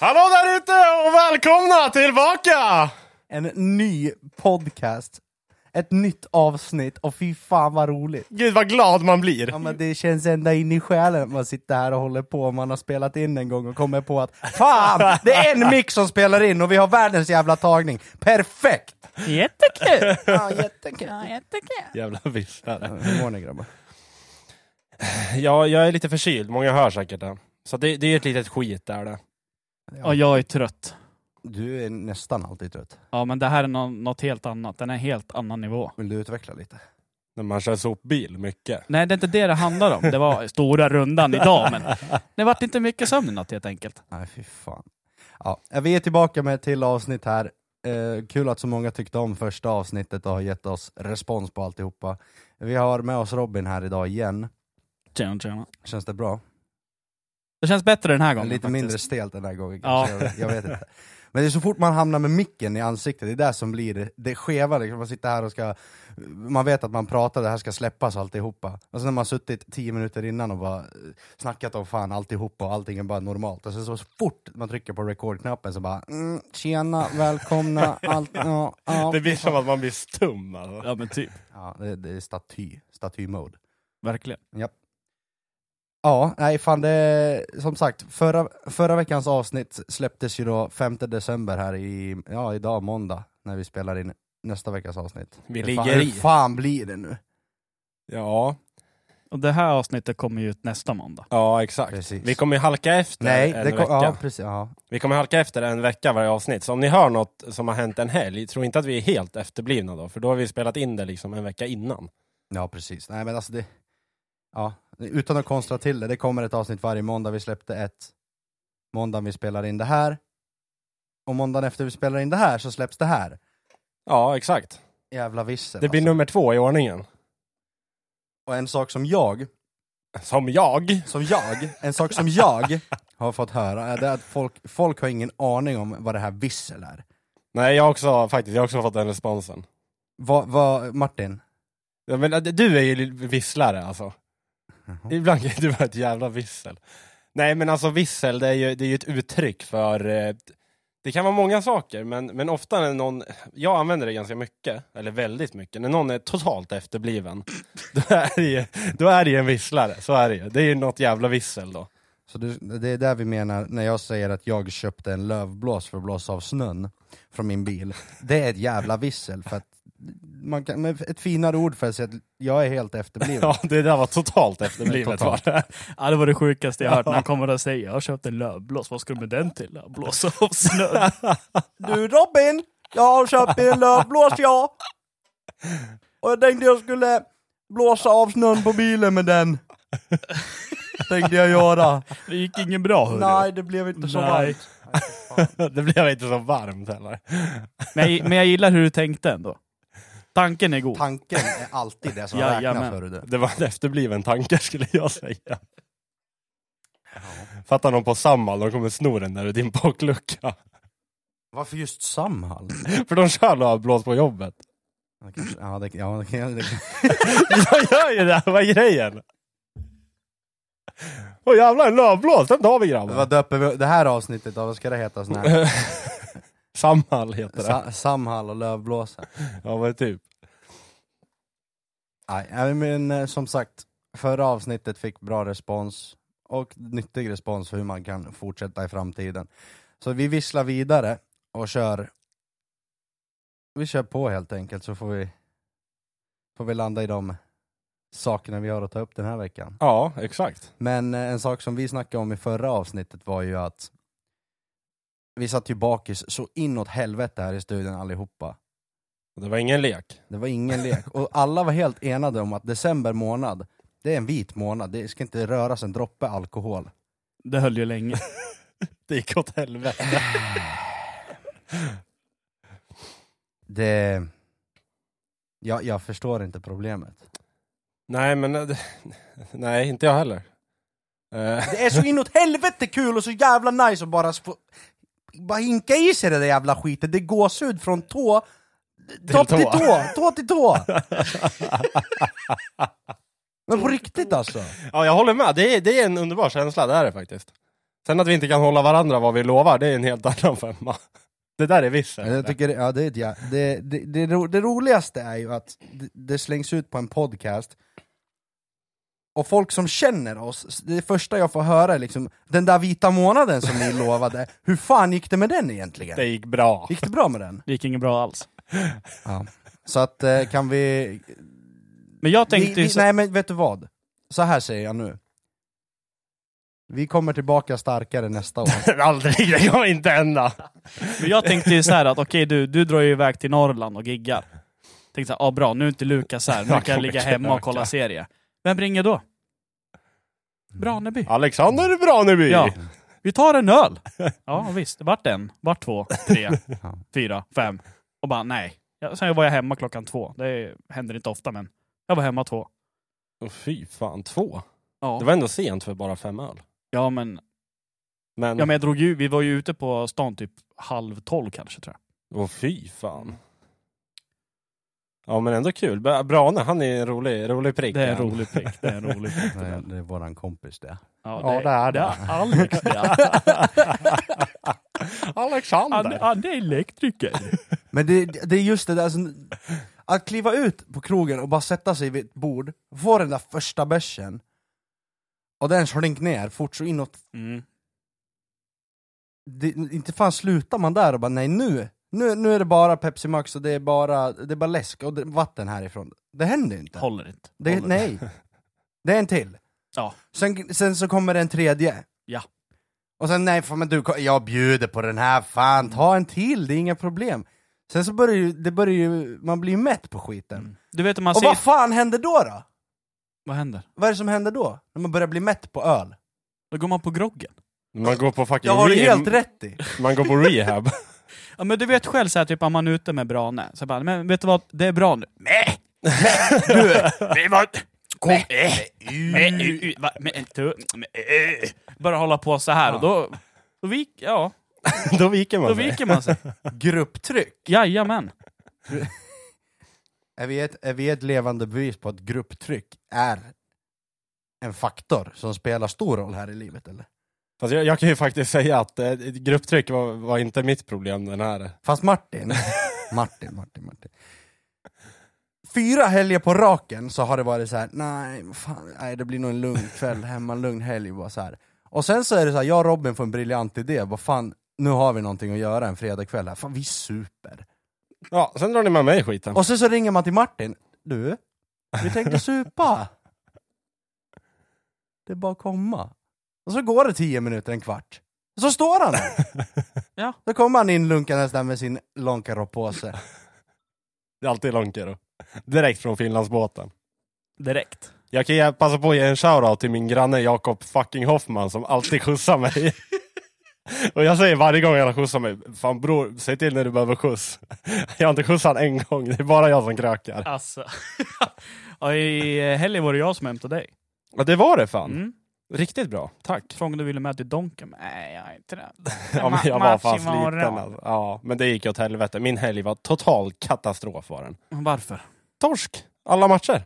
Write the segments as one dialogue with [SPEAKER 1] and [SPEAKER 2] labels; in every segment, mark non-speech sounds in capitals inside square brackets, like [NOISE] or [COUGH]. [SPEAKER 1] Hallå där ute och välkomna tillbaka!
[SPEAKER 2] En ny podcast. Ett nytt avsnitt och fy fan vad roligt.
[SPEAKER 1] Gud vad glad man blir.
[SPEAKER 2] Ja, men det känns ända in i själen att man sitter här och håller på och man har spelat in en gång och kommer på att fan, det är en mick som spelar in och vi har världens jävla tagning. Perfekt!
[SPEAKER 3] Jättekul!
[SPEAKER 2] Ja, jättekul.
[SPEAKER 3] Ja, jättekul.
[SPEAKER 1] Jävla visslare.
[SPEAKER 2] Hur mår ni grabbar?
[SPEAKER 1] Ja, jag är lite förkyld. Många hör säkert det. Så det, det är ett litet skit där det.
[SPEAKER 3] Och jag är trött.
[SPEAKER 2] Du är nästan alltid trött.
[SPEAKER 3] Ja, men det här är nå- något helt annat. Den är en helt annan nivå.
[SPEAKER 2] Vill du utveckla lite?
[SPEAKER 1] När man kör sopbil mycket.
[SPEAKER 3] Nej, det är inte det det handlar om. Det var stora rundan idag, men det vart inte mycket sömn i natt helt enkelt.
[SPEAKER 2] Nej, fy fan. Ja, vi är tillbaka med ett till avsnitt här. Eh, kul att så många tyckte om första avsnittet och har gett oss respons på alltihopa. Vi har med oss Robin här idag igen.
[SPEAKER 3] Tjena, tjena.
[SPEAKER 2] Känns det bra?
[SPEAKER 3] Det känns bättre den här gången
[SPEAKER 2] Lite
[SPEAKER 3] faktiskt.
[SPEAKER 2] mindre stelt den här gången kanske, jag, jag vet inte. Men det är så fort man hamnar med micken i ansiktet, det är där som blir det, det skeva. Liksom. Man sitter här och ska, man vet att man pratar, det här ska släppas alltihopa. Och sen har man suttit tio minuter innan och bara eh, snackat om fan alltihopa och allting är bara normalt. Och sen så fort man trycker på record-knappen så bara mm, tjena, välkomna, allt, ja,
[SPEAKER 1] [LAUGHS]
[SPEAKER 2] ja.
[SPEAKER 1] Det blir som att man blir stum alltså.
[SPEAKER 3] Ja, men typ.
[SPEAKER 2] ja det, det är staty, staty-mode.
[SPEAKER 3] Verkligen.
[SPEAKER 2] Ja, nej fan det, som sagt, förra, förra veckans avsnitt släpptes ju då 5 december här i, ja idag måndag, när vi spelar in nästa veckas avsnitt.
[SPEAKER 1] Vi
[SPEAKER 2] hur, fan,
[SPEAKER 1] ligger i.
[SPEAKER 2] hur fan blir det nu?
[SPEAKER 1] Ja,
[SPEAKER 3] Och det här avsnittet kommer ju ut nästa måndag.
[SPEAKER 1] ja exakt.
[SPEAKER 2] Precis.
[SPEAKER 1] Vi kommer ju halka efter
[SPEAKER 2] nej,
[SPEAKER 1] en
[SPEAKER 2] det
[SPEAKER 1] vecka.
[SPEAKER 2] kom, ja, precis, ja.
[SPEAKER 1] Vi kommer halka efter en vecka varje avsnitt. Så om ni hör något som har hänt en helg, tro inte att vi är helt efterblivna då. För då har vi spelat in det liksom en vecka innan.
[SPEAKER 2] ja precis. Nej men alltså det, ja, utan att konstra till det, det kommer ett avsnitt varje måndag, vi släppte ett måndag vi spelar in det här, och måndagen efter vi spelar in det här så släpps det här.
[SPEAKER 1] Ja, exakt.
[SPEAKER 2] Jävla vissel
[SPEAKER 1] Det blir
[SPEAKER 2] alltså.
[SPEAKER 1] nummer två i ordningen.
[SPEAKER 2] Och en sak som jag
[SPEAKER 1] Som jag.
[SPEAKER 2] som jag, en sak som jag har fått höra är det att folk, folk har ingen aning om vad det här vissel är.
[SPEAKER 1] Nej, jag har också, faktiskt, jag har också fått den responsen.
[SPEAKER 2] Vad, vad, Martin?
[SPEAKER 1] Ja, men, eh, du är ju visslare alltså. Ibland kan du vara ett jävla vissel. Nej men alltså vissel, det är ju, det är ju ett uttryck för... eh, Det kan vara många saker, men, men ofta när någon... Jag använder det ganska mycket, eller väldigt mycket. När någon är totalt efterbliven, [LAUGHS] då är det ju, då är det ju en visslare. Så är det ju. Det är ju något jävla vissel då.
[SPEAKER 2] Så du, det är där vi menar när jag säger att jag köpte en lövblås för att blåsa av snön från min bil. Det är ett jävla vissel för att man kan, men ett finare ord för att säga att jag är helt efterbliven.
[SPEAKER 1] Ja, det där var totalt efterblivet.
[SPEAKER 2] Mm. Totalt.
[SPEAKER 1] Var det.
[SPEAKER 3] [LAUGHS] Ja, det var det sjukaste jag hört. När han kommer och säger jag har köpt en lövblås, vad ska du med den till? Ja, Blåsa av snön.
[SPEAKER 2] Du Robin, jag har köpt en lövblås jag! Och jag tänkte jag skulle blåsa av snön på bilen med den. Tänkte jag göra.
[SPEAKER 3] Det gick ingen bra hörru.
[SPEAKER 2] Nej, det blev inte så
[SPEAKER 3] Nej.
[SPEAKER 1] [LAUGHS]
[SPEAKER 2] varmt.
[SPEAKER 1] det blev inte så varmt heller.
[SPEAKER 3] Men, jag, men jag gillar hur du tänkte ändå. Tanken är god.
[SPEAKER 2] Tanken är alltid det som
[SPEAKER 3] Jajamän.
[SPEAKER 2] räknas, hörru du.
[SPEAKER 1] Det var en efterbliven tanke [LAUGHS] skulle jag säga. Fattar någon på Samhall, de kommer sno den där ur din baklucka. [LAUGHS]
[SPEAKER 2] Varför just [CLEARS THROAT] Samhall?
[SPEAKER 1] För de kör lövblås på jobbet. [LAUGHS]
[SPEAKER 2] Ja, kanske- Ja, det, ja, det, det,
[SPEAKER 1] Jag gör ju det, vad är grejen? Åh jävlar, en lövblås, den tar vi grabbar.
[SPEAKER 2] vad döper vi det här avsnittet av? Vad ska det heta? Sån här?
[SPEAKER 1] [LAUGHS] Samhall heter det.
[SPEAKER 2] Sa, Samhall och Lövblåsa?
[SPEAKER 1] Ja men typ.
[SPEAKER 2] Nej, nej, men eh, som sagt, förra avsnittet fick bra respons och nyttig respons för hur man kan fortsätta i framtiden. Så vi visslar vidare och kör. Vi kör på helt enkelt så får vi, får vi landa i de sakerna vi har att ta upp den här veckan.
[SPEAKER 1] Ja, exakt.
[SPEAKER 2] Men eh, en sak som vi snackade om i förra avsnittet var ju att vi satt ju bakis så inåt helvete här i studion allihopa.
[SPEAKER 1] Det var ingen lek.
[SPEAKER 2] Det var ingen lek. Och alla var helt enade om att december månad, det är en vit månad. Det ska inte röras en droppe alkohol.
[SPEAKER 3] Det höll ju länge.
[SPEAKER 1] Det gick åt helvete.
[SPEAKER 2] Det... Jag, jag förstår inte problemet.
[SPEAKER 1] Nej men, eh, nej inte jag heller. Eh,
[SPEAKER 2] Det är så inåt helvete kul och så jävla nice att bara få... Bara hinka i sig det där jävla skiten. Det är gåshud från tå... Topp till
[SPEAKER 1] tå.
[SPEAKER 2] tå! Tå till tå! Men på riktigt alltså.
[SPEAKER 1] Ja jag håller med, det är, det är en underbar känsla, det är det faktiskt. Sen att vi inte kan hålla varandra vad vi lovar, det är en helt [LAUGHS] annan femma. Det där är vissel.
[SPEAKER 2] Ja, Jag tycker, ja, det, är ett ja, det, det, det, ro, det roligaste är ju att det, det slängs ut på en podcast, och folk som känner oss, det första jag får höra är liksom den där vita månaden som ni [LAUGHS] lovade, hur fan gick det med den egentligen?
[SPEAKER 1] Det gick bra.
[SPEAKER 2] Gick det bra med den?
[SPEAKER 3] Det gick inget bra alls.
[SPEAKER 2] Ja. Så att eh, kan vi...
[SPEAKER 3] Men jag
[SPEAKER 2] vi,
[SPEAKER 3] tänkte ju
[SPEAKER 2] vi
[SPEAKER 3] så...
[SPEAKER 2] nej men vet du vad? Så här säger jag nu. Vi kommer tillbaka starkare nästa år.
[SPEAKER 1] Aldrig, det kommer inte hända.
[SPEAKER 3] Men jag tänkte ju så här att okej du, du drar ju iväg till Norrland och giggar. Tänkte så här, ah, bra nu är inte Lukas här,
[SPEAKER 1] Jag
[SPEAKER 3] nu kan jag
[SPEAKER 1] kommer
[SPEAKER 3] ligga
[SPEAKER 1] inte
[SPEAKER 3] hemma och
[SPEAKER 1] orka.
[SPEAKER 3] kolla serie. Vem ringer då? Braneby.
[SPEAKER 1] Alexander Braneby!
[SPEAKER 3] Ja. Vi tar en öl! Ja visst, det vart en, vart två, tre,
[SPEAKER 2] Ja.
[SPEAKER 3] fyra, fem. Och bara nej. Ja, Sen var jag hemma klockan två. Det händer inte ofta men jag var hemma två.
[SPEAKER 1] Åh, fy fan, två.
[SPEAKER 3] Ja,
[SPEAKER 1] Det var ändå sent för bara fem öl.
[SPEAKER 3] ja, men,
[SPEAKER 1] Men,
[SPEAKER 3] ja men jag drog ju, vi var ju ute på stan typ halv tolv kanske tror jag.
[SPEAKER 1] åh fy fan. Ja men ändå kul. Bra- Brane, han är en rolig, rolig prick.
[SPEAKER 3] Det är en
[SPEAKER 1] han.
[SPEAKER 3] rolig prick, det är en rolig
[SPEAKER 2] [LAUGHS]
[SPEAKER 3] prick.
[SPEAKER 2] Det är, det är våran kompis det.
[SPEAKER 3] Ja,
[SPEAKER 1] Ja, det är det.
[SPEAKER 3] Alex det. Han,
[SPEAKER 1] [LAUGHS] Alexander!
[SPEAKER 3] han är elektriker.
[SPEAKER 2] Men det, det är just det där, som, att kliva ut på krogen och bara sätta sig vid ett bord, få den där första bärsen, och den slink ner fort så inåt,
[SPEAKER 3] Mm.
[SPEAKER 2] det, inte fan slutar man där och bara nej nu, nu, nu är det bara Pepsi Max och det är bara, det är bara läsk och det, vatten härifrån. Det händer ju inte.
[SPEAKER 3] Håller inte.
[SPEAKER 2] Det,
[SPEAKER 3] Håller
[SPEAKER 2] nej. Det är en till.
[SPEAKER 3] Ja.
[SPEAKER 2] Sen, sen så kommer det en tredje.
[SPEAKER 3] Ja.
[SPEAKER 2] Och sen nej, fan, men du, jag bjuder på den här, fan
[SPEAKER 3] Mm.
[SPEAKER 2] ta en till, det är inga problem. Sen så börjar ju, det börjar ju man blir ju mätt på skiten.
[SPEAKER 3] Du vet hur Mm. man
[SPEAKER 2] Och
[SPEAKER 3] säger...
[SPEAKER 2] vad fan händer då då?
[SPEAKER 3] Vad händer?
[SPEAKER 2] Vad är det som händer då? När man börjar bli mätt på öl?
[SPEAKER 3] Då går man på groggen.
[SPEAKER 1] Man går på fucking
[SPEAKER 2] Jag har du
[SPEAKER 1] rehab.
[SPEAKER 2] helt rätt i!
[SPEAKER 1] Man går på rehab. [LAUGHS]
[SPEAKER 3] Ja men du vet själv så här, typ om man är ute med Brane, så bara, men vet du vad, det är bra nu. Nej! Du! Det var... Kom! Äh. Nej, nej, nej, nej, va, men inte- men, eh. Bara hålla på så här och då... Då, vik, ja,
[SPEAKER 1] Då viker man
[SPEAKER 3] då
[SPEAKER 1] sig.
[SPEAKER 3] viker man sig.
[SPEAKER 2] Grupptryck!
[SPEAKER 3] [LAUGHS] Jajamän.
[SPEAKER 2] Är vi, ett, är vi ett levande bevis på att grupptryck är en faktor som spelar stor roll här i livet eller?
[SPEAKER 1] Fast jag, jag kan ju faktiskt säga att eh, grupptryck var, var inte mitt problem den här.
[SPEAKER 2] Fast Martin, Martin, Martin, Martin. Fyra helger på raken så har det varit så här: nej, vad fan, nej det blir nog en lugn kväll hemma, en lugn helg bara så här. Och sen så är det så här, jag och Robin får en briljant idé, vad fan, nu har vi någonting att göra en fredagkväll här, fan vi super.
[SPEAKER 1] Ja, sen drar ni med mig i skiten.
[SPEAKER 2] Och sen så ringer man till Martin, du, vi tänkte supa. Det är bara att komma. Och så går det tio minuter, en kvart. Och så står han där.
[SPEAKER 3] Ja.
[SPEAKER 2] Då kommer han in lunkandes där med sin Lonkaroppåse.
[SPEAKER 1] Det är alltid Lonkero. Direkt från Finlandsbåten.
[SPEAKER 3] Direkt.
[SPEAKER 1] Jag kan ge- passa på att ge en shoutout till min granne Jakob fucking Hoffman som alltid skjutsar [LAUGHS] mig. Och jag säger varje gång han skjutsar mig, fan bror, säg till när du behöver skjuts. Jag har inte skjutsat en gång, det är bara jag som krökar.
[SPEAKER 3] Alltså. [LAUGHS] ja, I helgen var det jag som hämtade dig.
[SPEAKER 1] Ja, det var det fan.
[SPEAKER 3] Mm.
[SPEAKER 1] Riktigt bra, tack.
[SPEAKER 3] Frågade om du ville med till Donken. Nej, jag är inte det.
[SPEAKER 1] [LAUGHS] Ja, men jag var
[SPEAKER 3] Match
[SPEAKER 1] fan
[SPEAKER 3] imorgon.
[SPEAKER 1] sliten alltså. Ja, men det gick åt helvete. Min helg var total katastrof var den.
[SPEAKER 3] Varför?
[SPEAKER 1] Torsk, alla matcher.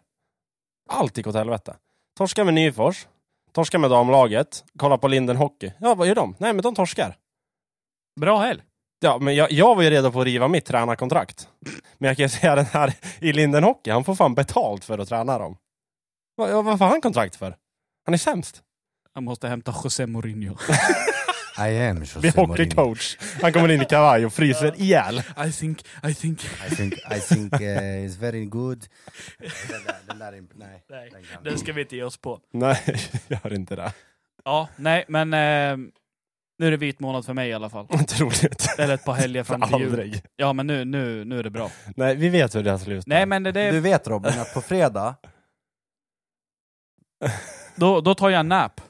[SPEAKER 1] Allt gick åt helvete. Torska med Nyfors, torska med damlaget, kolla på Linden Hockey. Ja, vad gör de? Nej, men de torskar.
[SPEAKER 3] Bra helg.
[SPEAKER 1] Ja, men jag, jag var ju redo på att riva mitt tränarkontrakt. Men jag kan ju [LAUGHS] säga den här i Linden Hockey, han får fan betalt för att träna dem. Vad, ja, vad får han kontrakt för? Han är sämst.
[SPEAKER 3] Jag måste hämta
[SPEAKER 1] [LAUGHS]
[SPEAKER 3] José Mourinho.
[SPEAKER 2] I am José
[SPEAKER 1] Blir
[SPEAKER 2] Mourinho.
[SPEAKER 1] hockeycoach. Han kommer in i kavaj och fryser ihjäl.
[SPEAKER 3] I think, I think...
[SPEAKER 2] I think, I think eh, it's very good. Den där, den där, är imp- nej.
[SPEAKER 3] Nej,
[SPEAKER 2] Den kan-
[SPEAKER 3] den ska vi inte ge oss på.
[SPEAKER 1] Nej, [LAUGHS] gör inte det.
[SPEAKER 3] Ja, nej, men eh, nu är det vit månad för mig i alla fall.
[SPEAKER 1] Otroligt.
[SPEAKER 3] Eller ett par helger
[SPEAKER 1] [LAUGHS]
[SPEAKER 3] fram till jul.
[SPEAKER 1] Aldrig.
[SPEAKER 3] Ja, men nu, nu, nu är
[SPEAKER 1] [LAUGHS]
[SPEAKER 3] det bra.
[SPEAKER 1] Nej, vi vet hur det här slutar.
[SPEAKER 3] Nej, men det, det,
[SPEAKER 2] Du vet Robin att på fredag,
[SPEAKER 3] då, då tar jag en nap.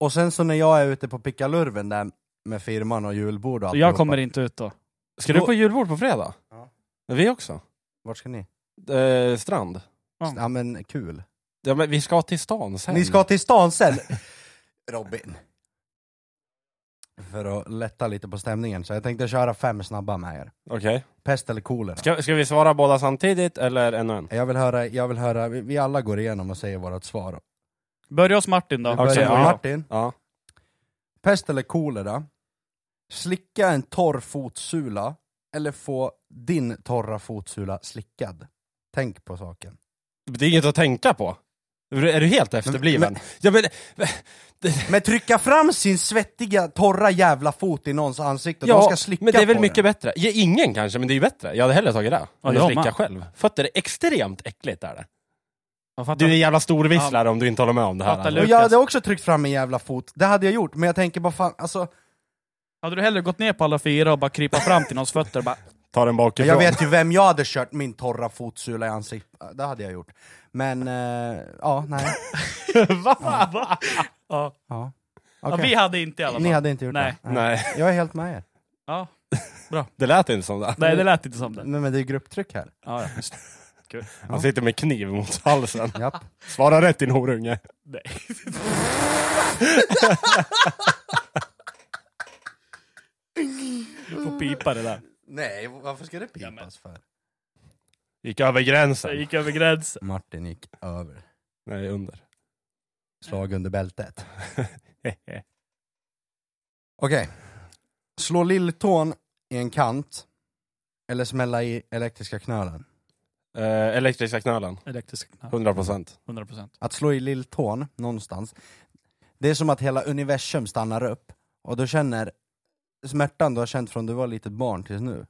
[SPEAKER 2] och sen så när jag är ute på pickalurven där med firman och julbord och
[SPEAKER 3] Så jag
[SPEAKER 2] alltihopa,
[SPEAKER 3] kommer inte ut då.
[SPEAKER 1] Ska
[SPEAKER 2] Då-
[SPEAKER 1] du på julbord på fredag?
[SPEAKER 2] Ja.
[SPEAKER 1] Vi också.
[SPEAKER 2] Vart ska ni?
[SPEAKER 1] Eh, strand.
[SPEAKER 3] Ja.
[SPEAKER 2] Ja men kul.
[SPEAKER 1] Ja, men vi ska till stan sen.
[SPEAKER 2] Ni ska till stan sen! Robin. För att lätta lite på stämningen, så jag tänkte köra fem snabba med er.
[SPEAKER 1] Okej.
[SPEAKER 2] Pest eller kolera?
[SPEAKER 1] Ska, ska vi svara båda samtidigt eller en och en?
[SPEAKER 2] Jag vill höra, jag vill höra, vi, vi alla går igenom och säger vårt svar.
[SPEAKER 3] Börja hos Martin då.
[SPEAKER 2] Vi
[SPEAKER 1] Okej,
[SPEAKER 2] börjar med
[SPEAKER 1] ja.
[SPEAKER 2] Martin.
[SPEAKER 1] Ja.
[SPEAKER 2] Pest eller kolera? Slicka en torr fotsula eller få din torra fotsula slickad? Tänk på saken.
[SPEAKER 1] Det är inget att tänka på. Är du helt efterbliven? ja, men,
[SPEAKER 2] Men trycka fram sin svettiga, torra jävla fot i någons ansikte, och de ska slicka
[SPEAKER 1] men det är väl
[SPEAKER 2] på
[SPEAKER 1] mycket
[SPEAKER 2] den.
[SPEAKER 1] bättre. Ja, ingen kanske, men det är ju bättre. Jag hade hellre tagit det.
[SPEAKER 3] Ja,
[SPEAKER 1] Än
[SPEAKER 3] jag
[SPEAKER 1] att slicka
[SPEAKER 3] med.
[SPEAKER 1] själv. Fötter är extremt äckligt är det.
[SPEAKER 3] Jag fattar.
[SPEAKER 1] Du är en jävla storvisslare om du inte håller med om det här.
[SPEAKER 3] Fattar
[SPEAKER 1] Alltså.
[SPEAKER 3] Lukas.
[SPEAKER 2] Och jag hade också tryckt fram min jävla fot, det hade jag gjort, men jag tänker bara fan, alltså,
[SPEAKER 3] Hade du hellre gått ner på alla fyra och bara krypa fram till någons fötter
[SPEAKER 1] [LAUGHS]
[SPEAKER 3] och bara...
[SPEAKER 1] Ta den bakifrån.
[SPEAKER 2] jag
[SPEAKER 1] [LAUGHS]
[SPEAKER 2] vet ju vem jag hade kört min torra fotsula i ansiktet, det hade jag gjort. Men, eh, ja,
[SPEAKER 3] [LAUGHS]
[SPEAKER 2] nej.
[SPEAKER 3] Va? Va? Ja.
[SPEAKER 2] Ja.
[SPEAKER 3] Ja,
[SPEAKER 2] Okej.
[SPEAKER 3] vi hade inte i alla fall.
[SPEAKER 2] Ni hade inte gjort
[SPEAKER 3] Nej.
[SPEAKER 2] det?
[SPEAKER 1] Nej,
[SPEAKER 2] Jag är helt med er.
[SPEAKER 3] Ja.
[SPEAKER 1] det lät inte som det.
[SPEAKER 3] Nej, det lät inte som det.
[SPEAKER 2] Men, men det är grupptryck här.
[SPEAKER 3] Ja, ja. Just.
[SPEAKER 1] Han sitter med kniv mot halsen.
[SPEAKER 2] Japp.
[SPEAKER 1] Svara rätt din horunge.
[SPEAKER 3] [LAUGHS] Nej. Du får pipa det där.
[SPEAKER 2] Nej, varför ska det pipas för?
[SPEAKER 1] Gick över
[SPEAKER 3] Jag
[SPEAKER 1] gränsen.
[SPEAKER 3] gick över gränsen.
[SPEAKER 2] Martin gick över.
[SPEAKER 1] Nej, under.
[SPEAKER 2] Slag under bältet. [LAUGHS] Okej. Slå lilltån i en kant, eller smälla i elektriska knölen.
[SPEAKER 1] Eh, elektriska knölen,
[SPEAKER 3] Elektrisk
[SPEAKER 1] 100 procent.
[SPEAKER 3] 100%.
[SPEAKER 2] Att slå i lilltån någonstans, det är som att hela universum stannar upp, och du känner smärtan du har känt från du var litet barn tills nu,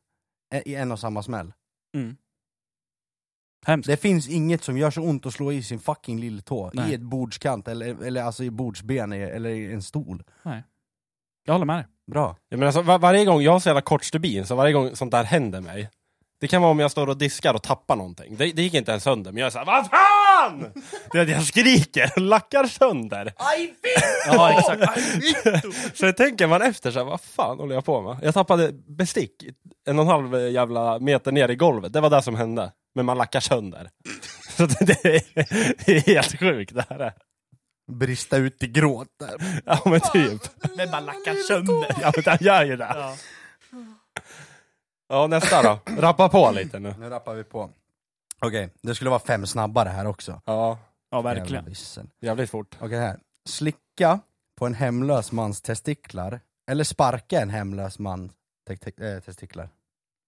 [SPEAKER 2] e- i en och samma smäll.
[SPEAKER 3] Mm. Hemskt.
[SPEAKER 2] Det finns inget som gör så ont att slå i sin fucking lilltå,
[SPEAKER 3] Nej.
[SPEAKER 2] i ett bordskant, eller, eller alltså i bordsben, i- eller i en stol.
[SPEAKER 3] Jag håller med dig.
[SPEAKER 2] Bra.
[SPEAKER 1] Jag menar, så var, alltså, varje gång, jag har så jävla kort stubin, så varje gång sånt där händer mig. Det kan vara om jag står och diskar och tappar någonting. Det, det gick inte ens sönder, men jag är såhär Vad fan! Det är att jag skriker och lackar sönder.
[SPEAKER 3] Ja, exakt.
[SPEAKER 1] Så tänker man efter såhär, vad fan håller jag på med? Jag tappade bestick en och en halv jävla meter ner i golvet. Det var det som hände. Men man lackar sönder. [LAUGHS] Så det, det, är, det är helt sjukt det här. är.
[SPEAKER 2] Brista ut i gråt där.
[SPEAKER 1] Ja men typ.
[SPEAKER 3] Men bara lackar sönder.
[SPEAKER 1] Ja men han gör ju det.
[SPEAKER 3] Ja.
[SPEAKER 1] Ja nästa [CLEARS THROAT] då. Rappa på lite nu.
[SPEAKER 2] Nu rappar vi på. Okej, det skulle vara fem snabbare här också.
[SPEAKER 1] Ja,
[SPEAKER 3] ja,
[SPEAKER 2] Jävla
[SPEAKER 3] verkligen.
[SPEAKER 2] vissel.
[SPEAKER 1] jävligt fort.
[SPEAKER 2] Okej här. Slicka på en hemlös mans testiklar, eller sparka en hemlös man te- te- eh, testiklar.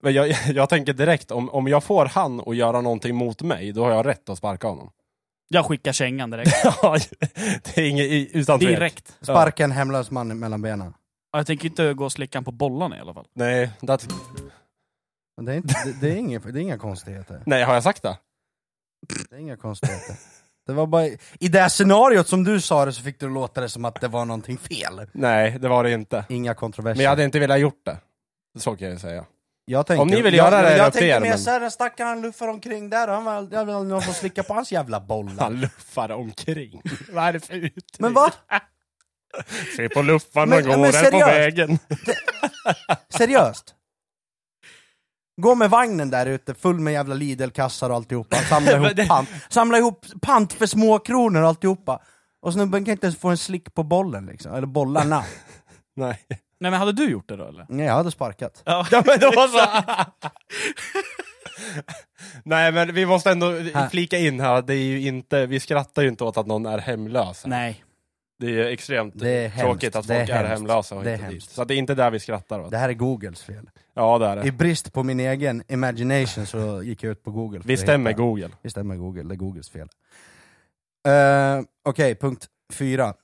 [SPEAKER 1] Men jag, jag tänker direkt, om, om jag får han att göra någonting mot mig, då har jag rätt att sparka honom.
[SPEAKER 3] Jag skickar kängan direkt.
[SPEAKER 1] [LAUGHS] Ja, det är inget i- utan tvekan.
[SPEAKER 3] Direkt.
[SPEAKER 2] Sparka en hemlös man mellan benen.
[SPEAKER 3] Ja, Jag tänker inte gå och slicka på bollarna i alla fall.
[SPEAKER 1] Nej, that's...
[SPEAKER 2] Men Det är, inte, det, det, är inga, det är inga konstigheter.
[SPEAKER 1] Nej, har jag sagt det?
[SPEAKER 2] Det är inga konstigheter. Det var bara, I det här scenariot som du sa det så fick du låta det som att det var någonting fel.
[SPEAKER 1] Nej, det var det inte.
[SPEAKER 2] Inga kontroverser.
[SPEAKER 1] Men jag hade inte velat gjort det. Så kan jag ju säga.
[SPEAKER 2] Jag tänker,
[SPEAKER 1] Om ni vill
[SPEAKER 2] jag,
[SPEAKER 1] göra det,
[SPEAKER 2] jag,
[SPEAKER 1] är det
[SPEAKER 2] jag
[SPEAKER 1] upp till
[SPEAKER 2] tänker
[SPEAKER 1] er,
[SPEAKER 2] mer
[SPEAKER 1] men-
[SPEAKER 2] såhär, den stackaren han luffar omkring där, han var, jag vill ha någon som slickar på hans jävla bollar.
[SPEAKER 1] Han luffar omkring. [LAUGHS] Vad är det för uttryck?
[SPEAKER 2] Men va?
[SPEAKER 1] Se på luffarna
[SPEAKER 2] Men-
[SPEAKER 1] går
[SPEAKER 2] men
[SPEAKER 1] här på
[SPEAKER 2] seriöst?
[SPEAKER 1] vägen.
[SPEAKER 2] Seriöst? Gå med vagnen där ute, full med jävla Lidl-kassar och alltihopa,
[SPEAKER 1] [LAUGHS]
[SPEAKER 2] samla ihop pant, samla ihop pant för småkronor och alltihopa. Och snubben kan inte ens få en slick på bollen liksom,
[SPEAKER 1] [LAUGHS]
[SPEAKER 2] eller bollarna.
[SPEAKER 1] [LAUGHS] Nej.
[SPEAKER 3] Nej men hade du gjort det då eller?
[SPEAKER 2] Nej, jag hade sparkat.
[SPEAKER 1] Ja men då så. Nej men vi måste ändå
[SPEAKER 2] Här.
[SPEAKER 1] flika in här, det är ju inte, vi skrattar ju inte åt att någon är hemlös.
[SPEAKER 3] Nej.
[SPEAKER 1] Det är ju extremt
[SPEAKER 2] Det är hemskt.
[SPEAKER 1] tråkigt att
[SPEAKER 2] Det
[SPEAKER 1] folk
[SPEAKER 2] är
[SPEAKER 1] är,
[SPEAKER 2] hemskt.
[SPEAKER 1] hemlösa och
[SPEAKER 2] Det är
[SPEAKER 1] inte dit.
[SPEAKER 2] hemskt.
[SPEAKER 1] Så att det är inte där vi skrattar åt.
[SPEAKER 2] Det här är Googles fel.
[SPEAKER 1] Ja det är det.
[SPEAKER 2] I brist på min egen imagination så gick jag ut på Google. för
[SPEAKER 1] Vi
[SPEAKER 2] att
[SPEAKER 1] stämmer
[SPEAKER 2] hitta-
[SPEAKER 1] Google.
[SPEAKER 2] Vi stämmer Google, det är Googles fel. Eh, Okej, punkt fyra.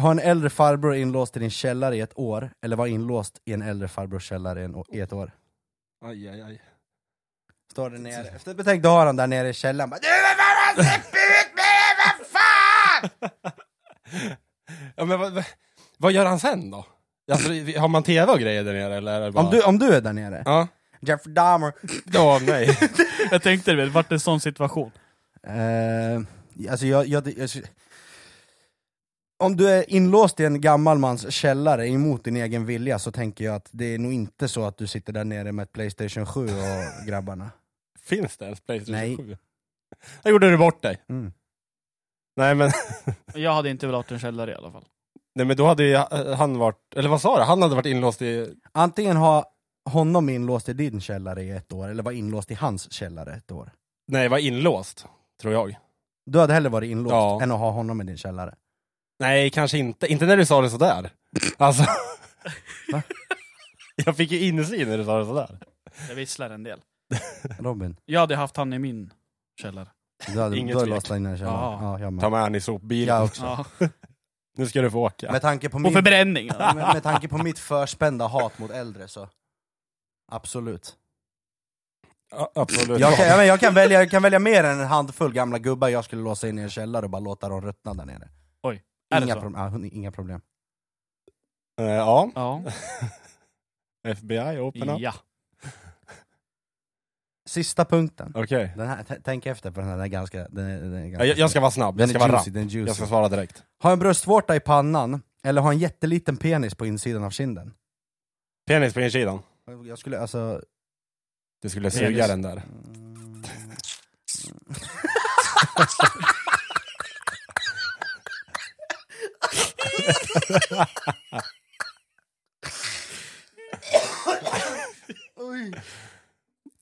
[SPEAKER 2] Ha en äldre farbror inlåst i din källare i ett år, eller vara inlåst i en äldre farbrors källare i, en, å- i ett år.
[SPEAKER 1] Aj, aj, aj.
[SPEAKER 2] Står det nere. Efter betänk, då har han där nere i källaren bara, Du vad fan släpp ut mig, vad fan!
[SPEAKER 1] Ja, men vad, vad- vad gör han sen då? Alltså, vi- har man tv och grejer där nere eller? Är det bara...
[SPEAKER 2] Om du, om du är där nere,
[SPEAKER 1] Ja.
[SPEAKER 2] Jeff Dahmer.
[SPEAKER 1] Ja, nej. [LAUGHS]
[SPEAKER 3] Jag tänkte väl, vart en sån situation?
[SPEAKER 2] Eh, alltså jag, jag, jag, om du är inlåst i en gammal mans källare emot din egen vilja så tänker jag att det är nog inte så att du sitter där nere med ett Playstation 7 och grabbarna.
[SPEAKER 1] Finns det ens Playstation
[SPEAKER 2] Nej.
[SPEAKER 1] 7? Där gjorde du bort dig.
[SPEAKER 2] Mm.
[SPEAKER 1] Nej men,
[SPEAKER 3] Jag hade inte velat ha en källare i alla fall.
[SPEAKER 1] nej men då hade ju eh, han varit, eller vad sa du? Han hade varit inlåst i...
[SPEAKER 2] Antingen ha honom inlåst i din källare i ett år, eller vara inlåst i hans källare ett år.
[SPEAKER 1] Nej, var inlåst. Tror jag.
[SPEAKER 2] Du hade hellre varit inlåst
[SPEAKER 1] Ja.
[SPEAKER 2] än att ha honom i din källare.
[SPEAKER 1] Nej, kanske inte. Inte när du sa det sådär. Alltså,
[SPEAKER 2] Va?
[SPEAKER 1] jag fick ju insyn när du sa det sådär.
[SPEAKER 3] Jag visslar en del.
[SPEAKER 2] Robin,
[SPEAKER 3] Jag hade haft han i min källare.
[SPEAKER 2] du hade,
[SPEAKER 1] Inget
[SPEAKER 2] du hade
[SPEAKER 1] tvek.
[SPEAKER 2] låst in den i källaren.
[SPEAKER 3] Ja.
[SPEAKER 2] Ja, jag med.
[SPEAKER 1] Ta med han i sopbilen.
[SPEAKER 2] Jag också.
[SPEAKER 3] Ja.
[SPEAKER 1] Nu ska du få åka.
[SPEAKER 2] Med tanke på
[SPEAKER 3] Och
[SPEAKER 2] min
[SPEAKER 3] förbränning.
[SPEAKER 2] Ja, med, med tanke på mitt förspända hat mot äldre så, absolut.
[SPEAKER 1] Ja, absolut.
[SPEAKER 2] Jag kan, jag, men jag, kan välja, jag kan välja mer än en handfull gamla gubbar jag skulle låsa in i en källare och bara låta dem ruttna där nere.
[SPEAKER 3] Oj, är det
[SPEAKER 2] Inga,
[SPEAKER 3] så?
[SPEAKER 2] problem. ja, hon- inga problem.
[SPEAKER 1] Eh, ja,
[SPEAKER 3] Ja.
[SPEAKER 1] FBI, open up.
[SPEAKER 3] ja.
[SPEAKER 2] Sista punkten.
[SPEAKER 1] Okej.
[SPEAKER 2] Den här, t- tänk efter på den här, den är ganska... Den är, den är
[SPEAKER 1] Ja,
[SPEAKER 2] ganska
[SPEAKER 1] Jag, jag ska vara snabb, jag
[SPEAKER 2] den
[SPEAKER 1] ska
[SPEAKER 2] är
[SPEAKER 1] vara
[SPEAKER 2] juicy,
[SPEAKER 1] rapp.
[SPEAKER 2] den är juicy.
[SPEAKER 1] Jag ska svara direkt.
[SPEAKER 2] Ha en bröstvårta i pannan, eller ha en jätteliten penis på insidan av kinden.
[SPEAKER 1] Penis på insidan.
[SPEAKER 2] Jag skulle alltså...
[SPEAKER 1] Du skulle
[SPEAKER 3] Penis.
[SPEAKER 1] suga den där.
[SPEAKER 2] Mm.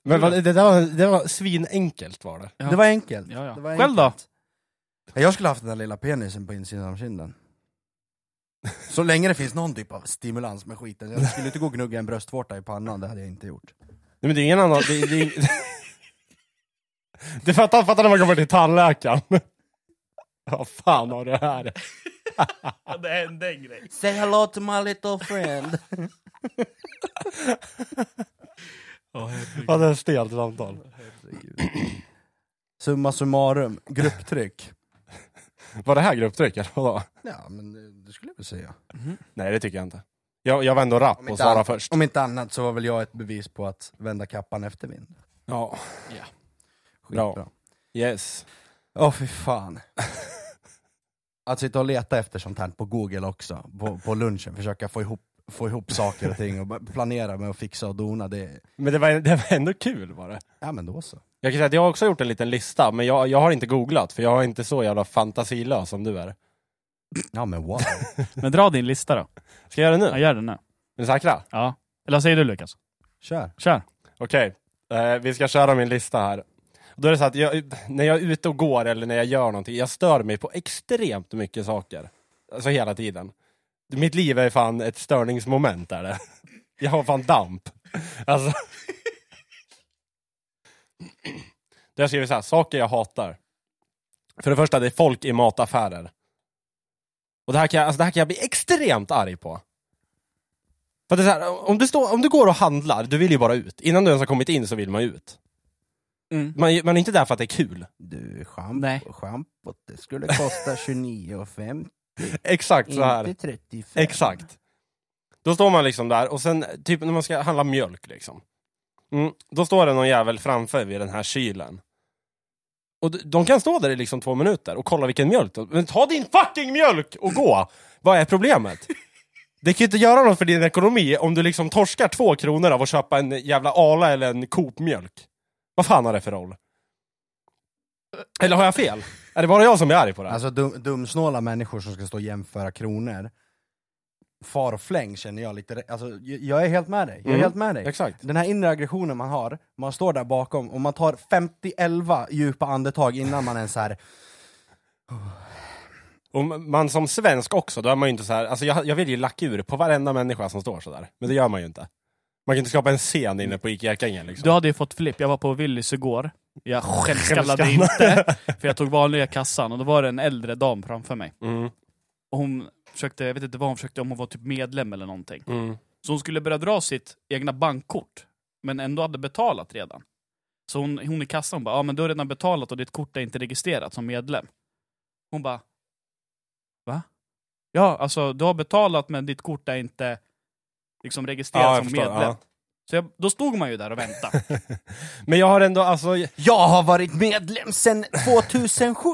[SPEAKER 1] Men vad, det, där var, det var svinenkelt var det.
[SPEAKER 3] Ja.
[SPEAKER 2] Det var enkelt.
[SPEAKER 3] Ja, ja.
[SPEAKER 2] Det var
[SPEAKER 3] Själv då?
[SPEAKER 2] Ja, Jag skulle haft den där lilla penisen på insidan av kinden. Så länge det finns någon typ av stimulans med skiten. Jag skulle inte gå och gnugga en bröstvårta i pannan, det hade jag inte gjort.
[SPEAKER 1] Nej, men det är ingen annan... Det, det, [LAUGHS] du fattar, fattar när man kommer till tandläkaren. [LAUGHS] Vad fan har du här?
[SPEAKER 3] Det hände en grej.
[SPEAKER 2] Say hello to my little friend.
[SPEAKER 1] Ja, det är stelt samtal.
[SPEAKER 2] Summa summarum, grupptryck.
[SPEAKER 1] Var det här grupptryck eller vadå?
[SPEAKER 2] Ja, men det- det skulle jag väl säga.
[SPEAKER 1] Nej, det tycker jag inte. Jag, jag var ändå rapp
[SPEAKER 2] Om
[SPEAKER 1] och
[SPEAKER 2] inte
[SPEAKER 1] svarade
[SPEAKER 2] annat-
[SPEAKER 1] först.
[SPEAKER 2] Om inte annat så var väl jag ett bevis på att vända kappan efter vind.
[SPEAKER 1] Ja,
[SPEAKER 2] Skitbra.
[SPEAKER 1] yes.
[SPEAKER 2] Åh fy fan. [LAUGHS] Att sitta och leta efter sånt här på google också, på, på lunchen, försöka få ihop, få ihop saker och ting och bara planera med att fixa och dona, det...
[SPEAKER 1] Men det var, det var ändå kul var det.
[SPEAKER 2] Ja men då så.
[SPEAKER 1] Jag kan säga att jag har också gjort en liten lista, men jag, jag har inte googlat för jag är inte så jävla fantasilös som du är.
[SPEAKER 2] Ja men wow.
[SPEAKER 3] Men dra din lista då.
[SPEAKER 1] Ska jag göra det
[SPEAKER 3] Jag
[SPEAKER 1] nu?
[SPEAKER 3] gör den nu.
[SPEAKER 1] Är ni säkra?
[SPEAKER 3] Ja. Eller vad säger du Lukas?
[SPEAKER 2] Kör.
[SPEAKER 3] Kör.
[SPEAKER 1] Okej, eh, vi ska köra min lista här. Då är det så att jag, när jag är ute och går eller när jag gör någonting, jag stör mig på extremt mycket saker. Alltså hela tiden. Mitt liv är fan ett störningsmoment är det. Jag har fan damp. Alltså. Då har jag skrivit så här, saker jag hatar. För det första, det är folk i mataffärer. Och det här kan jag, alltså det här kan jag bli extremt arg på. För att det är så här, om, du står, om du går och handlar, du vill ju bara ut. Innan du ens har kommit in så vill man ju ut. Man, man är inte där för att det är kul.
[SPEAKER 2] Du,
[SPEAKER 3] Nej.
[SPEAKER 2] schamp- schampot, det skulle kosta 29,50,
[SPEAKER 1] Exakt så här.
[SPEAKER 2] inte 35.
[SPEAKER 1] Exakt. Då står man liksom där och sen, typ när man ska handla mjölk liksom. Mm, då står det någon jävel framför vid den här kylen. Och d- de kan stå där i liksom två minuter och kolla vilken mjölk de- Men ta din fucking mjölk och gå! Vad är problemet? Det kan ju inte göra något för din ekonomi om du liksom torskar två kronor av att köpa en jävla Arla eller en Coop-mjölk. Vad fan har det för roll? Eller har jag fel? Är det bara jag som är arg på det? här?
[SPEAKER 2] Alltså dum, dumsnåla människor som ska stå och jämföra kronor, far och fläng känner jag lite, re- alltså jag, jag är helt med dig, jag är
[SPEAKER 1] Mm.
[SPEAKER 2] helt med dig.
[SPEAKER 1] Exakt.
[SPEAKER 2] Den här inre aggressionen man har, man står där bakom och man tar 50-11 djupa andetag innan man ens är
[SPEAKER 1] Och man som svensk också, då är man ju inte så här, alltså jag, jag vill ju lacka ur på varenda människa som står så där. Men det gör man ju inte. Man kan inte skapa en scen inne på Ica Ekängen liksom.
[SPEAKER 3] Du hade ju fått flipp. Jag var på Willys igår. Jag självskallade
[SPEAKER 1] Självskanna.
[SPEAKER 3] inte, [LAUGHS] för jag tog vanliga kassan och då var det en äldre dam framför mig.
[SPEAKER 1] Mm,
[SPEAKER 3] Och hon försökte, jag vet inte vad hon försökte, om hon var typ medlem eller någonting.
[SPEAKER 1] mm.
[SPEAKER 3] Så hon skulle börja dra sitt egna bankkort, men ändå hade betalat redan. Så hon, hon i kassan hon bara, ja men du har redan betalat och ditt kort är inte registrerat som medlem. Hon bara, va? Ja, alltså du har betalat men ditt kort är inte liksom registrerat
[SPEAKER 1] Ja, jag
[SPEAKER 3] som
[SPEAKER 1] förstår.
[SPEAKER 3] medlem.
[SPEAKER 1] Ja.
[SPEAKER 3] Så jag, då stod man ju där och väntade. [LAUGHS]
[SPEAKER 1] Men jag har ändå, alltså,
[SPEAKER 2] Jag har varit medlem sedan 2007!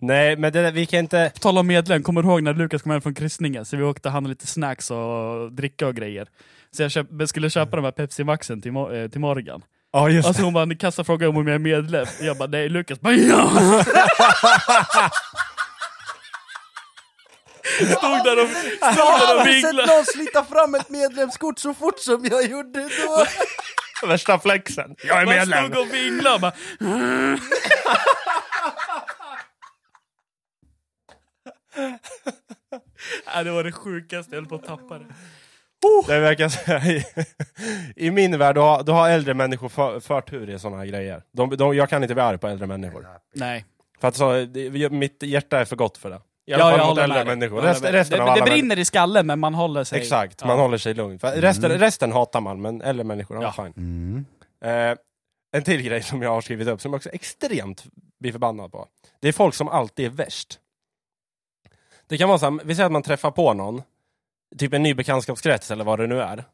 [SPEAKER 1] nej men det, där- vi kan inte,
[SPEAKER 3] På tal om medlem, kommer du ihåg när Lukas kom hem från kryssningen? Så vi åkte och handlade lite snacks och dricka och grejer. Så jag köp, skulle köpa
[SPEAKER 1] Mm.
[SPEAKER 3] de här Pepsi Maxen till, Mo- eh, till Morgan.
[SPEAKER 1] ja just
[SPEAKER 3] [LAUGHS] Alltså hon bara, Kassa frågade om jag är medlem. Jag bara, nej Lukas
[SPEAKER 1] [LAUGHS]
[SPEAKER 3] bara, ja! Stod där och, stod där och vinglade.
[SPEAKER 2] någon slita fram ett medlemskort så fort som jag gjorde då!
[SPEAKER 3] Alltså,
[SPEAKER 1] det, värsta flexen. Jag är
[SPEAKER 3] Man
[SPEAKER 1] medlem.
[SPEAKER 3] stod och vinglade och bara, "Mm." [LAUGHS] Ja, det var det sjukaste, jag höll på att tappa det.
[SPEAKER 1] Det verkar så i, I min värld, då har, då har äldre människor för, förtur i sådana här grejer. De, de, jag kan inte bli arg på äldre människor.
[SPEAKER 3] Nej.
[SPEAKER 1] För att så, det, mitt hjärta är för gott för det. I
[SPEAKER 3] Ja,
[SPEAKER 1] alla
[SPEAKER 3] jag
[SPEAKER 1] fall mot
[SPEAKER 3] håller
[SPEAKER 1] äldre
[SPEAKER 3] med dig.
[SPEAKER 1] människor.
[SPEAKER 3] Jag håller
[SPEAKER 1] Rest,
[SPEAKER 3] med.
[SPEAKER 1] resten
[SPEAKER 3] det,
[SPEAKER 1] av alla
[SPEAKER 3] det
[SPEAKER 1] människor-
[SPEAKER 3] brinner i skallen men man håller sig...
[SPEAKER 1] Exakt,
[SPEAKER 3] Ja. Mm.
[SPEAKER 1] man håller sig lugn. För resten, resten hatar man, men äldre människor, ja.
[SPEAKER 3] Ja.
[SPEAKER 1] fine.
[SPEAKER 2] Mm.
[SPEAKER 1] Eh, en till grej som jag har skrivit upp, som jag också extremt blir förbannad på. Det är folk som alltid är värst. Det kan vara så här, vi säger att man träffar på någon, typ en ny bekantskapskrets eller vad det nu är.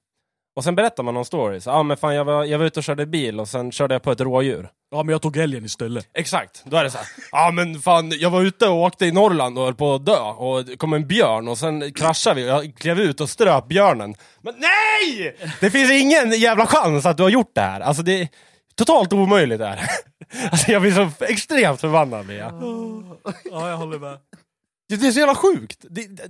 [SPEAKER 1] Och sen berättar man någon story. Så, ah, men fan, jag, var, jag var ute och körde bil och sen körde jag på ett rådjur.
[SPEAKER 3] Ja, men jag tog älgen istället.
[SPEAKER 1] Exakt, då är det så här. Ja men fan, jag var ute och åkte i Norrland och höll på att dö. Och det kom en björn och sen kraschade vi. Jag klev ut och ströp björnen. Men nej! Det finns ingen jävla chans att du har gjort det här. Alltså det är totalt omöjligt det här. [LAUGHS] Alltså jag blir så extremt förbannad blir jag.
[SPEAKER 3] Ja, jag håller med.
[SPEAKER 1] Det det är så jävla sjukt. Det, det,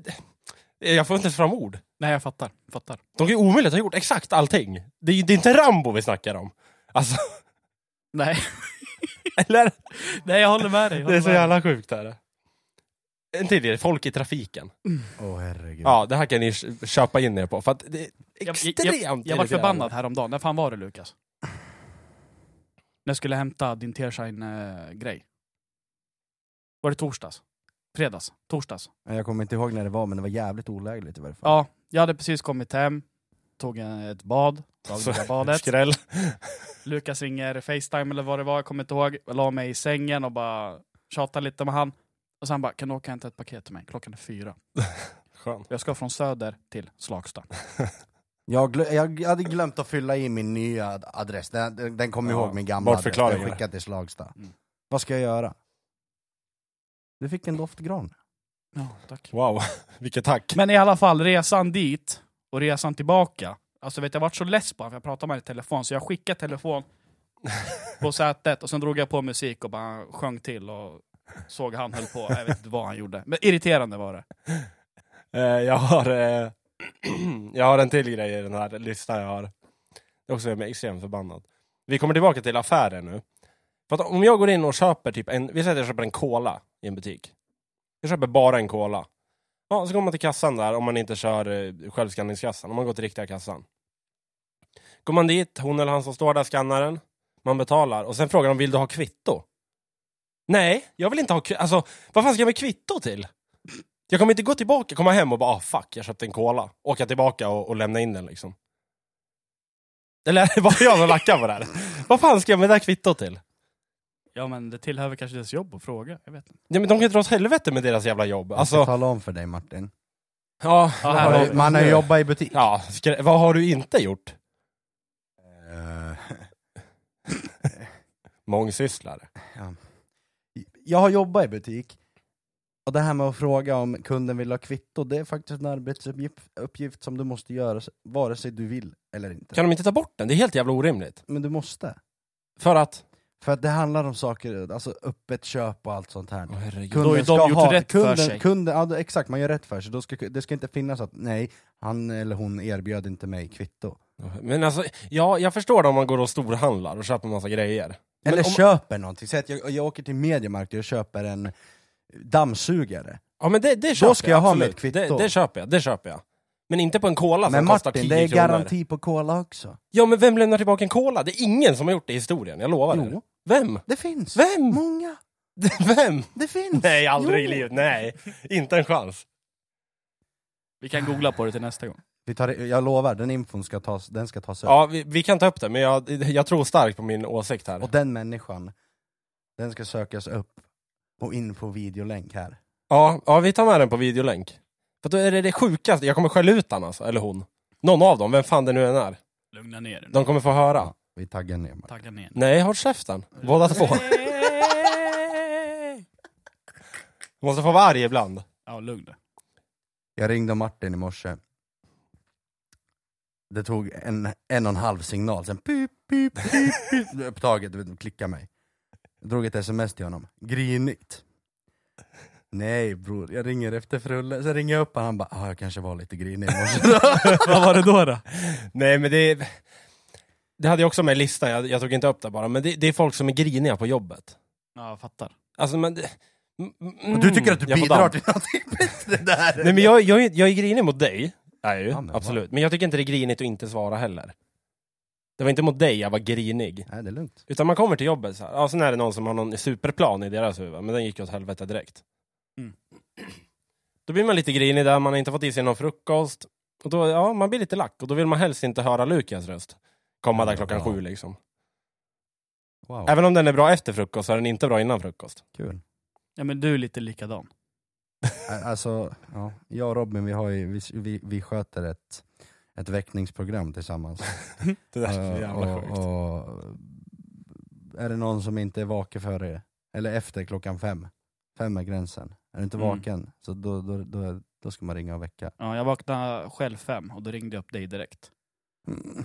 [SPEAKER 1] det, jag får inte ens fram ord.
[SPEAKER 3] Nej, jag fattar. fattar.
[SPEAKER 1] De kan ju omöjligt ha gjort exakt allting. Det är, det är inte Rambo vi snackar om. Alltså, [LAUGHS]
[SPEAKER 3] Nej.
[SPEAKER 1] eller?
[SPEAKER 3] Nej, jag håller med dig. jag
[SPEAKER 1] Det är
[SPEAKER 3] håller
[SPEAKER 1] så
[SPEAKER 3] med dig.
[SPEAKER 1] jävla sjukt det här. En till grej, folk i trafiken.
[SPEAKER 2] Åh herregud.
[SPEAKER 1] Ja, det här kan ni k- köpa in er på, för att det är
[SPEAKER 3] Jag-
[SPEAKER 1] extremt
[SPEAKER 3] Jag, jag, jag var
[SPEAKER 1] irriterande.
[SPEAKER 3] förbannad häromdagen. När fan var det Lukas? När jag skulle hämta din Tearshine-grej. Var det torsdags? Fredags? Torsdags?
[SPEAKER 2] Jag kommer inte ihåg när det var, men det var jävligt olägligt i varje fall.
[SPEAKER 3] Ja, jag hade precis kommit hem. Tog en- ett bad. Gav
[SPEAKER 1] Så-
[SPEAKER 3] lilla badet.
[SPEAKER 1] Skräll.
[SPEAKER 3] Lukas ringer Facetime eller vad det var, jag kommer inte ihåg. Jag la mig i sängen och bara tjatade lite med han. Och sen bara, kan du åka och hämta ett paket till mig? Klockan är
[SPEAKER 1] [LAUGHS]
[SPEAKER 3] fyra.
[SPEAKER 1] Skön.
[SPEAKER 3] Jag ska från Söder till Slagsta.
[SPEAKER 2] Jag, glö- jag hade glömt att fylla i min nya ad- adress, den, den den kom
[SPEAKER 1] Ja,
[SPEAKER 2] ihåg min gamla adress, den
[SPEAKER 1] bortförklaringar.
[SPEAKER 2] skickade till Slagsta.
[SPEAKER 3] Mm.
[SPEAKER 2] Vad ska jag göra? Du fick en doftgran.
[SPEAKER 3] Ja, tack.
[SPEAKER 1] Wow, [LAUGHS] vilket tack.
[SPEAKER 3] Men i alla fall, resan dit och resan tillbaka. Alltså vet jag, jag varit så less på honom, för jag pratade med honom i telefon, så jag skickade telefon på sätet och sen drog jag på musik och bara sjöng till och såg han höll på. Jag vet inte vad han gjorde. Men irriterande var det.
[SPEAKER 1] Eh, jag, har, eh, [CLEARS THROAT] jag har en till grej i den här listan jag har. Det är också är extremt förbannad. Vi kommer tillbaka till affären nu. För att om jag går in och köper typ en, vi säger att jag köper en cola i en butik. Jag köper bara en cola. Ja, så går man till kassan där om man inte kör eh, självskanningskassan, om man går till riktiga kassan. Går man dit, hon eller han som står där, skannaren, man betalar och sen frågar de vill du ha kvitto? Nej, jag vill inte ha kvitto. Alltså, vad fan ska jag med kvitto till? Jag kommer inte gå tillbaka, komma hem och bara ah, fuck, jag köpte en cola. Åka tillbaka och, och lämna in den liksom. Eller [LAUGHS] var jag som lackar på det här? Vad fan ska jag med det här kvittot till?
[SPEAKER 3] Ja men det tillhör väl kanske deras jobb att fråga, jag vet inte.
[SPEAKER 1] Ja, men de kan ju dra åt helvete med deras jävla jobb.
[SPEAKER 2] Jag ska
[SPEAKER 1] Alltså,
[SPEAKER 2] tala om för dig Martin.
[SPEAKER 1] ja,
[SPEAKER 3] Ja,
[SPEAKER 1] där
[SPEAKER 3] här
[SPEAKER 2] Man
[SPEAKER 1] har
[SPEAKER 2] har,
[SPEAKER 1] vi.
[SPEAKER 2] ju- man har ju jobbat i butik.
[SPEAKER 1] ja skrä- vad har du inte gjort?
[SPEAKER 2] Eh, [LAUGHS]
[SPEAKER 1] Mångsysslare.
[SPEAKER 2] Jag har jobbat i butik, och det här med att fråga om kunden vill ha kvitto, det är faktiskt en arbetsuppgift uppgift som du måste göra s- vare sig du vill eller inte.
[SPEAKER 1] Kan de inte ta bort den? Det är helt jävla orimligt.
[SPEAKER 2] Men du måste.
[SPEAKER 1] För att...
[SPEAKER 2] För att det handlar om saker, alltså öppet köp och allt sånt här.
[SPEAKER 1] Åh, herregud.
[SPEAKER 3] Då har ju de gjort rätt för
[SPEAKER 2] kunden,
[SPEAKER 3] sig.
[SPEAKER 2] Kunden, ja, då- exakt, man gör rätt för sig. Då ska, det ska inte finnas att nej, han eller hon erbjöd inte mig kvitto.
[SPEAKER 1] Men alltså, ja, jag förstår det om man går och storhandlar och köper massa grejer. Men
[SPEAKER 2] Eller
[SPEAKER 1] om-
[SPEAKER 2] köper någonting. Säg att jag, jag åker till Mediamarkt och köper en dammsugare.
[SPEAKER 1] Ja men det, det köper
[SPEAKER 2] ska jag ha
[SPEAKER 1] absolut.
[SPEAKER 2] mitt kvitto.
[SPEAKER 1] Det, det köper jag, det köper jag. Men inte på en cola som
[SPEAKER 2] Men
[SPEAKER 1] kostar
[SPEAKER 2] Martin,
[SPEAKER 1] 10
[SPEAKER 2] det är
[SPEAKER 1] kronor.
[SPEAKER 2] garanti på cola också.
[SPEAKER 1] Ja men vem lämnar tillbaka en cola? Det är ingen som har gjort det i historien, jag lovar er.
[SPEAKER 2] Jo.
[SPEAKER 1] Vem?
[SPEAKER 2] Det finns.
[SPEAKER 1] Vem? [LAUGHS]
[SPEAKER 2] Många.
[SPEAKER 1] Vem?
[SPEAKER 2] Det finns.
[SPEAKER 1] Nej, aldrig
[SPEAKER 2] Jo.
[SPEAKER 1] i livet. Nej, inte en chans.
[SPEAKER 3] Vi kan googla på det till nästa gång.
[SPEAKER 2] Vi tar, det- jag lovar, den infon ska tas, den ska tas upp.
[SPEAKER 1] Ja, vi, vi kan ta upp det, men jag, jag tror starkt på min åsikt här.
[SPEAKER 2] Och den människan, den ska sökas upp och in på videolänk här.
[SPEAKER 1] Ja, ja, vi tar med den på videolänk. För då är det det sjukaste, jag kommer skälla ut han alltså, eller hon. Någon av dem, vem fan det nu än är.
[SPEAKER 3] Lugna ner dig nu.
[SPEAKER 1] De kommer få höra.
[SPEAKER 2] Vi taggar ner Martin.
[SPEAKER 3] Tagga ner.
[SPEAKER 1] Nej, håll käften. Båda
[SPEAKER 3] [LAUGHS]
[SPEAKER 1] två. Måste få vara arg ibland.
[SPEAKER 3] Ja, lugn dig.
[SPEAKER 2] Jag ringde Martin i morse. Det tog en, en och en halv signal, sen pip, pip, pip, pip. [LAUGHS] Upptaget, du vet, klicka mig. Jag drog ett sms till honom, grinigt. Nej bror, jag ringer efter frulle, sen ringer jag upp honom, han bara ah, jag kanske var lite grinig i morse.
[SPEAKER 3] [LAUGHS] Vad var det då då?
[SPEAKER 1] Nej, men det... Det hade jag också med i listan, jag, jag tog inte upp det bara. Men det, det är folk som är griniga på jobbet.
[SPEAKER 3] Ja, jag fattar.
[SPEAKER 1] Alltså, men det, Mm,
[SPEAKER 2] Och du tycker att du
[SPEAKER 1] jag får
[SPEAKER 2] bidrar
[SPEAKER 1] damp.
[SPEAKER 2] till någonting bättre där?
[SPEAKER 1] Nej men jag, jag, är- jag är grinig mot dig, är jag ju,
[SPEAKER 2] Ja, men vad-
[SPEAKER 1] absolut. Men jag tycker inte det är grinigt att inte svara heller. Det var inte mot dig jag var grinig.
[SPEAKER 2] Nej, det är lugnt.
[SPEAKER 1] Utan man kommer till jobbet så här. Ja, sen är det någon som har någon superplan i deras huvud, men den gick ju åt helvete direkt.
[SPEAKER 3] Mm.
[SPEAKER 1] [CLEARS THROAT] Då blir man lite grinig där, man har inte fått i sig någon frukost. Och då, ja, man blir lite lack och då vill man helst inte höra Lukas röst komma där klockan
[SPEAKER 2] Ja.
[SPEAKER 1] sju liksom.
[SPEAKER 2] Wow,
[SPEAKER 1] Även om den är bra efter frukost så är den inte bra innan frukost.
[SPEAKER 2] kul.
[SPEAKER 3] Ja men du är lite likadan.
[SPEAKER 2] Ä- Alltså, ja, jag och Robin, vi, har ju, vi, vi, vi sköter ett, ett väckningsprogram tillsammans.
[SPEAKER 1] Det där är så
[SPEAKER 2] Eh,
[SPEAKER 1] jävla
[SPEAKER 2] och,
[SPEAKER 1] sjukt.
[SPEAKER 2] och- Är det någon som inte är vaken före, eller efter klockan fem, fem är gränsen. Är du inte
[SPEAKER 3] Mm.
[SPEAKER 2] vaken, så då, då, då, då ska man ringa och väcka.
[SPEAKER 3] Ja, jag vaknade själv fem och då ringde jag upp dig direkt.
[SPEAKER 2] Mm.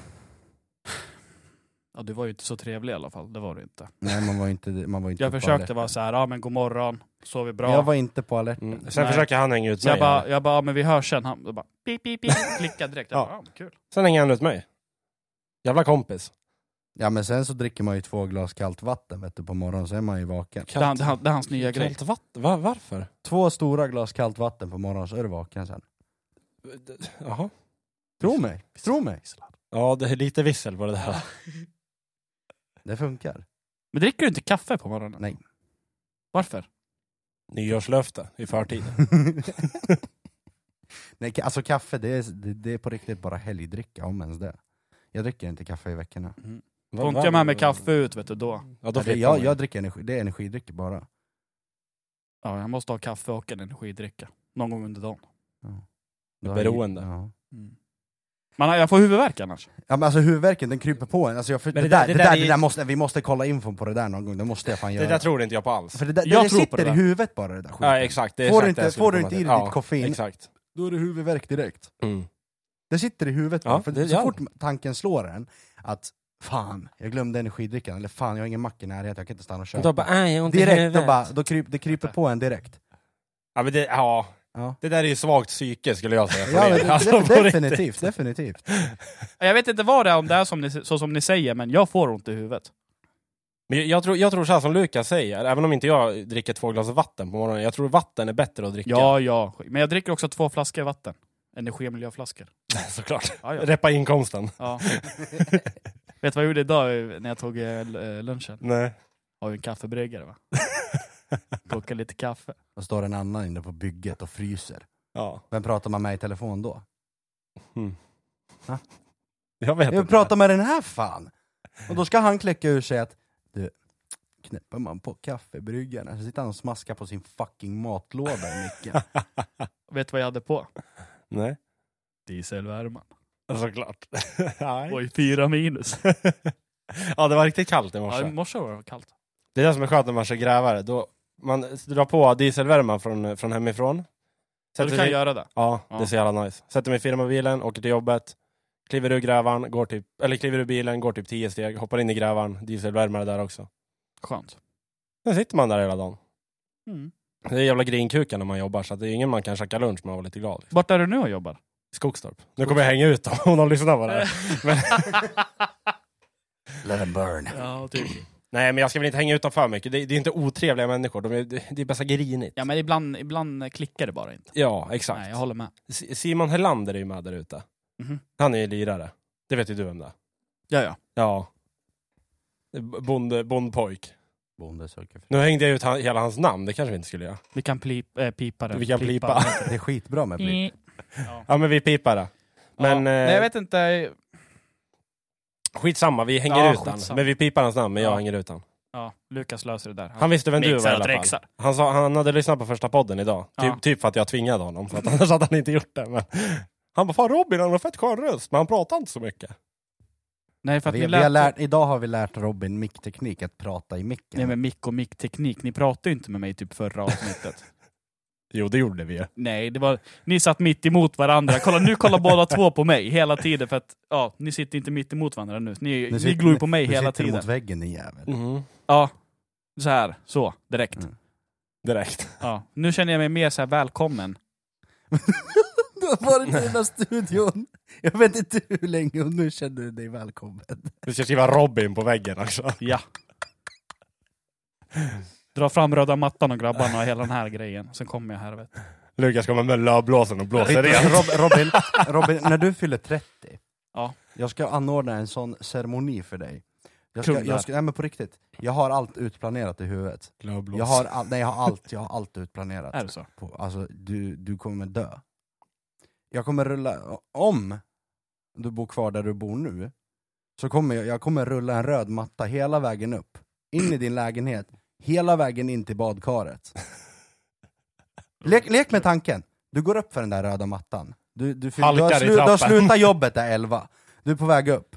[SPEAKER 3] Ja, du var ju inte så trevlig i alla fall, det var du inte.
[SPEAKER 2] Nej, man var inte, man var inte
[SPEAKER 3] Jag
[SPEAKER 2] på
[SPEAKER 3] försökte
[SPEAKER 2] alerten.
[SPEAKER 3] vara så här, ja men god morgon, sover bra.
[SPEAKER 2] Jag var inte på alert.
[SPEAKER 1] Mm. Sen
[SPEAKER 3] Nej.
[SPEAKER 1] försöker han hänga ut
[SPEAKER 3] så
[SPEAKER 1] mig.
[SPEAKER 3] jag bara, jag bara, ja, men vi hörs sen. Han då bara, pip,
[SPEAKER 2] [LAUGHS]
[SPEAKER 3] pip, pip, klickade direkt. Jag
[SPEAKER 1] Ja.
[SPEAKER 3] bara, ja, kul.
[SPEAKER 1] Sen hänger han ut mig. Jävla kompis.
[SPEAKER 2] Ja men sen så dricker man ju två glas kallt vatten vet du, på morgonen, så är man ju vaken.
[SPEAKER 3] Det, är han- det, är han- det är hans nya grej.
[SPEAKER 1] Kallt vatten? Va, varför?
[SPEAKER 2] Två stora glas kallt vatten på morgonen, så är du vaken sen.
[SPEAKER 1] Jaha.
[SPEAKER 2] Tro mig, tro mig.
[SPEAKER 1] Ja, det är lite vissel på det där.
[SPEAKER 2] Det funkar.
[SPEAKER 3] Men dricker du inte kaffe på morgonen?
[SPEAKER 2] Nej.
[SPEAKER 3] Varför?
[SPEAKER 1] Nyårslöfte i förtid.
[SPEAKER 2] [LAUGHS] Nej, ka- alltså kaffe, det är, det, det är på riktigt bara helgdricka om ens det. Jag dricker inte kaffe i veckorna.
[SPEAKER 3] Får inte jag med mig kaffe ut vet du då?
[SPEAKER 1] Ja, då
[SPEAKER 2] Alltså, Jag,
[SPEAKER 1] flippar
[SPEAKER 2] jag,
[SPEAKER 1] man.
[SPEAKER 2] jag dricker energi, det är energidrycker bara.
[SPEAKER 3] Ja, jag måste ha kaffe och en energidricka. Någon gång under dagen.
[SPEAKER 2] Då har jag-
[SPEAKER 1] Beroende.
[SPEAKER 2] Ja.
[SPEAKER 3] Men jag får huvudvärk annars.
[SPEAKER 2] ja men alltså huvudvärken den kryper på en, alltså jag, för, det,
[SPEAKER 1] Men det
[SPEAKER 2] där,
[SPEAKER 1] där-
[SPEAKER 2] det,
[SPEAKER 1] det
[SPEAKER 2] där,
[SPEAKER 1] där
[SPEAKER 2] det
[SPEAKER 1] är-
[SPEAKER 2] där måste, vi måste kolla infon på det där någon gång, det måste jag fan göra.
[SPEAKER 1] Det där tror inte jag på alls.
[SPEAKER 2] För det, där,
[SPEAKER 3] Jag
[SPEAKER 2] det
[SPEAKER 3] tror på
[SPEAKER 2] sitter
[SPEAKER 3] det
[SPEAKER 2] i
[SPEAKER 3] där.
[SPEAKER 2] huvudet bara det där skiten.
[SPEAKER 1] Ja, exakt. Det är
[SPEAKER 2] Får du
[SPEAKER 1] exakt
[SPEAKER 2] inte-
[SPEAKER 1] det jag skulle
[SPEAKER 2] får du
[SPEAKER 1] komma
[SPEAKER 2] inte
[SPEAKER 1] till.
[SPEAKER 2] i dig ditt koffein?
[SPEAKER 1] Exakt.
[SPEAKER 2] Då är det huvudvärk direkt.
[SPEAKER 1] Mm.
[SPEAKER 2] Det sitter i huvudet
[SPEAKER 1] Ja,
[SPEAKER 2] bara, för
[SPEAKER 1] det
[SPEAKER 2] så
[SPEAKER 1] gör
[SPEAKER 2] fort tanken slår en att fan, jag glömde energidrickan, eller fan jag har ingen mack i närheten, "Äh, jag kan inte stanna och köpa. direkt, då bara, då kryp, det kryper på en direkt.
[SPEAKER 1] Ja, men det, ja.
[SPEAKER 2] Ja.
[SPEAKER 1] det där är ju svagt psyke skulle jag säga.
[SPEAKER 2] Ja, men,
[SPEAKER 1] Alltså,
[SPEAKER 2] det-
[SPEAKER 1] på riktigt.
[SPEAKER 2] definitivt, definitivt. [LAUGHS]
[SPEAKER 3] Jag vet inte vad det är om det är som ni, så som ni säger, men jag får ont i huvudet.
[SPEAKER 1] Men jag- jag tror, jag tror så här som Lukas säger, även om inte jag dricker två glas vatten på morgonen, jag tror vatten är bättre att dricka.
[SPEAKER 3] Ja, ja. Men jag dricker också två flaskor vatten. Energi och miljöflaskor.
[SPEAKER 1] [LAUGHS] Såklart.
[SPEAKER 3] Ja, ja.
[SPEAKER 1] Reppa inkomsten.
[SPEAKER 3] Ja. [LAUGHS] Vet du vad jag gjorde idag när jag tog eh, l- eh, lunchen? [LAUGHS]
[SPEAKER 1] Nej.
[SPEAKER 3] Har ju en kaffebryggare va? Koka lite kaffe.
[SPEAKER 2] Då står en annan inne på bygget och fryser.
[SPEAKER 1] Ja.
[SPEAKER 2] Vem pratar man med i telefon då?
[SPEAKER 1] Jag vet
[SPEAKER 2] Jag
[SPEAKER 1] inte.
[SPEAKER 2] pratar med den här fan! Och då ska han kläcka ur sig att, du, knäpper man på kaffebryggarna så sitter han och smaskar på sin fucking matlåda i
[SPEAKER 1] [LAUGHS]
[SPEAKER 2] micken.
[SPEAKER 3] Vet du vad jag hade på?
[SPEAKER 1] Nej.
[SPEAKER 3] Dieselvärman.
[SPEAKER 1] Såklart. [LAUGHS] Nej.
[SPEAKER 3] Oj, fyra minus.
[SPEAKER 1] Ja, det var riktigt kallt i morse.
[SPEAKER 3] Ja, i morse var det kallt.
[SPEAKER 1] Det är det som är skönt när man kör grävare. Då man drar på dieselvärmen från, från hemifrån.
[SPEAKER 3] Så du
[SPEAKER 1] Sätter
[SPEAKER 3] kan
[SPEAKER 1] sig,
[SPEAKER 3] göra det.
[SPEAKER 1] ja, det är
[SPEAKER 3] Ja.
[SPEAKER 1] så jävla nice. Sätter mig i firmabilen, åker till jobbet, kliver ur grävaren, går typ, eller kliver ur bilen, går typ 10 steg, hoppar in i grävaren, dieselvärmare där också.
[SPEAKER 3] Skönt.
[SPEAKER 1] Sen sitter man där hela dagen.
[SPEAKER 3] Mm.
[SPEAKER 1] Det är jävla grinkuka när man jobbar, så att det är ingen man kan käka lunch med och vara lite glad.
[SPEAKER 3] Vart är du nu och jobbar?
[SPEAKER 1] Skogstorp. Nu kommer jag hänga ut dem [LAUGHS] om de lyssnar på det här.
[SPEAKER 2] Let him burn.
[SPEAKER 3] ja, typ.
[SPEAKER 1] Nej, men jag ska väl inte hänga ut dem för mycket. Det, det är inte otrevliga människor, de är, det, det är bara så grinigt.
[SPEAKER 3] ja, men ibland, ibland eh, klickar det bara inte.
[SPEAKER 1] Ja, exakt.
[SPEAKER 3] Nej, jag håller med.
[SPEAKER 1] S- Simon Hellander är ju med där ute.
[SPEAKER 3] Mhm.
[SPEAKER 1] Han är ju lirare. Det vet ju du vem det är.
[SPEAKER 3] Ja, ja.
[SPEAKER 1] Ja. B- Bonde, bondpojk.
[SPEAKER 2] Bonde söker fru.
[SPEAKER 1] Nu hängde jag ut han, hela hans namn, det kanske vi inte skulle göra.
[SPEAKER 3] Vi kan plip, eh, pipa det.
[SPEAKER 1] Vi kan [LAUGHS]
[SPEAKER 3] det.
[SPEAKER 1] blipa.
[SPEAKER 2] Det är skitbra med blipp.
[SPEAKER 1] Ja men vi pipar det. Men
[SPEAKER 3] ja. Nej,
[SPEAKER 1] eh,
[SPEAKER 3] jag vet inte.
[SPEAKER 1] skitsamma, vi hänger
[SPEAKER 3] Ja,
[SPEAKER 1] ut han.
[SPEAKER 3] skitsamma.
[SPEAKER 1] Men vi pipar hans namn, men jag
[SPEAKER 3] Ja.
[SPEAKER 1] hänger ut han.
[SPEAKER 3] Ja, Lukas löser det där.
[SPEAKER 1] Han visste vem du var i
[SPEAKER 3] mixar och
[SPEAKER 1] alla fall.
[SPEAKER 3] trixar.
[SPEAKER 1] Han, sa, han hade lyssnat på första podden idag.
[SPEAKER 3] Ja.
[SPEAKER 1] Typ, typ för att jag tvingade honom, för att annars hade han inte gjort det. Men... Han bara, fan Robin han har fett skön röst, men han pratar inte så mycket.
[SPEAKER 3] Nej, för att
[SPEAKER 2] Vi,
[SPEAKER 3] ni
[SPEAKER 2] vi har
[SPEAKER 3] lät...
[SPEAKER 2] lärt, idag har vi lärt Robin mickteknik, att prata i micken.
[SPEAKER 3] Nej, men mick och mick-teknik. Ni pratade ju inte med mig typ förra avsnittet.
[SPEAKER 1] Jo, det gjorde vi ju.
[SPEAKER 3] Nej, det var... Ni satt mitt emot varandra. Kolla, nu kollar båda två på mig hela tiden för att... Ja, ni sitter inte mitt emot varandra nu. Ni, ni,
[SPEAKER 2] sitter-
[SPEAKER 3] glor ju på mig
[SPEAKER 2] Du
[SPEAKER 3] hela
[SPEAKER 2] sitter
[SPEAKER 3] tiden.
[SPEAKER 2] mot väggen din jävel. [LAUGHS]
[SPEAKER 1] Mm,
[SPEAKER 3] Ja. Så här, så, direkt.
[SPEAKER 2] Mm.
[SPEAKER 1] direkt.
[SPEAKER 3] Ja. Nu känner jag mig mer så här välkommen.
[SPEAKER 2] Du har varit i den här studion, jag vet inte hur länge, och nu känner du dig välkommen.
[SPEAKER 1] Vi ska skriva Robin på väggen också.
[SPEAKER 3] Ja. Dra fram röda mattan och grabbarna och hela den här grejen. Sen kommer jag här. Vet. du.
[SPEAKER 1] Lukas kommer med lövblåsen och blåser
[SPEAKER 2] Vet du,
[SPEAKER 1] rent.
[SPEAKER 2] Rob, Robin, Robin, när du fyller 30,
[SPEAKER 3] Ja.
[SPEAKER 2] jag ska anordna en sån ceremoni för dig. Jag ska,
[SPEAKER 3] Kullar.
[SPEAKER 2] jag ska, nej men på riktigt, jag har allt utplanerat i huvudet.
[SPEAKER 1] Lövblås.
[SPEAKER 2] Jag har, all, nej, jag har allt, jag har allt utplanerat.
[SPEAKER 3] Är det så?
[SPEAKER 2] På, alltså, du, du kommer dö. Jag kommer rulla, om du bor kvar där du bor nu, så kommer jag, jag kommer rulla en röd matta hela vägen upp, in i din lägenhet, hela vägen in till
[SPEAKER 3] [LAUGHS]
[SPEAKER 2] badkaret. Lek, lek med tanken, du går upp för den där röda mattan. Du, du, du, har,
[SPEAKER 1] Halkar i
[SPEAKER 2] slu, du har
[SPEAKER 1] trappan.
[SPEAKER 2] slutat jobbet där 11, du är på väg upp.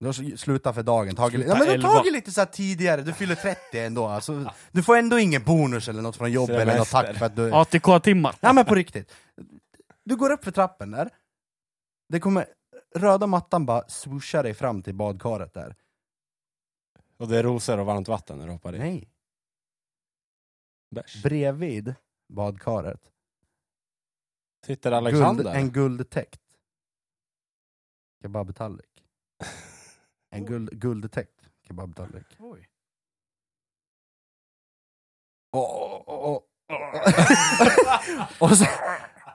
[SPEAKER 2] Du har sl- slutat för dagen, tagit, li- ja,
[SPEAKER 3] Sluta
[SPEAKER 2] men du har
[SPEAKER 3] 11.
[SPEAKER 2] tagit lite så här tidigare, du fyller 30 ändå. Alltså, du får ändå ingen bonus eller något från jobbet eller något
[SPEAKER 1] Semester.
[SPEAKER 2] tack för att du...
[SPEAKER 3] ATK-timmar.
[SPEAKER 2] Nej men på riktigt. Du går upp för trappen där, det kommer... Röda mattan bara swooshar dig fram till badkaret där.
[SPEAKER 1] Och det är rosor och varmt vatten när du hoppar i.
[SPEAKER 2] Nej,
[SPEAKER 1] Bärs.
[SPEAKER 2] bredvid badkaret,
[SPEAKER 1] Sitter
[SPEAKER 2] guld,
[SPEAKER 1] Alexander.
[SPEAKER 2] en guldtäckt kebabtallrik. En guld, guldtäckt kebabtallrik.
[SPEAKER 3] Oj.
[SPEAKER 2] Och, och, och, och sen,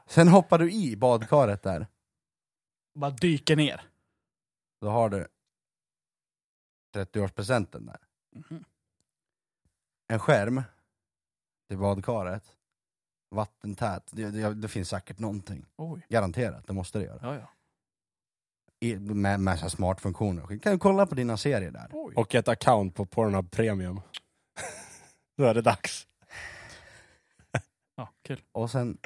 [SPEAKER 2] sen hoppar du i badkaret där.
[SPEAKER 3] Bara dyker ner.
[SPEAKER 2] Då har du 30-årspresenten där.
[SPEAKER 3] Mhm.
[SPEAKER 2] En skärm till badkaret. Vattentät. Det, det, det finns säkert någonting.
[SPEAKER 3] Oj.
[SPEAKER 2] Garanterat, det måste det göra.
[SPEAKER 3] Ja, ja.
[SPEAKER 2] I, med med så här smart funktioner. och skit. Kan du kolla på dina serier där?
[SPEAKER 3] Oj.
[SPEAKER 1] Och ett account på Pornhub Premium. Då är det dags.
[SPEAKER 3] Ja, kul.
[SPEAKER 2] Och sen...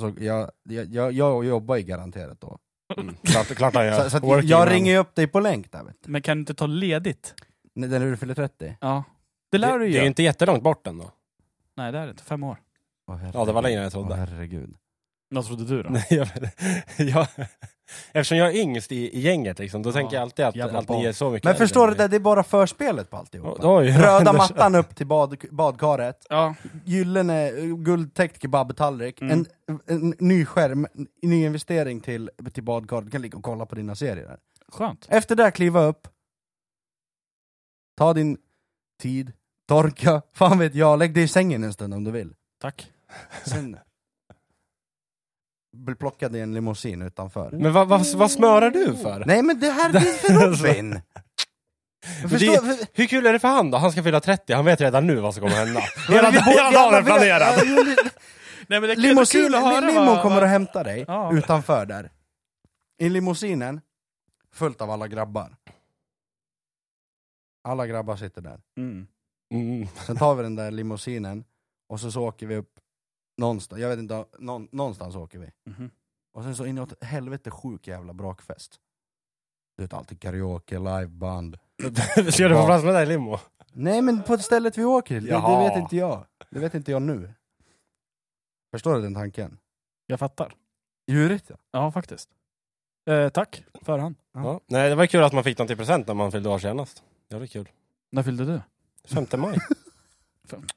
[SPEAKER 2] Så jag, jag, jag, jag jobbar ju garanterat då.
[SPEAKER 1] Mm. Klart, klart han gör.
[SPEAKER 2] Så, så att
[SPEAKER 1] Working
[SPEAKER 2] jag
[SPEAKER 1] man.
[SPEAKER 2] ringer ju upp dig på länk där vet du.
[SPEAKER 3] Men kan du inte ta ledigt?
[SPEAKER 2] När när du fyller 30.
[SPEAKER 3] Ja. Det lär du
[SPEAKER 1] Det är ju
[SPEAKER 3] ju.
[SPEAKER 1] inte jättelångt bort ändå.
[SPEAKER 3] Nej, det är det inte. Fem år.
[SPEAKER 2] Åh,
[SPEAKER 1] Ja, det var längre än jag
[SPEAKER 2] herregud.
[SPEAKER 1] trodde.
[SPEAKER 2] Åh, herregud.
[SPEAKER 3] Vad trodde du då?
[SPEAKER 1] Nej, jag, [LAUGHS] jag, eftersom jag är yngst i, i gänget, liksom, då tänker jag alltid att,
[SPEAKER 3] jävla
[SPEAKER 1] att ni
[SPEAKER 3] barn.
[SPEAKER 1] är så mycket
[SPEAKER 2] Men
[SPEAKER 1] äldre
[SPEAKER 2] förstår
[SPEAKER 1] än
[SPEAKER 2] du,
[SPEAKER 1] mig.
[SPEAKER 2] det, det är bara förspelet på alltihopa.
[SPEAKER 1] Oj, oj.
[SPEAKER 2] [LAUGHS]
[SPEAKER 1] [LAUGHS]
[SPEAKER 2] Röda
[SPEAKER 1] Anders.
[SPEAKER 2] mattan upp till bad, badkaret,
[SPEAKER 3] Ja.
[SPEAKER 2] gyllene, guldtäckt kebabtallrik,
[SPEAKER 3] Mm.
[SPEAKER 2] en, en ny skärm, en ny investering till, till badkaret, du kan ligga och kolla på dina serier där.
[SPEAKER 3] Skönt.
[SPEAKER 2] Efter det, kliva upp, ta din tid, torka, fan vet jag, lägg dig i sängen en stund om du vill.
[SPEAKER 3] Tack.
[SPEAKER 2] Sen bli plockad i en limousin utanför.
[SPEAKER 1] Men vad, vad, vad smörar du för?
[SPEAKER 2] Nej men det här det
[SPEAKER 1] [LAUGHS]
[SPEAKER 2] är för Robin! Jag
[SPEAKER 1] Alltså. Men det-
[SPEAKER 2] förstår-
[SPEAKER 1] Hur kul är det för han då? Han ska fylla 30, han vet redan nu vad som kommer
[SPEAKER 2] [LAUGHS]
[SPEAKER 1] hända.
[SPEAKER 2] Ja,
[SPEAKER 1] hela,
[SPEAKER 2] vi borde-
[SPEAKER 1] hela dagen är
[SPEAKER 2] jävla-
[SPEAKER 1] planerad.
[SPEAKER 2] Ja,
[SPEAKER 1] [LAUGHS]
[SPEAKER 2] li-
[SPEAKER 3] Nej, men det
[SPEAKER 2] Limousin, limon kommer och hämtar dig
[SPEAKER 3] Ja.
[SPEAKER 2] utanför där. I limousinen, fullt av alla grabbar. Alla grabbar sitter där.
[SPEAKER 3] Mm.
[SPEAKER 1] Mm.
[SPEAKER 2] Sen tar vi den där limousinen och så, så åker vi upp någonstans, jag vet inte, någon, någonstans åker vi.
[SPEAKER 3] Mhm.
[SPEAKER 2] Och sen så inåt helvete sjuk jävla brakfest. Du vet alltid karaoke, liveband.
[SPEAKER 1] Mm. [LAUGHS] Ska du få plats med dig i limo?
[SPEAKER 2] Nej men på stället vi åker till, det, det
[SPEAKER 1] Jaha.
[SPEAKER 2] vet inte jag. Det vet inte jag nu. Förstår du den tanken?
[SPEAKER 3] Jag fattar.
[SPEAKER 2] Djurigt ja.
[SPEAKER 3] Ja, faktiskt. Eh, tack. Förhand.
[SPEAKER 1] Ja. Nej, det var kul att man fick något i present när man fyllde år senast. Ja, det är kul.
[SPEAKER 3] När fyllde du?
[SPEAKER 1] 5
[SPEAKER 2] [LAUGHS]
[SPEAKER 1] maj.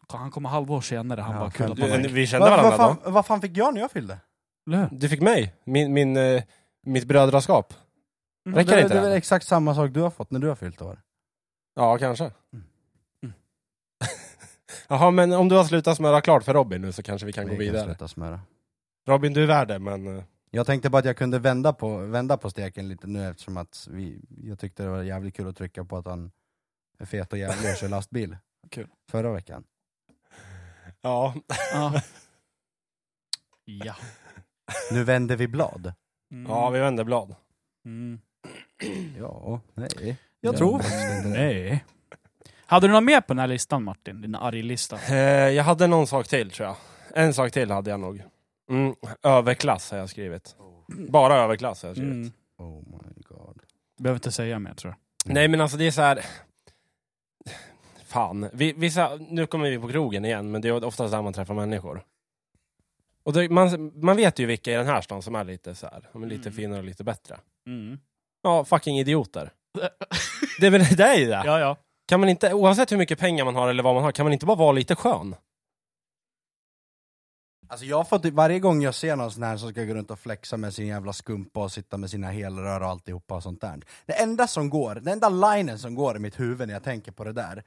[SPEAKER 3] Han kommer halvår senare. Han
[SPEAKER 2] Ja,
[SPEAKER 3] bara, kul att
[SPEAKER 2] femte
[SPEAKER 1] Du,
[SPEAKER 3] man
[SPEAKER 2] maj.
[SPEAKER 3] är
[SPEAKER 1] vi kände
[SPEAKER 2] Vad
[SPEAKER 1] varandra
[SPEAKER 2] vad
[SPEAKER 1] då.
[SPEAKER 2] fan, vad fan fick jag när jag fyllde?
[SPEAKER 3] Eller hur?
[SPEAKER 1] Du fick mig, min, min, eh, mitt brödraskap.
[SPEAKER 3] Mm.
[SPEAKER 1] Räcker
[SPEAKER 2] det,
[SPEAKER 1] det
[SPEAKER 2] det
[SPEAKER 1] inte?
[SPEAKER 2] är väl
[SPEAKER 1] Det?
[SPEAKER 2] exakt samma sak du har fått när du har fyllt år.
[SPEAKER 1] Ja, kanske.
[SPEAKER 3] Mm.
[SPEAKER 1] [LAUGHS] Jaha, men om du har slutat smöra klart för Robin nu så kanske vi kan gå
[SPEAKER 2] Vi
[SPEAKER 1] vidare.
[SPEAKER 2] sluta smöra.
[SPEAKER 1] Robin, du är värd det, men... eh,
[SPEAKER 2] Jag tänkte bara att jag kunde vända på, vända på steken lite nu eftersom att vi, jag tyckte det var jävligt kul att trycka på att han är fet och jävlig och kör lastbil.
[SPEAKER 3] [LAUGHS] Kul.
[SPEAKER 2] Förra veckan.
[SPEAKER 1] Ja,
[SPEAKER 3] Ja. ja.
[SPEAKER 2] Nu vänder vi blad.
[SPEAKER 3] Mm.
[SPEAKER 1] ja vi vänder blad.
[SPEAKER 3] Mm.
[SPEAKER 2] Ja, nej.
[SPEAKER 3] Jag tror
[SPEAKER 2] faktiskt inte det.
[SPEAKER 3] Nej. Hade du något mer på den här listan Martin? Din arglista?
[SPEAKER 1] Eh, jag hade någon sak till, tror jag. En sak till hade jag nog. Mm, överklass har jag skrivit. Bara överklass har jag skrivit.
[SPEAKER 3] Oh. Mm.
[SPEAKER 2] Oh my god.
[SPEAKER 3] Behöver inte säga mer tror jag.
[SPEAKER 1] Nej men alltså det är så här. Fan, vi, vissa, nu kommer vi på krogen igen, men det är oftast där man träffar människor. Och det, man, man vet ju vilka i den här stan som är lite så här, de är lite
[SPEAKER 3] Mm.
[SPEAKER 1] finare och lite bättre.
[SPEAKER 3] Mm.
[SPEAKER 1] Ja, fucking idioter. Det är väl det är ju det.
[SPEAKER 3] ja, ja.
[SPEAKER 1] Kan man inte, oavsett hur mycket pengar man har eller vad man har, kan man inte bara vara lite skön?
[SPEAKER 2] Alltså jag får typ, varje gång jag ser någon sån här som ska gå runt och flexa med sin jävla skumpa och sitta med sina helrör och alltihopa och sånt där. Det enda som går, den enda linen som går i mitt huvud när jag tänker på det där,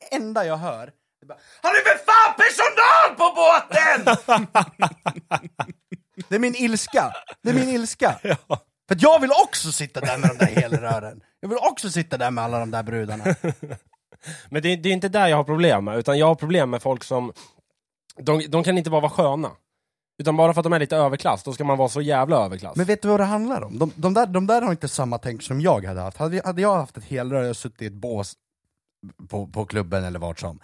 [SPEAKER 2] Det enda jag hör, det är bara, Han är för fan personal på båten! det är min ilska. Det är min ilska. För att jag vill också sitta där med de där helrören. Jag vill också sitta där med alla de där brudarna.
[SPEAKER 1] Men det, det är inte där jag har problem med, utan jag har problem med folk som... De, de kan inte bara vara sköna. Utan bara för att de är lite överklass, då ska man vara så jävla överklass.
[SPEAKER 2] Men vet du vad det handlar om? De, de, där, de där har inte samma tänk som jag hade haft. Hade, jag- hade jag haft ett helrör och suttit i ett bås på, på klubben eller vart som.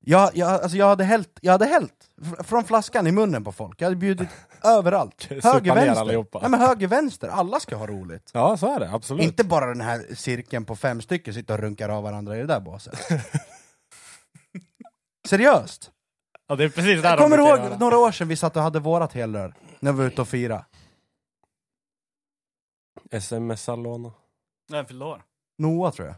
[SPEAKER 2] Jag, jag, alltså jag hade hällt, jag hade hällt fr- från flaskan i munnen på folk. Jag
[SPEAKER 1] [LAUGHS]
[SPEAKER 2] hade bjudit överallt.
[SPEAKER 1] Supa
[SPEAKER 2] Höger,
[SPEAKER 1] ner
[SPEAKER 2] vänster.
[SPEAKER 1] allihopa.
[SPEAKER 2] Nej, men höger, vänster. Alla ska ha roligt.
[SPEAKER 1] Ja, så är det. Absolut.
[SPEAKER 2] Inte bara den här cirkeln på fem stycken sitter och runkar av varandra i det
[SPEAKER 1] [LAUGHS]
[SPEAKER 2] där båset. Seriöst?
[SPEAKER 1] Ja, det är precis där de
[SPEAKER 2] Jag kommer
[SPEAKER 1] brukar
[SPEAKER 2] ihåg
[SPEAKER 1] göra.
[SPEAKER 2] några år sedan vi satt och hade vårat helrör, när vi var ute och fira.
[SPEAKER 1] SMS Alona.
[SPEAKER 3] Vem fyllde år?
[SPEAKER 2] Noah tror jag.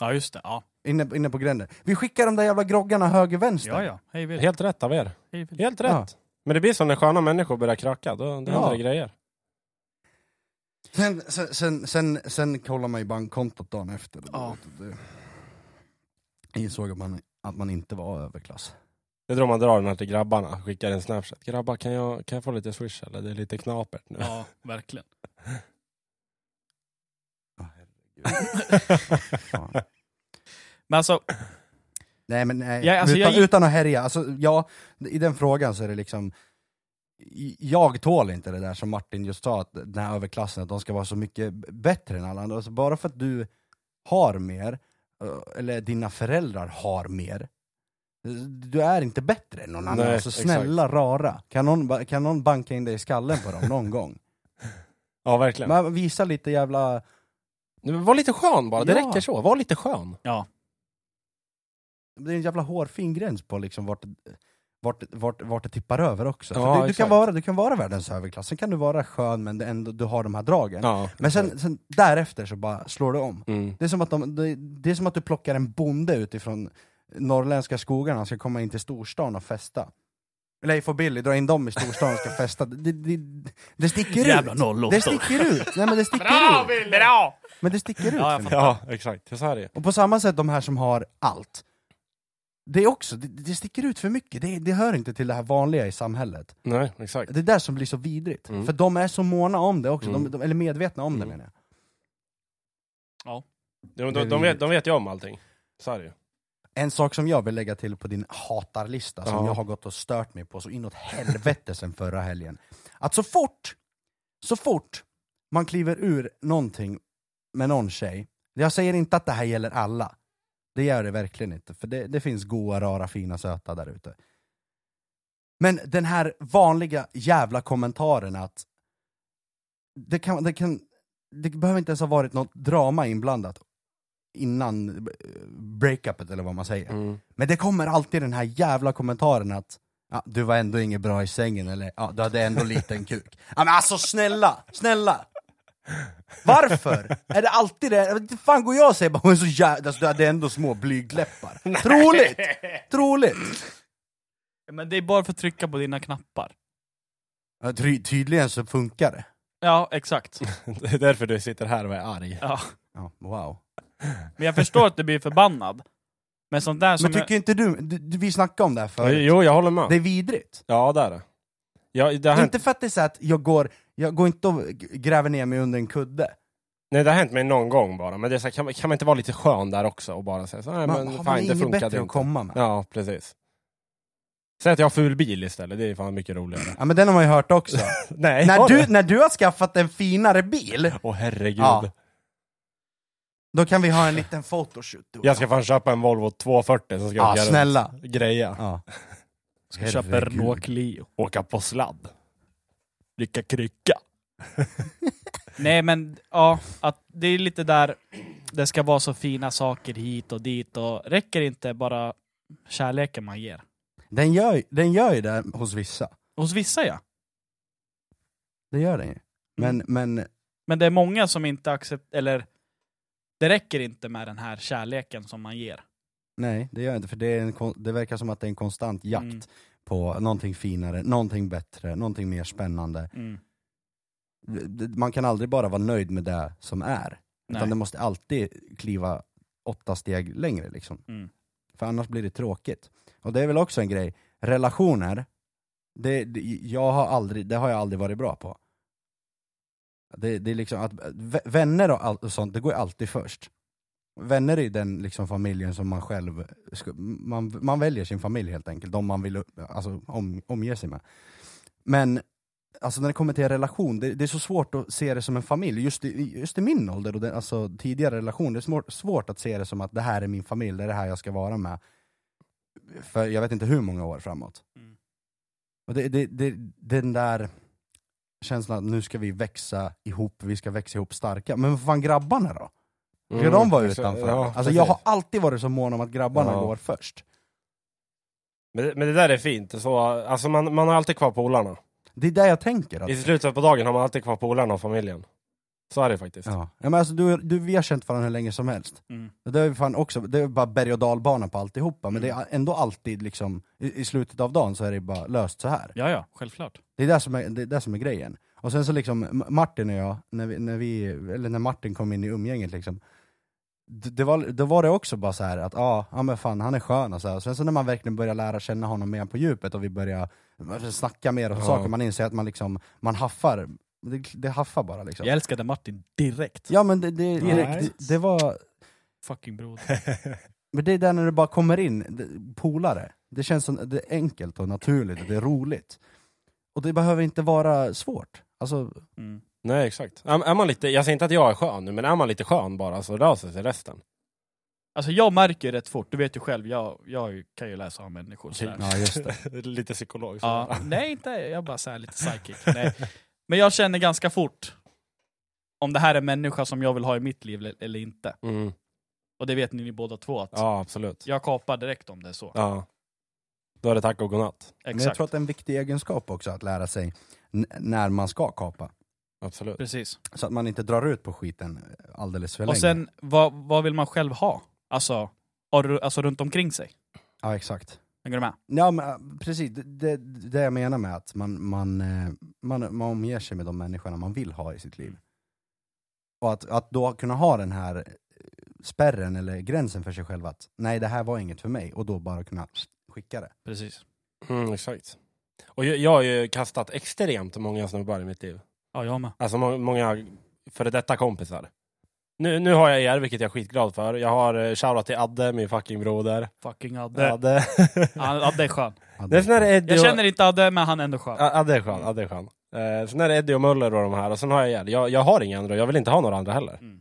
[SPEAKER 3] Ja, just det. Ja,
[SPEAKER 2] Inne, inne på gränden. Vi skickar de där jävla groggarna höger-vänster.
[SPEAKER 3] ja. ja. Hej Willy.
[SPEAKER 1] Helt rätt av er.
[SPEAKER 3] Hej, Willy.
[SPEAKER 1] Helt rätt.
[SPEAKER 2] Ja.
[SPEAKER 1] Men det blir som när sköna människor börjar kracka, då, då händer
[SPEAKER 2] Ja.
[SPEAKER 1] det grejer.
[SPEAKER 2] Sen, sen, sen, sen, sen kollar man ju bankkontot dagen efter.
[SPEAKER 3] Ja.
[SPEAKER 2] Det- Jag insåg att man, att man inte var överklass.
[SPEAKER 1] Det är då man drar den här till grabbarna, skickar en snapchat. Grabbar, kan jag, kan jag få lite swish eller? Det är lite knapert nu.
[SPEAKER 3] Ja, verkligen.
[SPEAKER 2] [LAUGHS] Fan.
[SPEAKER 3] Men alltså,
[SPEAKER 2] nej men nej,
[SPEAKER 3] Jag- alltså,
[SPEAKER 2] utan,
[SPEAKER 3] jag-
[SPEAKER 2] utan att härja. Alltså, ja, I den frågan så är det liksom, i- jag tål inte det där som Martin just sa, att den här överklassen, att de ska vara så mycket b- bättre än alla andra. Alltså, bara för att du har mer, ö, eller dina föräldrar har mer, du är inte bättre än någon annan.
[SPEAKER 1] Nej,
[SPEAKER 2] alltså,
[SPEAKER 1] exakt.
[SPEAKER 2] snälla rara, kan någon, ba- kan någon banka in dig i skallen på dem någon gång?
[SPEAKER 1] [LAUGHS] Ja, verkligen.
[SPEAKER 2] Man visar lite jävla...
[SPEAKER 1] Men var lite skön bara, det
[SPEAKER 2] Ja.
[SPEAKER 1] räcker så. Var lite skön.
[SPEAKER 3] ja.
[SPEAKER 2] Det är en jävla hårfin gräns på liksom vart, vart, vart, vart det tippar över också.
[SPEAKER 1] Ja,
[SPEAKER 2] För det, du,
[SPEAKER 1] exakt.
[SPEAKER 2] kan vara, du kan vara världens överklass, sen kan du vara skön men det ändå, du har de här dragen.
[SPEAKER 1] Ja,
[SPEAKER 2] men sen, sen därefter så bara slår du om.
[SPEAKER 1] Mm.
[SPEAKER 2] Det är, som att de, det, det är som att du plockar en bonde utifrån norrländska skogarna, han ska komma in till storstan och festa. Leif och Billy drar in dem i storstan och ska festa. Det, det, det, det sticker ut!
[SPEAKER 3] Jävla nollåttor.
[SPEAKER 2] det sticker ut! Nej men det sticker ut!
[SPEAKER 3] Bra!
[SPEAKER 2] Men det sticker ut!
[SPEAKER 3] Ja, jag
[SPEAKER 2] för mig.
[SPEAKER 1] ja exakt. Så här är det.
[SPEAKER 2] Och på samma sätt de här som har allt. Det är också, det, det sticker ut för mycket, det, det hör inte till det här vanliga i samhället.
[SPEAKER 1] Nej, exakt.
[SPEAKER 2] Det är där som blir så vidrigt.
[SPEAKER 1] Mm.
[SPEAKER 2] För de är så måna om det också,
[SPEAKER 1] Mm.
[SPEAKER 2] de, de, eller medvetna om det
[SPEAKER 1] Mm.
[SPEAKER 2] menar jag.
[SPEAKER 1] De,
[SPEAKER 2] Det är
[SPEAKER 1] de, de, vet, de vet ju om allting. Så här är det ju.
[SPEAKER 2] En sak som jag vill lägga till på din hatarlista, som
[SPEAKER 1] Ja.
[SPEAKER 2] jag har gått och stört mig på så inåt helvete sen förra helgen. Att så fort, så fort man kliver ur någonting med någon tjej, jag säger inte att det här gäller alla, det gör det verkligen inte, för det, det finns goa, rara, fina, söta där ute. Men den här vanliga jävla kommentaren att det, kan, det, kan, det behöver inte ens ha varit något drama inblandat innan eh, breakupet eller vad man säger.
[SPEAKER 1] Mm.
[SPEAKER 2] Men det kommer alltid den här jävla kommentaren att ja, du var ändå inget bra i sängen eller ja, du hade ändå liten kuk. Ja, men alltså snälla, snälla! Varför? Är det alltid det? Vad fan går jag och säger bara hon är så jävla... Alltså, du hade ändå
[SPEAKER 1] [LAUGHS]
[SPEAKER 2] små blygdläppar. Troligt! Troligt!
[SPEAKER 3] Men det är bara för att trycka på dina knappar.
[SPEAKER 2] Ja, Ty tydligen så funkar det.
[SPEAKER 3] Ja, exakt.
[SPEAKER 1] Det är därför du sitter här och är arg.
[SPEAKER 3] Ja.
[SPEAKER 2] Ja, wow.
[SPEAKER 1] Alltså,
[SPEAKER 3] Men jag förstår att du blir förbannad. Men sånt där som...
[SPEAKER 2] Men tycker inte du, du, du vi snackade om det här förut,
[SPEAKER 1] Jo, jag håller med.
[SPEAKER 2] det är vidrigt.
[SPEAKER 1] Ja, det är det. Ja, det har hänt...
[SPEAKER 2] Inte för att det är så att jag går, jag går inte och g- gräver ner mig under en kudde.
[SPEAKER 1] Nej, det har hänt mig någon gång bara. Men det är så här, kan, man- kan man inte vara lite skön där också och bara säga så nej
[SPEAKER 2] Man,
[SPEAKER 1] men
[SPEAKER 2] har
[SPEAKER 1] fan
[SPEAKER 2] man
[SPEAKER 1] det
[SPEAKER 2] inget
[SPEAKER 1] funkade
[SPEAKER 2] bättre
[SPEAKER 1] inte.
[SPEAKER 2] att komma med?
[SPEAKER 1] Ja, precis. Säg att jag har ful bil istället, det är fan mycket
[SPEAKER 2] [LAUGHS]
[SPEAKER 1] roligare.
[SPEAKER 2] Ja men den har man ju
[SPEAKER 1] [LAUGHS]
[SPEAKER 2] hört också.
[SPEAKER 1] nej,
[SPEAKER 2] när,
[SPEAKER 1] har
[SPEAKER 2] du, när du har skaffat en finare bil,
[SPEAKER 1] Åh herregud.
[SPEAKER 2] Ja. då kan vi ha en liten photoshoot. du och
[SPEAKER 1] Jag ska fan köpa en Volvo 240 som ska åka
[SPEAKER 2] Ja,
[SPEAKER 1] runt.
[SPEAKER 2] Ah, snälla.
[SPEAKER 1] greja.
[SPEAKER 2] Ja.
[SPEAKER 1] [LAUGHS]
[SPEAKER 3] Ska köpa
[SPEAKER 2] Herregud.
[SPEAKER 3] Renault Clio.
[SPEAKER 1] Åka på sladd. Lycka krycka.
[SPEAKER 3] Nej men, ja. Att det är lite där, det ska vara så fina saker hit och dit och räcker inte bara kärleken man ger?
[SPEAKER 2] Den, gör, ju- den gör ju det hos vissa.
[SPEAKER 3] Hos vissa ja.
[SPEAKER 2] Det gör den ju. Men,
[SPEAKER 1] Mm.
[SPEAKER 2] men
[SPEAKER 3] Men det är många som inte accepterar, eller det räcker inte med den här kärleken som man ger.
[SPEAKER 2] nej, det gör inte. För det, är en, kon- det verkar som att det är en konstant jakt
[SPEAKER 3] Mm.
[SPEAKER 2] på någonting finare, någonting bättre, någonting mer spännande.
[SPEAKER 3] Mm.
[SPEAKER 2] D- d- Man kan aldrig bara vara nöjd med det som är. Utan
[SPEAKER 3] Nej.
[SPEAKER 2] det måste alltid kliva åtta steg längre liksom.
[SPEAKER 3] Mm.
[SPEAKER 2] För annars blir det tråkigt. Och det är väl också en grej, relationer, det, det, jag har aldrig, det har jag aldrig varit bra på. Det, det är liksom att, v- vänner och, allt och sånt, det går ju alltid först. Vänner är ju den liksom familjen som man själv, sku- man, man väljer sin familj helt enkelt, de man vill upp- alltså, om, omge sig med. Men alltså, när det kommer till en relation, det, det är så svårt att se det som en familj. Just i, just i min ålder och den, alltså, tidigare relation, det är svårt, svårt att se det som att det här är min familj, det är det här jag ska vara med. För jag vet inte hur många år framåt.
[SPEAKER 3] Mm.
[SPEAKER 2] Och det, det, det, den där känslan att nu ska vi växa ihop, vi ska växa ihop starka. Men vad fan grabbarna då? Ska Mm.
[SPEAKER 1] Mm.
[SPEAKER 2] de vara utanför? alltså, jag har alltid varit så mån om att grabbarna
[SPEAKER 1] Ja.
[SPEAKER 2] går först.
[SPEAKER 1] men, det- men det där är fint. Så, alltså man, man har alltid kvar polarna.
[SPEAKER 2] Det är där jag tänker. Att,
[SPEAKER 1] I slutet på dagen har man alltid kvar polarna och familjen. Så är det faktiskt.
[SPEAKER 2] ja. Ja, men alltså, du, du, vi har känt varandra hur länge som helst.
[SPEAKER 3] Mm.
[SPEAKER 2] Och Det är, ju fan också, det är bara berg och dalbana på alltihopa, men det
[SPEAKER 1] Mm.
[SPEAKER 2] är ändå alltid liksom, i, i slutet av dagen så är det bara löst så här.
[SPEAKER 3] Ja, ja, självklart.
[SPEAKER 2] Det är det som är, det är, det som är grejen. Och sen så liksom, M- Martin och jag, när, vi, när, vi, eller när Martin kom in i umgänget liksom, det, det var, då var det också bara så här att ja, ja men fan han är skön och så här. Och sen så när man verkligen börjar lära känna honom mer på djupet och vi börjar eh, snacka mer om
[SPEAKER 1] Ja.
[SPEAKER 2] saker, man inser att man liksom, man haffar, det, det haffar bara liksom.
[SPEAKER 3] Jag älskade Martin direkt.
[SPEAKER 2] Ja men det, det,
[SPEAKER 1] Direkt.
[SPEAKER 2] det, det var, [LAUGHS]
[SPEAKER 3] Fucking broder.
[SPEAKER 2] Men det är där när du bara kommer in, det- polare. Det känns som, det är enkelt och naturligt och det är roligt. Och det behöver inte vara svårt. Alltså,
[SPEAKER 3] Mm.
[SPEAKER 1] Nej, exakt. Är, är man lite, jag säger inte att jag är skön nu, men är man lite skön bara så löser sig resten.
[SPEAKER 3] Alltså jag märker rätt fort, du vet ju själv, jag, jag kan ju läsa av människor sådär.
[SPEAKER 2] ja just
[SPEAKER 1] [LAUGHS]
[SPEAKER 2] det.
[SPEAKER 1] lite psykolog. Så.
[SPEAKER 3] Ja, nej inte, jag bara såhär lite psychic. Nej. Men jag känner ganska fort om det här är en människa som jag vill ha i mitt liv eller- eller inte.
[SPEAKER 1] [LAUGHS] Mm.
[SPEAKER 3] Och det vet ni båda två att
[SPEAKER 1] ja, absolut.
[SPEAKER 3] jag kapar direkt om det är så.
[SPEAKER 1] Ja. Då är det tack och godnatt.
[SPEAKER 2] Men jag
[SPEAKER 3] Exakt.
[SPEAKER 2] tror att det är en viktig egenskap också att lära sig n- när man ska kapa.
[SPEAKER 1] Absolut.
[SPEAKER 3] Precis.
[SPEAKER 2] Så att man inte drar ut på skiten alldeles för
[SPEAKER 3] Och
[SPEAKER 2] länge.
[SPEAKER 3] sen, vad, vad vill man själv ha? Alltså, har du- alltså runt omkring sig.
[SPEAKER 2] Ja exakt.
[SPEAKER 3] Hänger du med?
[SPEAKER 2] Ja men äh, precis, det, det, det jag menar med att man, man, eh, man, man omger sig med de människorna man vill ha i sitt liv. Och att, att då kunna ha den här eh, spärren eller gränsen för sig själv att nej det här var inget för mig och då bara kunna skicka det.
[SPEAKER 3] Precis.
[SPEAKER 1] Mm, exakt. Och jag, jag har ju kastat extremt många snubbar i mitt liv.
[SPEAKER 3] Ja, jag med.
[SPEAKER 1] Alltså må, många före detta kompisar. Nu, nu har jag er, vilket jag är skitglad för. Jag har eh, shoutout till Adde, min fucking broder.
[SPEAKER 3] Fucking Adde.
[SPEAKER 1] Adde.
[SPEAKER 3] [LAUGHS] Ja, Adde
[SPEAKER 2] [LAUGHS]
[SPEAKER 3] är skön.
[SPEAKER 2] Hade-
[SPEAKER 1] Det är sån här Eddie
[SPEAKER 3] Jag
[SPEAKER 1] och-
[SPEAKER 3] känner inte Adde, men han är ändå skön.
[SPEAKER 1] Ja, Adde är skön, Adde är skön. Eh, sen är det Eddie och Möller och de här, och sen har jag er. Jag, jag har inga andra, jag vill inte ha några andra heller.
[SPEAKER 3] Mm.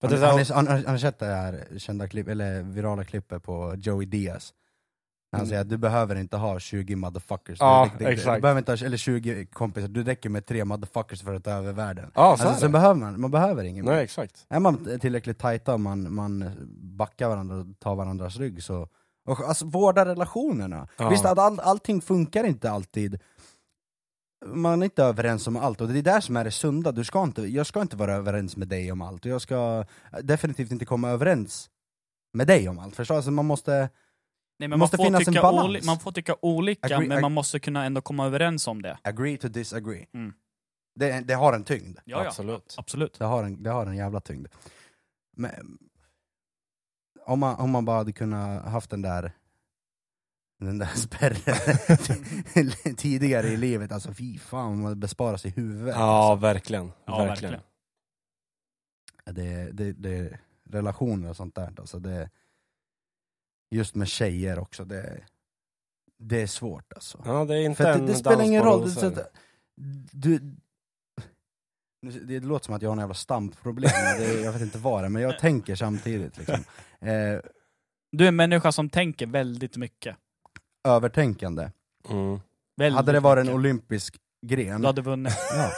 [SPEAKER 1] För
[SPEAKER 2] Har
[SPEAKER 1] att det
[SPEAKER 2] ni-
[SPEAKER 1] är
[SPEAKER 2] har
[SPEAKER 1] så här,
[SPEAKER 2] ni- har ni- har ni sett det här kända klipp, eller virala klippet på Joey Diaz? När han
[SPEAKER 1] Mm.
[SPEAKER 2] säger att du behöver inte ha 20 motherfuckers,
[SPEAKER 1] Ja,
[SPEAKER 2] du, du, du
[SPEAKER 1] exakt.
[SPEAKER 2] behöver inte ha, eller 20 kompisar, du räcker med tre motherfuckers för att ta över världen.
[SPEAKER 1] ja, så
[SPEAKER 2] Alltså,
[SPEAKER 1] är
[SPEAKER 2] sen
[SPEAKER 1] det.
[SPEAKER 2] behöver man, man behöver ingen mer.
[SPEAKER 1] Nej, exakt.
[SPEAKER 2] Är man tillräckligt tajta och man, man backar varandra och tar varandras rygg så... Och, alltså vårda relationerna.
[SPEAKER 1] Ja.
[SPEAKER 2] Visst, att all, allting funkar inte alltid. Man är inte överens om allt och det är där som är det sunda. Du ska inte, jag ska inte vara överens med dig om allt och jag ska definitivt inte komma överens med dig om allt. Förstår du? Alltså man måste...
[SPEAKER 3] Nej, men
[SPEAKER 2] måste
[SPEAKER 3] man, får
[SPEAKER 2] finnas en
[SPEAKER 3] tycka
[SPEAKER 2] balans.
[SPEAKER 3] oli- man får tycka olika,
[SPEAKER 2] Agree-
[SPEAKER 3] men
[SPEAKER 2] ag-
[SPEAKER 3] man måste kunna ändå komma överens om det.
[SPEAKER 2] Agree to disagree.
[SPEAKER 3] Mm.
[SPEAKER 2] Det, det har en tyngd.
[SPEAKER 3] Ja, ja.
[SPEAKER 1] Absolut.
[SPEAKER 3] Absolut.
[SPEAKER 2] Det har en, det har en jävla tyngd. Men, om, man, om man bara hade kunnat haft den där den där [LAUGHS] spärren [LAUGHS] tidigare i livet, alltså fy fan, man besparar sig huvudet.
[SPEAKER 1] Ja, verkligen.
[SPEAKER 3] Ja,
[SPEAKER 1] verkligen.
[SPEAKER 3] verkligen.
[SPEAKER 2] Det, det, det, relationer och sånt där, alltså det, just med tjejer också, det, det är svårt alltså.
[SPEAKER 1] Ja, det är inte
[SPEAKER 2] För att
[SPEAKER 1] en
[SPEAKER 2] det, det spelar
[SPEAKER 1] dans
[SPEAKER 2] ingen
[SPEAKER 1] på
[SPEAKER 2] roll. Det,
[SPEAKER 1] rosor.
[SPEAKER 2] så att, du, Nu- det låter som att jag har en jävla stampproblem, men det, jag vet inte vad det är, men jag tänker samtidigt. Liksom. Eh,
[SPEAKER 3] Du är en människa som tänker väldigt mycket.
[SPEAKER 2] övertänkande.
[SPEAKER 3] [LAUGHS]
[SPEAKER 1] Mm.
[SPEAKER 3] Väldigt
[SPEAKER 2] Hade det varit en
[SPEAKER 3] mycket.
[SPEAKER 2] olympisk gren,
[SPEAKER 3] Du
[SPEAKER 2] [LAUGHS]
[SPEAKER 3] hade vunnit
[SPEAKER 2] ja,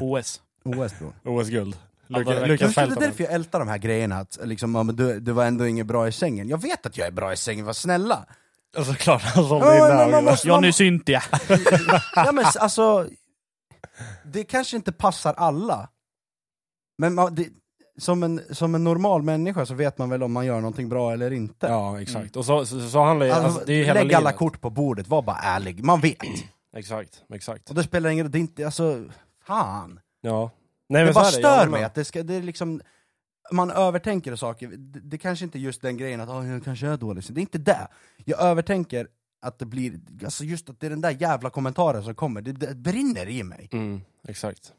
[SPEAKER 3] OS.
[SPEAKER 2] OS bror.
[SPEAKER 1] OS-guld.
[SPEAKER 3] Ja, det
[SPEAKER 1] Lukas
[SPEAKER 3] var
[SPEAKER 1] Lukas
[SPEAKER 2] Jag tror Det
[SPEAKER 1] Peltonen.
[SPEAKER 2] är därför jag ältar de här grejerna, att liksom, ja, men du, du var ändå ingen bra i sängen. Jag vet att jag är bra i sängen, var snälla!
[SPEAKER 1] Ja, Såklart, han sålde
[SPEAKER 2] Ja,
[SPEAKER 1] in
[SPEAKER 2] men
[SPEAKER 1] det här.
[SPEAKER 2] man måste-
[SPEAKER 3] Johnny Cynthia.
[SPEAKER 2] ja, men, s- alltså, det kanske inte passar alla, men man, det, som, en, som en normal människa så vet man väl om man gör någonting bra eller inte. [LAUGHS]
[SPEAKER 1] Ja, exakt. Och så, så, så handlar ju... Alltså,
[SPEAKER 2] Alltså,
[SPEAKER 1] det är ju hela
[SPEAKER 2] Mm. lägg alla
[SPEAKER 1] livet.
[SPEAKER 2] kort på bordet, var bara ärlig, man vet.
[SPEAKER 1] Exakt, exakt.
[SPEAKER 2] Och det spelar ingen roll, det är inte, alltså, fan.
[SPEAKER 1] Ja. Nej,
[SPEAKER 2] Det
[SPEAKER 1] så
[SPEAKER 2] bara
[SPEAKER 1] är jag
[SPEAKER 2] stör
[SPEAKER 1] med.
[SPEAKER 2] mig att det ska, det är liksom, man övertänker saker, det, det kanske inte är just den grejen att oh, jag kanske är dålig, så det är inte det. Jag övertänker att det blir, alltså just att det är den där jävla kommentaren som kommer, det, det brinner i mig.
[SPEAKER 1] Mm, exakt.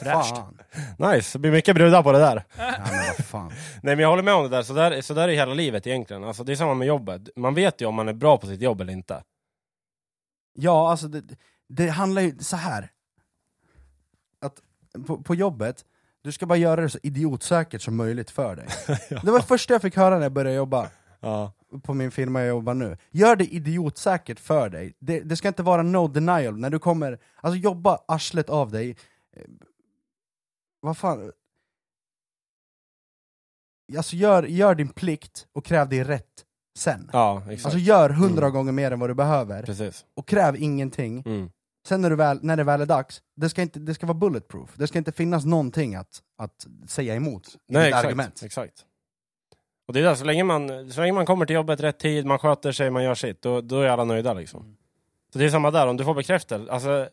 [SPEAKER 3] Fräscht.
[SPEAKER 2] Fan.
[SPEAKER 1] Nice, det blir mycket brudar på det där.
[SPEAKER 2] Ja, men vad fan.
[SPEAKER 1] Nej men jag håller med om det där, så där, så där är hela livet egentligen. Alltså, det är samma med jobbet. Man vet ju om man är bra på sitt jobb eller inte.
[SPEAKER 2] Ja, alltså det, det handlar ju så här. Att på, på jobbet, du ska bara göra det så idiotsäkert som möjligt för [LAUGHS] dig. Det var det första jag fick höra när jag började jobba
[SPEAKER 1] Ja.
[SPEAKER 2] på min firma jag jobbar nu. Gör det idiotsäkert för dig. Det, det ska inte vara no denial när du kommer, alltså jobba arslet av dig. Eh, Vad fan? Alltså gör, gör din plikt och kräv din rätt sen.
[SPEAKER 1] Ja, exakt.
[SPEAKER 2] Alltså gör hundra
[SPEAKER 1] Mm.
[SPEAKER 2] gånger mer än vad du behöver,
[SPEAKER 1] Precis.
[SPEAKER 2] och kräv ingenting.
[SPEAKER 1] Mm.
[SPEAKER 2] Sen när, du väl, när det väl är dags, det ska, inte, det ska vara bulletproof. Det ska inte finnas någonting att, att säga emot i
[SPEAKER 1] Nej,
[SPEAKER 2] ditt
[SPEAKER 1] exakt.
[SPEAKER 2] argument.
[SPEAKER 1] exakt. Och det är där, så länge, man, så länge man kommer till jobbet rätt tid, man sköter sig, man gör sitt, då, då är alla nöjda
[SPEAKER 3] Mm.
[SPEAKER 1] liksom. Så det är samma där, om du får bekräftelse, alltså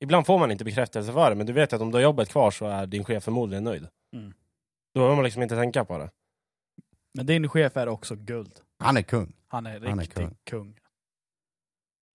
[SPEAKER 1] ibland får man inte bekräftelse för det, men du vet att om du har jobbet kvar så är din chef förmodligen nöjd.
[SPEAKER 3] Mm.
[SPEAKER 1] Då behöver man liksom inte tänka på det.
[SPEAKER 3] Men din chef är också guld.
[SPEAKER 2] Han är kung.
[SPEAKER 3] Han är
[SPEAKER 2] är
[SPEAKER 3] riktig
[SPEAKER 2] kung.
[SPEAKER 3] kung.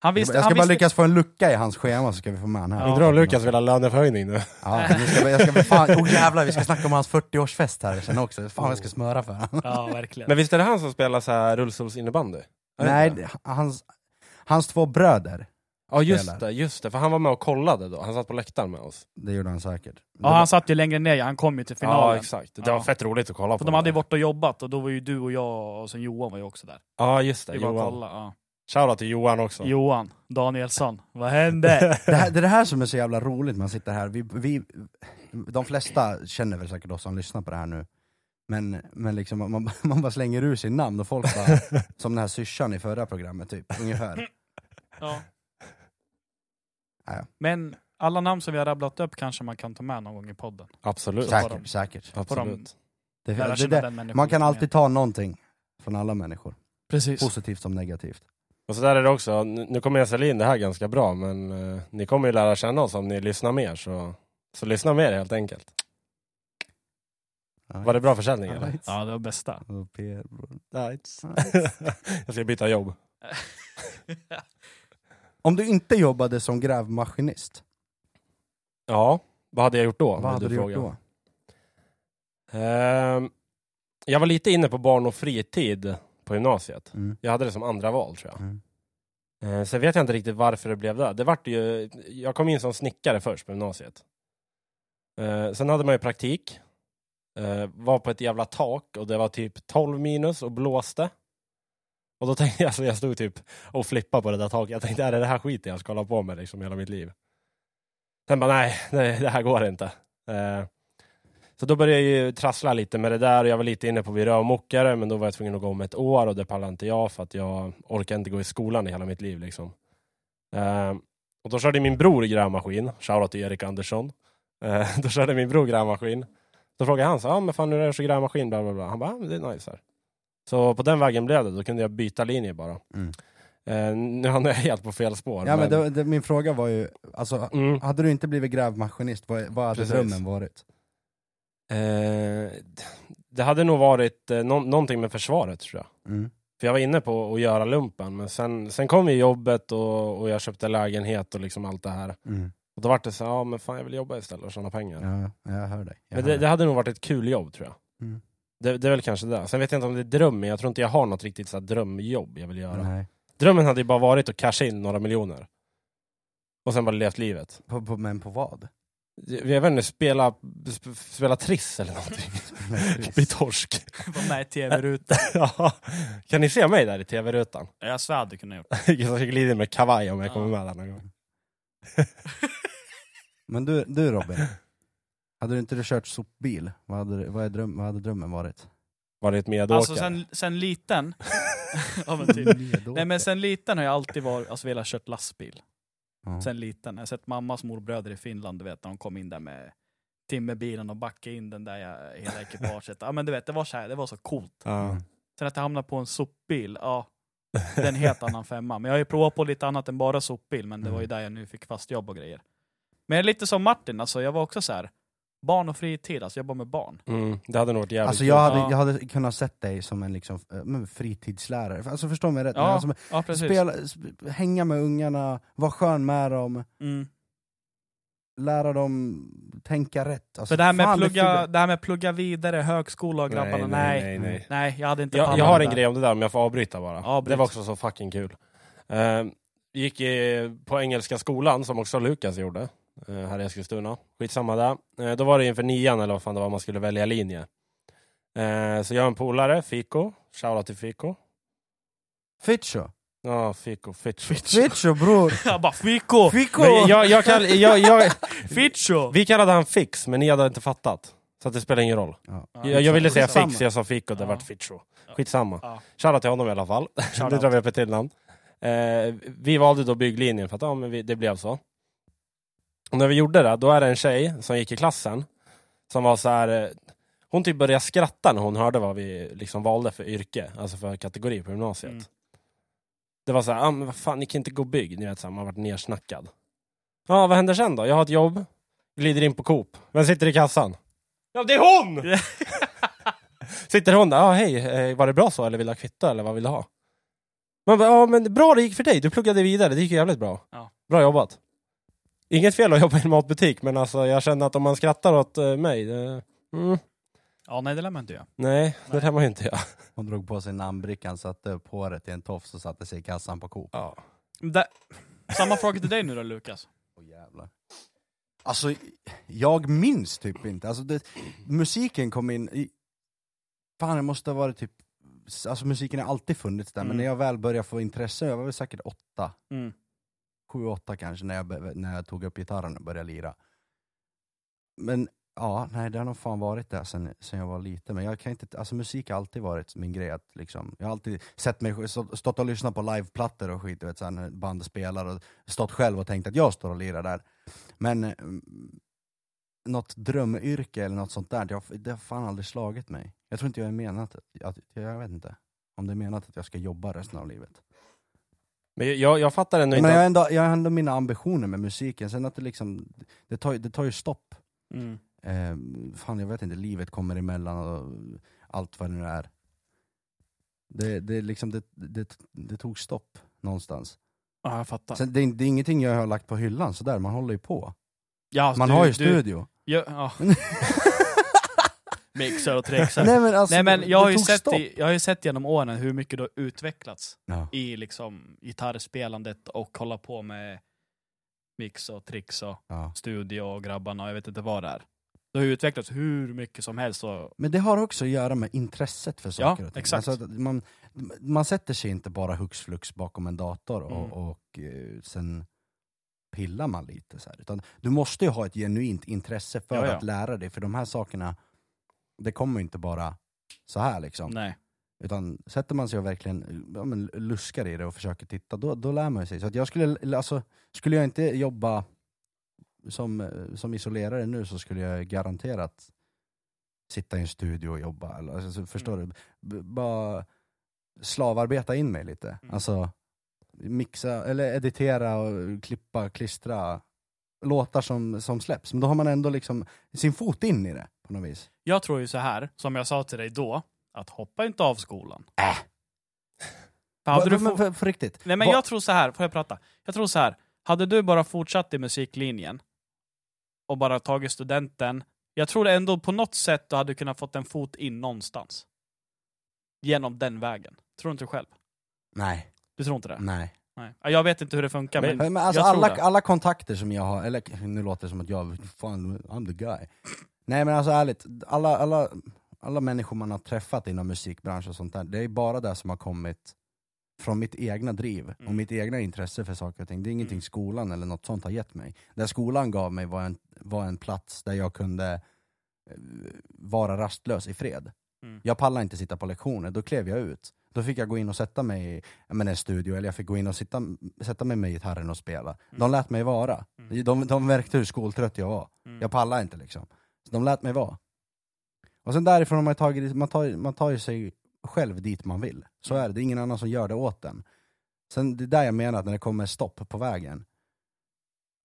[SPEAKER 3] Han visste...
[SPEAKER 2] jag ska
[SPEAKER 3] han
[SPEAKER 2] bara
[SPEAKER 3] visste...
[SPEAKER 2] lyckas få en lucka i hans schema så ska vi få med han här.
[SPEAKER 3] Ja.
[SPEAKER 1] Undrar om Lukas vill ha löneförhöjning nu.
[SPEAKER 2] Ja, nu ska vi, jag ska, fan, [LAUGHS] oh jävlar, vi ska snacka om hans 40-årsfest här sen också. Fan vad jag ska smöra för honom.
[SPEAKER 3] Ja, verkligen.
[SPEAKER 1] Men visst är det han som spelar så här rullstolsinnebandy? Är det
[SPEAKER 2] Nej,
[SPEAKER 1] inte det?
[SPEAKER 2] det- hans, hans två bröder,
[SPEAKER 1] Ja just
[SPEAKER 2] spelar.
[SPEAKER 1] det, just det, för han var med och kollade då, han satt på läktaren med oss.
[SPEAKER 2] det gjorde han säkert.
[SPEAKER 3] Ja, han satt ju längre ner, ja. han kom ju till
[SPEAKER 1] Ja
[SPEAKER 3] finalen.
[SPEAKER 1] exakt, det
[SPEAKER 3] Ja.
[SPEAKER 1] var fett roligt att kolla på.
[SPEAKER 3] för de hade ju
[SPEAKER 1] det.
[SPEAKER 3] varit och jobbat och då var ju du och jag och sen Johan var ju också där.
[SPEAKER 1] Ja just
[SPEAKER 3] Det
[SPEAKER 1] det,
[SPEAKER 3] är bara att
[SPEAKER 1] Johan.
[SPEAKER 3] kolla. Ja.
[SPEAKER 1] Shoutout till Johan också.
[SPEAKER 3] Johan Danielsson, vad hände?
[SPEAKER 2] det, här, det är det här som är så jävla roligt, man sitter här, vi, vi, de flesta känner väl säkert oss som lyssnar på det här nu, men, men liksom, man, man bara slänger ur sig namn och folk bara, som den här syrsan i förra programmet typ, ungefär.
[SPEAKER 3] ja.
[SPEAKER 2] Ja.
[SPEAKER 3] Men alla namn som vi har rabblat upp kanske man kan ta med någon gång i podden.
[SPEAKER 1] Absolut.
[SPEAKER 3] Tack. på dem.
[SPEAKER 2] Säkert, säkert.
[SPEAKER 3] På dem.
[SPEAKER 1] Absolut.
[SPEAKER 2] Det,
[SPEAKER 3] Lära
[SPEAKER 2] det,
[SPEAKER 3] känna
[SPEAKER 2] det,
[SPEAKER 3] den människan
[SPEAKER 2] man kan
[SPEAKER 3] som är.
[SPEAKER 2] alltid ta någonting från alla människor,
[SPEAKER 3] Precis.
[SPEAKER 2] positivt som negativt.
[SPEAKER 1] Och så där är det också, nu nu kommer jag sälja in det här ganska bra, men eh, ni kommer ju lära känna oss om ni lyssnar mer, så, så lyssna mer helt enkelt. Var det bra försäljning eller?
[SPEAKER 2] Right.
[SPEAKER 3] Ja, det var [LAUGHS] bästa.
[SPEAKER 2] Och PR, bro.
[SPEAKER 1] jag ska byta jobb.
[SPEAKER 2] Om du inte jobbade som grävmaskinist,
[SPEAKER 1] Ja, vad hade jag gjort då? om
[SPEAKER 2] vad hade du gjort
[SPEAKER 1] frågar?
[SPEAKER 2] då?
[SPEAKER 1] Ehm, jag var lite inne på barn och fritid på gymnasiet.
[SPEAKER 2] Mm.
[SPEAKER 1] Jag hade det som andra val tror jag.
[SPEAKER 2] Mm.
[SPEAKER 1] Eh, sen vet jag inte riktigt varför det blev det. det vart ju, jag kom in som snickare först på gymnasiet. Eh, sen hade man ju praktik. Eh, var på ett jävla tak och det var typ 12 minus och blåste. Och då tänkte jag, så jag stod typ och flippade på det där taket. Jag tänkte, är det det här skiten jag ska hålla på med liksom hela mitt liv? Sen bara, nej, nej det här går inte. Eh, så då började jag ju trassla lite med det där och jag var lite inne på att bli rörmokare men då var jag tvungen att gå om ett år och det pallade inte jag för att jag orkar inte gå i skolan i hela mitt liv liksom. Eh, och då körde min bror grävmaskin, shoutout till Erik Andersson. Eh, [LAUGHS] då körde min bror grävmaskin. Då frågade han så, ah, men fan hur är det så grävmaskin? Bla, bla, bla. Han bara, ah, men det är nice här. Så på den vägen blev det, då kunde jag byta linje bara.
[SPEAKER 2] Mm.
[SPEAKER 1] Eh, nu hamnade jag helt på fel spår.
[SPEAKER 2] Ja, men det, det, min fråga var ju, alltså,
[SPEAKER 1] Mm.
[SPEAKER 2] hade du inte blivit grävmaskinist, vad, vad hade
[SPEAKER 1] Precis.
[SPEAKER 2] drömmen varit?
[SPEAKER 1] Eh, det hade nog varit eh, nå- någonting med försvaret tror jag.
[SPEAKER 2] Mm.
[SPEAKER 1] För jag var inne på att göra lumpen, men sen, sen kom ju jobbet och, och jag köpte lägenhet och liksom allt det här.
[SPEAKER 2] Mm.
[SPEAKER 1] Och då vart det så ja men fan jag vill jobba istället och tjäna pengar.
[SPEAKER 2] Ja, jag hör dig. Jag
[SPEAKER 1] men
[SPEAKER 2] hör
[SPEAKER 1] det,
[SPEAKER 2] dig.
[SPEAKER 1] det hade nog varit ett kul jobb tror jag.
[SPEAKER 2] Mm.
[SPEAKER 1] Det, det är väl kanske det. Sen vet jag inte om det är drömmen, jag tror inte jag har något riktigt så här drömjobb jag vill göra.
[SPEAKER 2] Nej.
[SPEAKER 1] Drömmen hade ju bara varit att casha in några miljoner. Och sen bara levt livet.
[SPEAKER 2] På, på, men på [LAUGHS] vad?
[SPEAKER 1] Jag vet inte, spela, sp- spela triss eller
[SPEAKER 2] [LAUGHS]
[SPEAKER 1] någonting. Bli torsk.
[SPEAKER 3] Var med i tv-rutan.
[SPEAKER 1] [LAUGHS] ja. Kan ni se mig där i tv-rutan? [LAUGHS]
[SPEAKER 3] Jag svär du kunde ha gjort det.
[SPEAKER 1] Jag ska glida in med kavaj om jag kommer
[SPEAKER 3] Ja.
[SPEAKER 1] med där någon gång.
[SPEAKER 2] Men du, du Robin, [LAUGHS] hade du inte du kört sopbil, vad hade, du- vad är dröm, vad hade drömmen varit?
[SPEAKER 1] Varit medåkare.
[SPEAKER 3] Alltså sen,
[SPEAKER 2] [LAUGHS]
[SPEAKER 3] sen liten... ja, men typ. Nej men sen liten har jag alltid varit, alltså, velat kört lastbil.
[SPEAKER 2] Ja.
[SPEAKER 3] Sen liten. Jag har sett mammas morbröder i Finland, du vet, när de kom in där med timmerbilen och backade in den där jag, hela ekipaget. Ja men du vet, det var så, här, det var så coolt.
[SPEAKER 1] Ja.
[SPEAKER 3] Sen att jag hamnade på en sopbil, ja, det är en helt annan femma. Men jag har ju provat på lite annat än bara Mm. sopbil, men det var ju där jag nu fick fast jobb och grejer. Men jag är lite som Martin, alltså jag var också så här. barn och fritid, alltså jobba med barn.
[SPEAKER 1] Mm, det hade nog varit jävligt
[SPEAKER 2] Alltså
[SPEAKER 1] kul.
[SPEAKER 2] jag hade,
[SPEAKER 3] Ja.
[SPEAKER 2] jag hade kunnat sett dig som en liksom, eh, men fritidslärare, alltså förstå mig rätt, men
[SPEAKER 3] Ja,
[SPEAKER 2] alltså,
[SPEAKER 3] ja precis.
[SPEAKER 2] spela, sp- hänga med ungarna, vara skön med dem,
[SPEAKER 3] Mm.
[SPEAKER 2] lära dem tänka rätt. Alltså,
[SPEAKER 3] För det här, med
[SPEAKER 2] fan,
[SPEAKER 3] plugga,
[SPEAKER 2] fyller-
[SPEAKER 3] det här med plugga vidare, högskola och grabbarna, nej. Nej,
[SPEAKER 1] nej, nej.
[SPEAKER 3] jag hade inte
[SPEAKER 1] Jag,
[SPEAKER 3] pallat
[SPEAKER 1] jag har
[SPEAKER 3] det
[SPEAKER 1] en
[SPEAKER 3] där.
[SPEAKER 1] grej om det där om jag får avbryta bara.
[SPEAKER 3] Avbryt.
[SPEAKER 1] Det var också så fucking kul. Eh, gick i, på Engelska skolan som också Lukas gjorde eh, här i Eskilstuna. Skitsamma där. Eh, då var det inför nian eller vad fan det var man skulle välja linje. Eh, så jag och en polare, Fico. Shoutout till Fico.
[SPEAKER 3] [LAUGHS]
[SPEAKER 2] Fitcho!
[SPEAKER 1] Ja, Fico, Fitch.
[SPEAKER 2] Fitcho bror!
[SPEAKER 3] [LAUGHS] Jag bara Fico!
[SPEAKER 2] Fico!
[SPEAKER 1] Men jag, jag kall, jag, jag,
[SPEAKER 3] Ficho!
[SPEAKER 1] vi kallade han Fix, men ni hade inte fattat. Så att det spelar ingen roll.
[SPEAKER 2] Ja.
[SPEAKER 1] Jag, jag ville säga
[SPEAKER 2] skitsamma.
[SPEAKER 1] Fix, jag sa Fico, det
[SPEAKER 3] Ja.
[SPEAKER 1] vart Ficho. Skitsamma.
[SPEAKER 3] Ja.
[SPEAKER 1] Shoutout till honom i alla fall. [LAUGHS]
[SPEAKER 3] Shoutout.
[SPEAKER 1] det drar vi upp ett till namn. Eh, vi valde då bygglinjen för att ja, men vi, det blev så. Och när vi gjorde det, då är det en tjej som gick i klassen som var så här. eh, Hon typ började skratta när hon hörde vad vi liksom valde för yrke, alltså för kategori på gymnasiet.
[SPEAKER 3] Mm.
[SPEAKER 1] Det var så här, ah, men vad fan, ni kan inte gå bygg. Ni vet, så här, man har varit nersnackad. Ja, vad händer sen då? Jag har ett jobb, glider in på Coop. Vem sitter i kassan? Ja, det är hon! [LAUGHS] sitter hon där, ja ah, hej, eh, var det bra så eller vill du ha kvitto eller vad vill du ha? Man bara, ja men bra det gick för dig, du pluggade vidare, det gick ju jävligt bra.
[SPEAKER 3] Ja.
[SPEAKER 1] Bra jobbat. Inget fel att jobba i en matbutik, men alltså jag känner att om man skrattar åt eh, mig, det, mm,
[SPEAKER 3] Ja, nej det lär man inte göra.
[SPEAKER 1] nej, det lär man ju inte göra.
[SPEAKER 2] Hon drog på sig namnbrickan, satte upp håret i en tofs och satte sig i kassan på Coop.
[SPEAKER 1] Ja.
[SPEAKER 3] Där- Samma fråga till dig nu då Lukas.
[SPEAKER 2] Åh, jävlar. Alltså, jag minns typ inte. Alltså, det, musiken kom in... I, fan, det måste ha varit typ... Alltså musiken har alltid funnits där,
[SPEAKER 3] Mm.
[SPEAKER 2] men när jag väl började få intresse, jag var väl säkert åtta,
[SPEAKER 3] Mm.
[SPEAKER 2] sju, åtta kanske, när jag, be- när jag tog upp gitarren och började lira. Men ja, nej, det har nog fan varit där sen, sen jag var liten. Men jag kan inte, alltså musik har alltid varit min grej. Att, liksom, jag har alltid sett mig, stå- stått och lyssnat på liveplattor och skit, du vet, så här, när band spelar och stått själv och tänkt att jag står och lirar där. Men eh, mm, något drömyrke eller något sånt där, det har, det har fan aldrig slagit mig. Jag tror inte jag är menat, att, jag vet inte, om det är menat att jag ska jobba resten av livet.
[SPEAKER 1] Men jag, jag fattar ändå
[SPEAKER 2] Men
[SPEAKER 1] inte
[SPEAKER 2] jag
[SPEAKER 1] att
[SPEAKER 2] har, ändå, jag har ändå mina ambitioner med musiken, sen att det liksom, det tar, ju- det tar ju stopp.
[SPEAKER 3] Mm.
[SPEAKER 2] Eh, fan jag vet inte, livet kommer emellan och allt vad det nu är. Det, det, är liksom, det, det, det tog stopp någonstans.
[SPEAKER 3] Ja, jag fattar.
[SPEAKER 2] Sen, det, är- det är ingenting jag har lagt på hyllan sådär, man håller ju på.
[SPEAKER 3] ja, alltså,
[SPEAKER 2] Man
[SPEAKER 3] du-
[SPEAKER 2] har ju
[SPEAKER 3] du- [LAUGHS]
[SPEAKER 2] studio.
[SPEAKER 3] Ja, ja. Mixar och trixar.
[SPEAKER 2] Nej men, alltså,
[SPEAKER 3] [LAUGHS] Nej men
[SPEAKER 2] det
[SPEAKER 3] jag har, ju
[SPEAKER 2] tog
[SPEAKER 3] sett
[SPEAKER 2] stopp.
[SPEAKER 3] i, jag har ju sett genom åren hur mycket det har utvecklats
[SPEAKER 2] Ja.
[SPEAKER 3] i liksom gitarrspelandet och hålla på med mix och trix och
[SPEAKER 2] Ja.
[SPEAKER 3] studio och grabbarna och jag vet inte vad det är. Det har ju utvecklats hur mycket som helst och
[SPEAKER 2] Men det har också att göra med intresset för saker och ting.
[SPEAKER 3] exakt.
[SPEAKER 2] Alltså, att man, man sätter sig inte bara hux flux bakom en dator och,
[SPEAKER 3] Mm.
[SPEAKER 2] och eh, sen pillar man lite. Så här. Utan du måste ju ha ett genuint intresse för
[SPEAKER 3] Ja, ja.
[SPEAKER 2] att lära dig, för de här sakerna, det kommer inte bara så här liksom.
[SPEAKER 3] nej.
[SPEAKER 2] Utan sätter man sig och verkligen ja, men, luskar i det och försöker titta, då, då lär man sig. Så att jag skulle, alltså, skulle jag inte jobba som, eh, som isolerare nu så skulle jag garanterat sitta i en studio och jobba. Eller, Alltså, så förstår
[SPEAKER 3] Mm.
[SPEAKER 2] du? B- bara slavarbeta in mig lite.
[SPEAKER 3] Mm.
[SPEAKER 2] Alltså mixa, eller editera och klippa, klistra låtar som, som släpps. Men då har man ändå liksom sin fot in i det på något vis.
[SPEAKER 3] Jag tror ju så här, som jag sa till dig då, att hoppa inte av skolan.
[SPEAKER 2] Äh.
[SPEAKER 3] För hade
[SPEAKER 2] Va-
[SPEAKER 3] du
[SPEAKER 2] men,
[SPEAKER 3] fo-
[SPEAKER 2] för, för riktigt.
[SPEAKER 3] Nej men
[SPEAKER 2] Va-
[SPEAKER 3] jag tror så här, får jag prata? Jag tror så här, hade du bara fortsatt i musiklinjen och bara tagit studenten, jag tror ändå på något sätt du hade kunnat fått en fot in någonstans. Genom den vägen. Tror inte du själv?
[SPEAKER 2] Nej,
[SPEAKER 3] Du tror inte det?
[SPEAKER 2] nej.
[SPEAKER 3] Nej. Ja, Jag vet inte hur det funkar men,
[SPEAKER 1] Men-
[SPEAKER 2] Mm. Men alltså
[SPEAKER 3] jag tror
[SPEAKER 2] alla,
[SPEAKER 3] det.
[SPEAKER 2] alla kontakter som jag har, eller nu låter det som att jag, fan, I'm the guy. Nej men alltså ärligt, alla, alla, alla människor man har träffat inom musikbranschen och sånt där, det är bara det som har kommit från mitt egna driv och
[SPEAKER 3] Mm.
[SPEAKER 2] mitt egna intresse för saker och ting. Det är ingenting
[SPEAKER 3] Mm.
[SPEAKER 2] skolan eller något sånt har gett mig. Det skolan gav mig var en, var en plats där jag kunde eh, vara rastlös i fred.
[SPEAKER 3] Mm.
[SPEAKER 2] Jag pallade inte sitta på lektioner, då klev jag ut. Då fick jag gå in och sätta mig i jag menar, en studio, eller jag fick gå in och sitta, sätta mig med gitarren och spela. De lät mig vara.
[SPEAKER 3] Mm.
[SPEAKER 2] De, de märkte hur skoltrött jag var.
[SPEAKER 3] Mm.
[SPEAKER 2] Jag pallade inte liksom. Så de lät mig vara. Och sen därifrån har man tagit, man tar, man tar ju sig själv dit man vill. Så
[SPEAKER 3] Mm.
[SPEAKER 2] är det, det är ingen annan som gör det åt en. Sen det är där jag menar, att när det kommer stopp på vägen.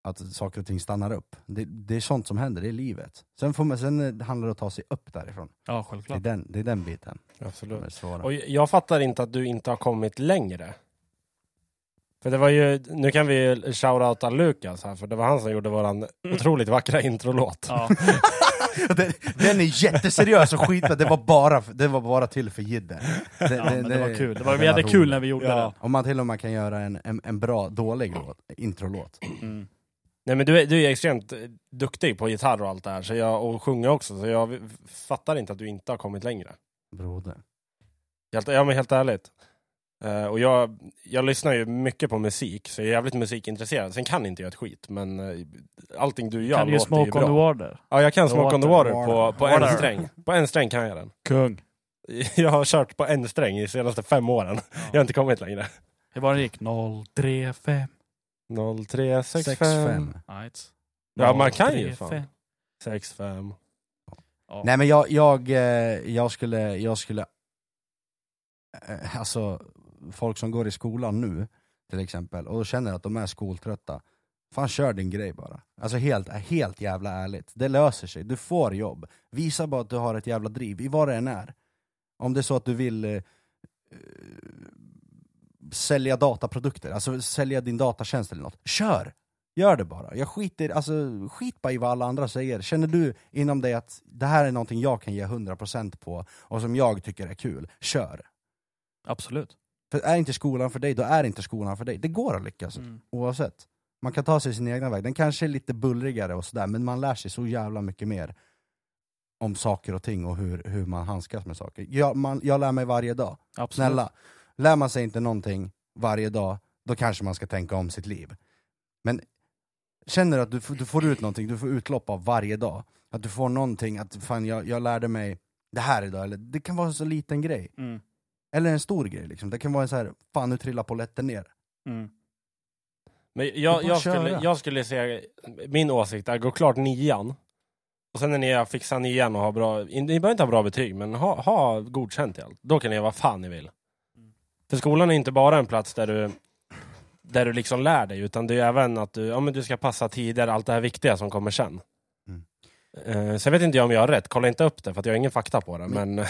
[SPEAKER 2] att saker och ting stannar upp. Det, det är sånt som händer, det är livet. Sen, får man, sen handlar det om att ta sig upp därifrån.
[SPEAKER 4] Ja,
[SPEAKER 2] Det är
[SPEAKER 4] självklart.
[SPEAKER 2] den, det är den biten
[SPEAKER 1] Absolut.
[SPEAKER 2] som är svåra.
[SPEAKER 1] Och jag fattar inte att du inte har kommit längre. För det var ju, nu kan vi ju shoutouta Lukas här, för det var han som gjorde våran otroligt vackra introlåt.
[SPEAKER 4] Ja.
[SPEAKER 2] Den, den är jätteseriös och skit, det var bara, det var bara till för jidder. Det,
[SPEAKER 4] Ja, men det var kul. Det var, vi
[SPEAKER 2] den
[SPEAKER 4] hade
[SPEAKER 2] rolig.
[SPEAKER 4] kul när vi gjorde
[SPEAKER 1] Ja.
[SPEAKER 2] Om man till och med kan göra en, en, en bra, dålig låt, introlåt.
[SPEAKER 4] det. Mm.
[SPEAKER 1] Nej men du är, du är extremt eh, duktig på gitarr och allt det här, så jag, och sjunga också, så jag v- fattar inte att du inte har kommit längre.
[SPEAKER 2] Broder.
[SPEAKER 1] Helt, ja men helt ärligt. Eh, och jag, jag lyssnar ju mycket på musik, så jag är jävligt musikintresserad. Sen kan inte jag ett skit, men eh, allting du gör
[SPEAKER 4] Kan du
[SPEAKER 1] låter
[SPEAKER 4] smoke on
[SPEAKER 1] ju bra.
[SPEAKER 4] the water?
[SPEAKER 1] Ja, jag kan Smoke on the
[SPEAKER 4] Water.
[SPEAKER 1] water på, på en
[SPEAKER 4] Water.
[SPEAKER 1] sträng. På en sträng kan jag den. [LAUGHS]
[SPEAKER 4] Kung.
[SPEAKER 1] Jag har kört på en sträng i senaste fem åren. Jag har inte kommit längre.
[SPEAKER 4] Hur var det gick? 035.
[SPEAKER 1] 0365.
[SPEAKER 4] Nice.
[SPEAKER 1] Ja, man kan ju
[SPEAKER 4] 035.
[SPEAKER 1] fan. 65.
[SPEAKER 2] Nej men jag, jag, eh, jag skulle, jag skulle eh, alltså folk som går i skolan nu till exempel, och känner att de är skoltrötta, fan kör din grej bara. Alltså helt, helt jävla ärligt, det löser sig, du får jobb. Visa bara att du har ett jävla driv, i vad det än är. Om det är så att du vill eh, eh, sälja dataprodukter, alltså sälja din datatjänst eller något, kör! Gör det bara. Jag skiter, alltså, skit bara i vad alla andra säger. Känner du inom dig att det här är någonting jag kan ge 100% på och som jag tycker är kul, kör.
[SPEAKER 4] Absolut.
[SPEAKER 2] För är inte skolan för dig, då är inte skolan för dig. Det går att lyckas
[SPEAKER 4] Mm.
[SPEAKER 2] oavsett. Man kan ta sig sin egna väg. Den kanske är lite bullrigare och sådär, men man lär sig så jävla mycket mer om saker och ting och hur, hur man handskas med saker. Jag, man, jag lär mig varje dag.
[SPEAKER 4] Absolut.
[SPEAKER 2] Snälla, lär man sig inte någonting varje dag, då kanske man ska tänka om sitt liv. Men känner du att du, f- du får ut någonting, du får utlopp av varje dag, att du får någonting, att fan jag, jag lärde mig det här idag, eller det kan vara en så liten grej,
[SPEAKER 4] Mm.
[SPEAKER 2] eller en stor grej liksom. Det kan vara en så här, fan nu trillar polletten ner.
[SPEAKER 4] Mm.
[SPEAKER 1] Men
[SPEAKER 2] bara
[SPEAKER 1] jag, jag, skulle,
[SPEAKER 2] köra.
[SPEAKER 1] jag skulle säga, min åsikt är gå klart nian. Och sen när ni har fixat nian och har bra, ni behöver inte ha bra betyg, men ha, ha godkänt i allt. Då kan ni göra vad fan ni vill. För skolan är inte bara en plats där du, där du liksom lär dig, utan det är även att du, ja, men du ska passa tider, allt det här viktiga som kommer sen.
[SPEAKER 2] Mm.
[SPEAKER 1] Eh, sen vet inte jag om jag har rätt, kolla inte upp det för att jag har ingen fakta på det.
[SPEAKER 2] Men-
[SPEAKER 1] Men,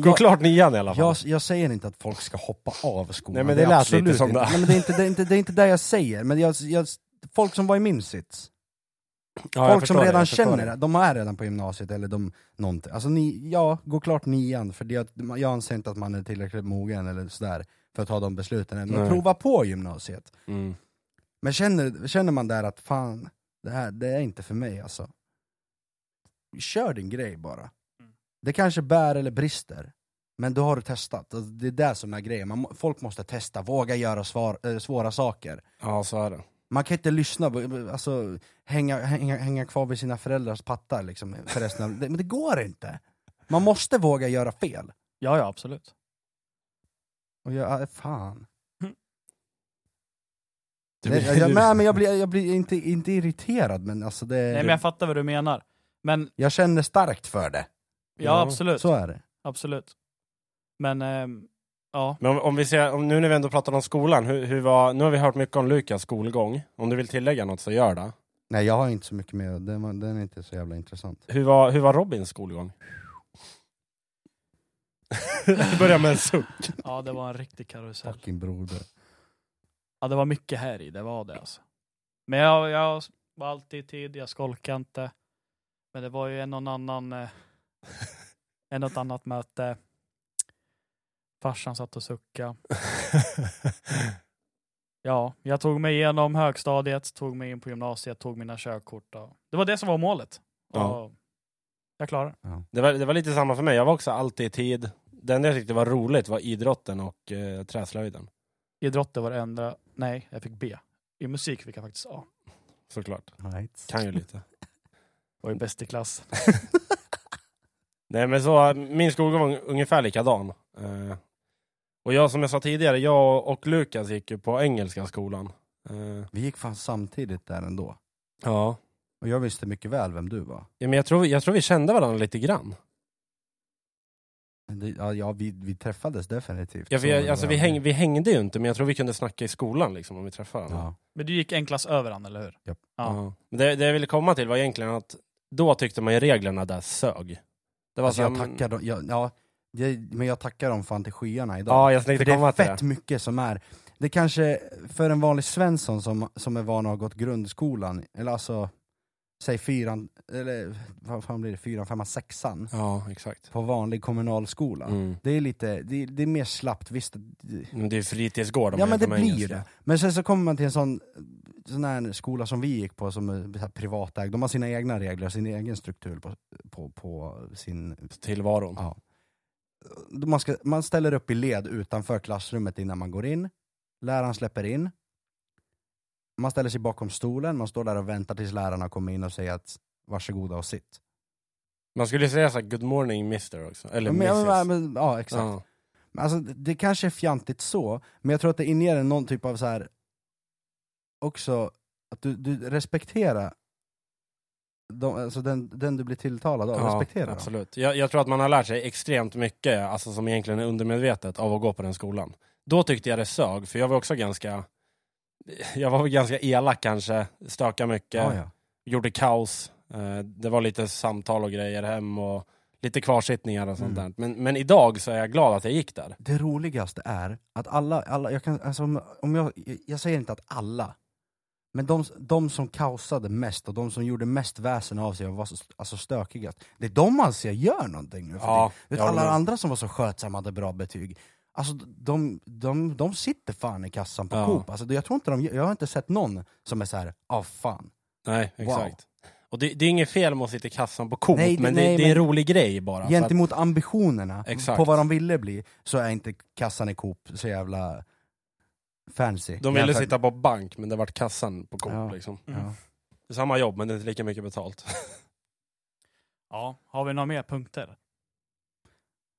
[SPEAKER 1] [LAUGHS] gå
[SPEAKER 2] jag,
[SPEAKER 1] klart nian i alla fall.
[SPEAKER 2] jag, jag säger inte att folk ska hoppa av skolan.
[SPEAKER 1] Nej, men det
[SPEAKER 2] är
[SPEAKER 1] lät
[SPEAKER 2] absolut
[SPEAKER 1] lite som
[SPEAKER 2] inte.
[SPEAKER 1] det.
[SPEAKER 2] Nej, men det, är inte, det, är inte, det är inte det jag säger, men jag, jag, folk som var i min sits,
[SPEAKER 1] Ja, jag
[SPEAKER 2] Folk som
[SPEAKER 1] förstår det,
[SPEAKER 2] redan
[SPEAKER 1] jag förstår
[SPEAKER 2] känner det, de är redan på gymnasiet eller de någonting. Alltså ni, ja, gå klart nian, för det, jag anser inte att man är tillräckligt mogen eller sådär för att ta de besluten än. Men
[SPEAKER 1] Nej.
[SPEAKER 2] prova på gymnasiet.
[SPEAKER 1] Mm.
[SPEAKER 2] Men känner, känner man där att fan, det här det är inte för mig alltså. Kör din grej bara.
[SPEAKER 1] Mm.
[SPEAKER 2] Det kanske bär eller brister, men då har du testat. Alltså, det är det som är grejen, man, må- folk måste testa, våga göra svar, eh, svåra saker.
[SPEAKER 1] Ja, så är det.
[SPEAKER 2] Man kan inte lyssna, på- alltså, hänga, hänga, hänga kvar vid sina föräldrars pattar liksom, för resten av, det, Men det går inte! Man måste våga göra fel.
[SPEAKER 4] Ja, ja, absolut.
[SPEAKER 2] Och jag, äh, fan.
[SPEAKER 1] Du
[SPEAKER 2] Nej,
[SPEAKER 1] blir-
[SPEAKER 2] jag,
[SPEAKER 1] [LAUGHS]
[SPEAKER 2] jag,
[SPEAKER 1] du-
[SPEAKER 2] nej, men jag blir, jag blir inte, inte irriterad, men alltså det,
[SPEAKER 4] Nej, men jag fattar vad du menar. Men
[SPEAKER 2] jag känner starkt för det.
[SPEAKER 4] ja,
[SPEAKER 1] Ja.
[SPEAKER 4] absolut.
[SPEAKER 2] Så är det.
[SPEAKER 4] Absolut. Men ehm, ja,
[SPEAKER 1] Men om, om vi ser, om, nu när vi ändå pratar om skolan, hur, hur var, nu har vi hört mycket om Lukas skolgång. Om du vill tillägga något så gör det.
[SPEAKER 2] Nej, jag har inte så mycket mer, den, var- den är inte så jävla intressant.
[SPEAKER 1] Hur var, hur var Robins skolgång? [LAUGHS] det börjar med en suck.
[SPEAKER 4] ja, det var en riktig karusell.
[SPEAKER 2] Fucking broder.
[SPEAKER 4] Ja, det var mycket här i, det var det alltså. Men jag, jag var alltid i tid, jag skolkade inte. Men det var ju en och annan,
[SPEAKER 2] [LAUGHS]
[SPEAKER 4] eh, en och annat möte. Farsan satt och suckade. Ja, jag tog mig igenom högstadiet, tog mig in på gymnasiet, tog mina körkort. Och... Det var det som var målet.
[SPEAKER 1] Ja.
[SPEAKER 4] Och jag klarade det.
[SPEAKER 1] [LAUGHS] Det var, det var lite samma för mig, jag var också alltid i tid. Det enda jag tyckte var roligt var idrotten och eh, träslöjden.
[SPEAKER 4] Idrott det var det enda. Nej, jag fick B. I musik fick jag faktiskt A.
[SPEAKER 1] Såklart.
[SPEAKER 2] Right.
[SPEAKER 1] Kan ju lite.
[SPEAKER 4] Var ju bäst i klass.
[SPEAKER 1] [LAUGHS] Nej men så, min skolgång var ungefär likadan. Eh, och jag som jag sa tidigare, jag och Lukas gick ju på Engelska skolan. Eh,
[SPEAKER 2] Vi gick fan samtidigt där ändå.
[SPEAKER 1] ja.
[SPEAKER 2] Och jag visste mycket väl vem du var.
[SPEAKER 1] Ja, men jag, tror, jag tror vi kände varandra lite grann.
[SPEAKER 2] Det- Ja, ja vi, vi träffades definitivt.
[SPEAKER 1] Ja,
[SPEAKER 2] Så var
[SPEAKER 1] vi,
[SPEAKER 2] det
[SPEAKER 1] alltså, vi,
[SPEAKER 2] bara-
[SPEAKER 1] häng, vi hängde ju inte, men jag tror vi kunde snacka i skolan liksom, om vi träffade varandra.
[SPEAKER 2] Ja.
[SPEAKER 4] Men du gick enklast över han, eller hur? Ja.
[SPEAKER 1] Ja. Men det, det jag ville komma till var egentligen att då tyckte man ju reglerna där sög. Det var
[SPEAKER 2] Alltså,
[SPEAKER 1] så
[SPEAKER 2] jag
[SPEAKER 1] här, mm, men-
[SPEAKER 2] tackar dem, jag, ja, jag, men jag tackar dem fan till skyarna idag.
[SPEAKER 1] Ja, jag
[SPEAKER 2] För
[SPEAKER 1] tänkte
[SPEAKER 2] det
[SPEAKER 1] komma
[SPEAKER 2] är
[SPEAKER 1] till
[SPEAKER 2] fett
[SPEAKER 1] det.
[SPEAKER 2] mycket som är, det kanske för en vanlig svensson som, som är van att ha gått grundskolan, eller alltså, säg fyran, eller vad fan blir det, fyran, femman, sexan,
[SPEAKER 1] Ja, exakt.
[SPEAKER 2] på vanlig kommunalskola.
[SPEAKER 1] Mm.
[SPEAKER 2] Det är lite, det, det är mer slappt, visst.
[SPEAKER 1] Men Det är ju fritidsgård om
[SPEAKER 2] ja
[SPEAKER 1] man
[SPEAKER 2] men det
[SPEAKER 1] jämför med
[SPEAKER 2] blir ju
[SPEAKER 1] engelska.
[SPEAKER 2] det. Men sen så kommer man till en sån, sån här skola som vi gick på, som är så här privatägd, de har sina egna regler, och sin egen struktur på, på, på sin
[SPEAKER 1] Tillvaron.
[SPEAKER 2] Ja. man, ska, man ställer upp i led utanför klassrummet innan man går in. Läraren släpper in. Man ställer sig bakom stolen, man står där och väntar tills lärarna kommer in och säger att varsågoda och sitt.
[SPEAKER 1] Man skulle ju säga så här, good morning mister också. Eller
[SPEAKER 2] Ja, men,
[SPEAKER 1] mrs.
[SPEAKER 2] ja, men, ja, exakt.
[SPEAKER 1] Ja.
[SPEAKER 2] Men Alltså, det det kanske är fjantigt så, men jag tror att det inger någon typ av så här också, att du, du respekterar de, alltså den, den du blir tilltalad av. respektera dem.
[SPEAKER 1] absolut. Jag, jag tror att man har lärt sig extremt mycket, alltså som egentligen är undermedvetet, av att gå på den skolan. Då tyckte jag det sög, för jag var också ganska, jag var väl ganska elak kanske, stökade mycket,
[SPEAKER 2] Ja, ja.
[SPEAKER 1] gjorde kaos. Eh, Det var lite samtal och grejer hem och lite kvarsittningar och sånt
[SPEAKER 2] Mm.
[SPEAKER 1] där. Men, men idag så är jag glad att jag gick där.
[SPEAKER 2] det roligaste är att alla, alla jag, kan, alltså, om- om jag, jag säger inte att alla, men de, de som kaosade mest och de som gjorde mest väsen av sig och var så, alltså stökigast, det är de alltså jag gör någonting nu för tiden. Du vet,
[SPEAKER 1] jag
[SPEAKER 2] Alla
[SPEAKER 1] håller med.
[SPEAKER 2] andra som var så skötsamma och hade bra betyg, alltså de, de, de sitter fan i kassan på
[SPEAKER 1] Ja.
[SPEAKER 2] Coop. Alltså, jag, tror inte de, jag har inte sett någon som är så här, ah fan.
[SPEAKER 1] Nej,
[SPEAKER 2] Wow.
[SPEAKER 1] exakt. Och det, det är inget fel med att sitta i kassan på Coop,
[SPEAKER 2] Nej, det-
[SPEAKER 1] men, det,
[SPEAKER 2] nej,
[SPEAKER 1] det är en
[SPEAKER 2] men-
[SPEAKER 1] rolig grej bara. för att-
[SPEAKER 2] Gentemot ambitionerna
[SPEAKER 1] Exakt.
[SPEAKER 2] på vad de ville bli, så är inte kassan i Coop så jävla fancy.
[SPEAKER 1] De ville
[SPEAKER 2] Jämfört-
[SPEAKER 1] sitta på bank, men det vart kassan på Coop.
[SPEAKER 2] Ja.
[SPEAKER 1] Liksom.
[SPEAKER 2] Ja.
[SPEAKER 1] Det är samma jobb, men det är inte lika mycket betalt. [LAUGHS]
[SPEAKER 4] Ja, har vi några mer punkter?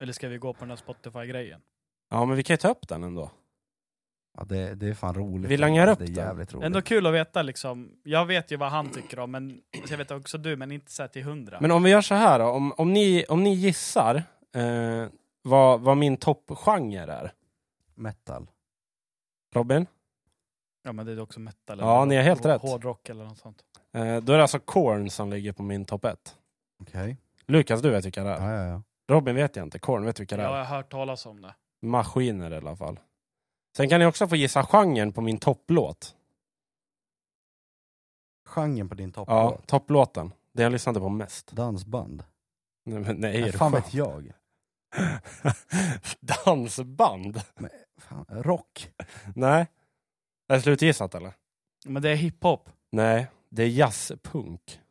[SPEAKER 4] Eller ska vi gå på den där Spotify-grejen?
[SPEAKER 1] Ja, men vi kan ju ta upp den ändå.
[SPEAKER 2] Ja, det, det är fan roligt.
[SPEAKER 1] Vi langar upp
[SPEAKER 2] Det är
[SPEAKER 1] den.
[SPEAKER 2] jävligt roligt.
[SPEAKER 4] Ändå kul att veta liksom. Jag vet ju vad han tycker om, men jag vet också du, men inte så här till hundra.
[SPEAKER 1] Men om vi gör så här då, om, om, ni, om ni gissar eh, vad, vad min toppgenre är.
[SPEAKER 2] Metal.
[SPEAKER 1] Robin?
[SPEAKER 4] Ja, men det är också metal.
[SPEAKER 1] Ja,
[SPEAKER 4] eller
[SPEAKER 1] ni har helt
[SPEAKER 4] hår-
[SPEAKER 1] rätt.
[SPEAKER 4] Hårdrock eller något sånt.
[SPEAKER 1] Eh, då är det alltså Korn som ligger på min topp ett.
[SPEAKER 2] Okej.
[SPEAKER 1] Lukas, du vet vilka det är.
[SPEAKER 2] Ja, ja, ja.
[SPEAKER 1] Robin vet jag inte. Korn vet du vilka det
[SPEAKER 4] Jag
[SPEAKER 1] är.
[SPEAKER 4] har hört talas om det.
[SPEAKER 1] Maskiner i alla fall. Sen kan ni också få gissa genren på min topplåt.
[SPEAKER 2] Genren på din topplåt?
[SPEAKER 1] Ja, topplåten. Det jag lyssnade på mest.
[SPEAKER 2] Dansband?
[SPEAKER 1] Nej, men nej, är
[SPEAKER 2] Nej,
[SPEAKER 1] du
[SPEAKER 2] fan
[SPEAKER 1] skön?
[SPEAKER 2] vet jag.
[SPEAKER 1] [LAUGHS] Dansband?
[SPEAKER 2] Fan, rock?
[SPEAKER 1] Nej. Är det slutgissat eller?
[SPEAKER 4] Men det är hiphop.
[SPEAKER 1] Nej, det är jazzpunk.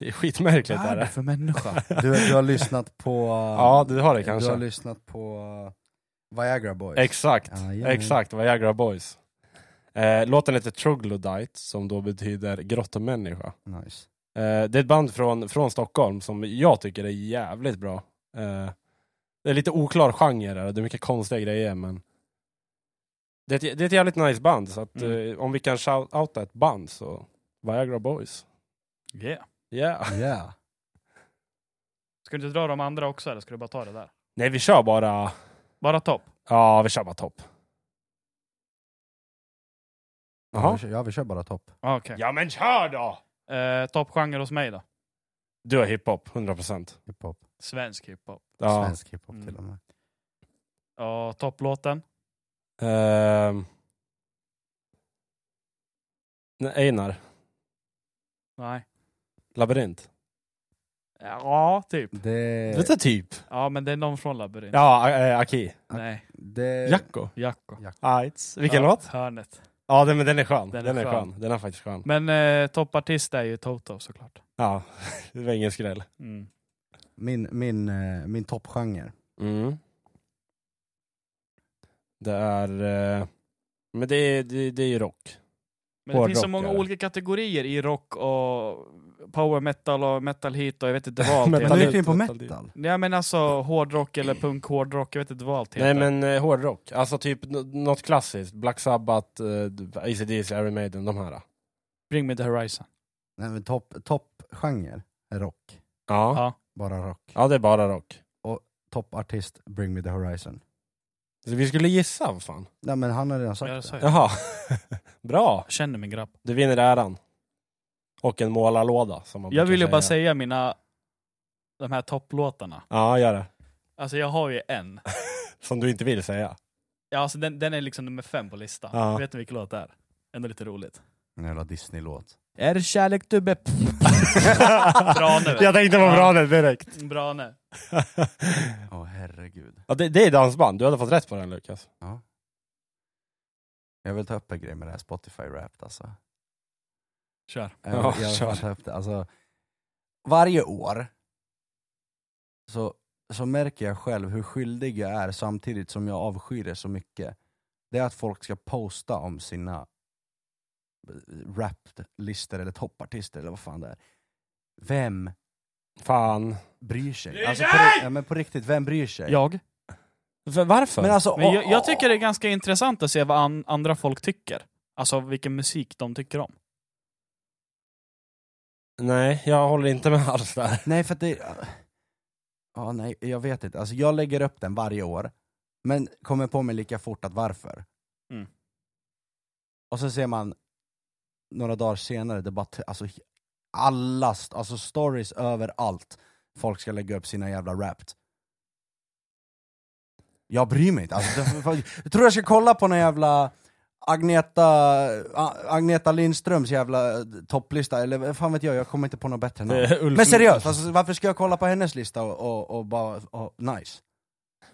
[SPEAKER 1] Det är skitmärkligt.
[SPEAKER 4] Vad
[SPEAKER 1] Är
[SPEAKER 4] är det
[SPEAKER 1] det.
[SPEAKER 4] för människa?
[SPEAKER 2] Du, du har lyssnat på...
[SPEAKER 1] [LAUGHS]
[SPEAKER 2] eh,
[SPEAKER 1] Ja, du har det
[SPEAKER 2] Du
[SPEAKER 1] kanske.
[SPEAKER 2] har lyssnat på uh, Viagra Boys? Ah,
[SPEAKER 1] Exakt,
[SPEAKER 2] Jajamän.
[SPEAKER 1] exakt. Viagra Boys. Eh, låten heter Troglodyte, som då betyder grottomänniska.
[SPEAKER 2] Nice.
[SPEAKER 1] Eh, det är ett band från, från Stockholm som jag tycker är jävligt bra. Eh, det är lite oklar genre där och det är mycket konstiga grejer men det är ett, det är ett jävligt nice band så att
[SPEAKER 4] Mm.
[SPEAKER 1] eh, om vi kan shout-outa ett band så Viagra Boys.
[SPEAKER 4] [LAUGHS] Yeah.
[SPEAKER 1] Yeah. [LAUGHS]
[SPEAKER 2] Yeah.
[SPEAKER 4] Ska du inte dra de andra också, eller ska du bara ta det där?
[SPEAKER 1] Nej vi kör bara,
[SPEAKER 4] Bara topp.
[SPEAKER 1] ja vi kör bara topp.
[SPEAKER 2] Ja, vi
[SPEAKER 1] Jaha.
[SPEAKER 2] kör, ja, vi kör bara topp.
[SPEAKER 4] Ah, Okej.
[SPEAKER 1] Ja men kör då!
[SPEAKER 4] Eh, Toppgenre hos mig då?
[SPEAKER 1] Du har hiphop, 100%.
[SPEAKER 2] Hiphop.
[SPEAKER 4] Svensk hiphop.
[SPEAKER 1] Ja.
[SPEAKER 2] Svensk hiphop
[SPEAKER 4] Mm.
[SPEAKER 2] till och med.
[SPEAKER 4] Ja, topplåten.
[SPEAKER 1] Ehm. Nej, Einar,
[SPEAKER 4] Nej.
[SPEAKER 1] labyrint.
[SPEAKER 4] Ja, typ.
[SPEAKER 2] Det...
[SPEAKER 1] Lite typ.
[SPEAKER 4] Ja, men det är någon från Labyrint.
[SPEAKER 1] Ja, äh, Aki.
[SPEAKER 4] Nej,
[SPEAKER 2] det...
[SPEAKER 1] Eh, Jacko.
[SPEAKER 4] Jacko.
[SPEAKER 1] Ajts. Vilken
[SPEAKER 4] ja,
[SPEAKER 1] låt?
[SPEAKER 4] Hörnet.
[SPEAKER 1] Ja, den, men den är skön.
[SPEAKER 4] Den
[SPEAKER 1] Den,
[SPEAKER 4] är
[SPEAKER 1] är
[SPEAKER 4] skön.
[SPEAKER 1] skön. Den är faktiskt skön.
[SPEAKER 4] Men eh, toppartist är ju Toto såklart.
[SPEAKER 1] Ja, [LAUGHS] det var ingen skräll.
[SPEAKER 4] Mm.
[SPEAKER 2] Min, min, eh, min toppgenre.
[SPEAKER 1] Mm. Det är... eh, Men det är, det, det är ju rock.
[SPEAKER 4] Men det finns så
[SPEAKER 1] Hårdrock,
[SPEAKER 4] många
[SPEAKER 1] ja.
[SPEAKER 4] olika kategorier i rock och power metal och metal hit och jag vet inte vad allt
[SPEAKER 1] Metal
[SPEAKER 2] Men nu
[SPEAKER 4] heter.
[SPEAKER 2] gick vi in på
[SPEAKER 1] metal.
[SPEAKER 2] metal.
[SPEAKER 4] Nej men alltså hårdrock eller punk hårdrock, jag vet inte vad allt heter.
[SPEAKER 1] Nej men eh, hårdrock. Alltså typ n- något klassiskt. Black Sabbath, eh, AC/DC, Iron Maiden, de här.
[SPEAKER 4] Bring me the horizon.
[SPEAKER 2] Nej, men topp, toppgenre är rock.
[SPEAKER 1] Ja.
[SPEAKER 4] Ja.
[SPEAKER 2] Bara rock.
[SPEAKER 1] ja, det är bara rock.
[SPEAKER 2] toppartist Bring Me The Horizon.
[SPEAKER 1] Så vi skulle gissa vad fan.
[SPEAKER 2] Nej men han har redan
[SPEAKER 3] Jag
[SPEAKER 2] sagt
[SPEAKER 3] sa
[SPEAKER 2] det.
[SPEAKER 3] ju-
[SPEAKER 1] Jaha. [LAUGHS] Bra.
[SPEAKER 3] jag känner min grabb.
[SPEAKER 1] Du vinner äran. Och en målarlåda som man
[SPEAKER 3] Jag
[SPEAKER 1] brukar
[SPEAKER 3] vill ju bara säga mina, de här topplåtarna.
[SPEAKER 1] Ja, gör det.
[SPEAKER 3] Alltså jag har ju en.
[SPEAKER 1] Som du inte vill säga.
[SPEAKER 3] Ja, alltså den, den är liksom nummer fem på listan.
[SPEAKER 1] Ja.
[SPEAKER 3] Vet ni vilken låt det är? Ändå lite roligt.
[SPEAKER 2] En jävla [GASPS] Disney-låt.
[SPEAKER 5] Är det kärlek du be...
[SPEAKER 3] [LAUGHS] Bra nu.
[SPEAKER 1] Jag tänkte på
[SPEAKER 3] Ja. Mm,
[SPEAKER 1] bra nu direkt.
[SPEAKER 3] Bra nu.
[SPEAKER 2] Åh herregud.
[SPEAKER 1] Ja, det, det är dansband. Du hade fått rätt på den Lukas.
[SPEAKER 2] Jag vill ta upp en grej med det här Spotify-Wrapped alltså.
[SPEAKER 3] Kör.
[SPEAKER 2] Jag,
[SPEAKER 1] Ja,
[SPEAKER 2] jag
[SPEAKER 1] kör.
[SPEAKER 2] får ta upp det. Alltså, varje år så, så märker jag själv hur skyldig jag är samtidigt som jag avskyr det så mycket. Det är att folk ska posta om sina rap-listor eller toppartister eller vad fan det är. Vem
[SPEAKER 1] Fan.
[SPEAKER 2] bryr sig?
[SPEAKER 3] Bryr
[SPEAKER 2] Alltså, på, ri- ja, men på riktigt, vem bryr sig?
[SPEAKER 3] Jag.
[SPEAKER 1] V- varför?
[SPEAKER 2] Men alltså,
[SPEAKER 3] Men jag, jag tycker det är ganska intressant att se vad an, andra folk tycker. Alltså vilken musik de tycker om.
[SPEAKER 1] Nej, jag håller inte med alls där.
[SPEAKER 2] [LAUGHS] Nej, för att det... Ja, nej, jag vet inte. Alltså, jag lägger upp den varje år, men kommer på mig lika fort att varför.
[SPEAKER 3] Mm.
[SPEAKER 2] Och så ser man några dagar senare, det bara, t- alltså alla, st- alltså stories överallt. Folk ska lägga upp sina jävla rapt. Jag bryr mig inte. Alltså, det, [LAUGHS] jag tror jag ska kolla på någon jävla Agneta, A- Agneta Lindströms jävla topplista, eller vad fan vet jag, jag kommer inte på något bättre namn.
[SPEAKER 1] Ulf-
[SPEAKER 2] Men seriöst, alltså, varför ska jag kolla på hennes lista och, och, och bara, och, nice?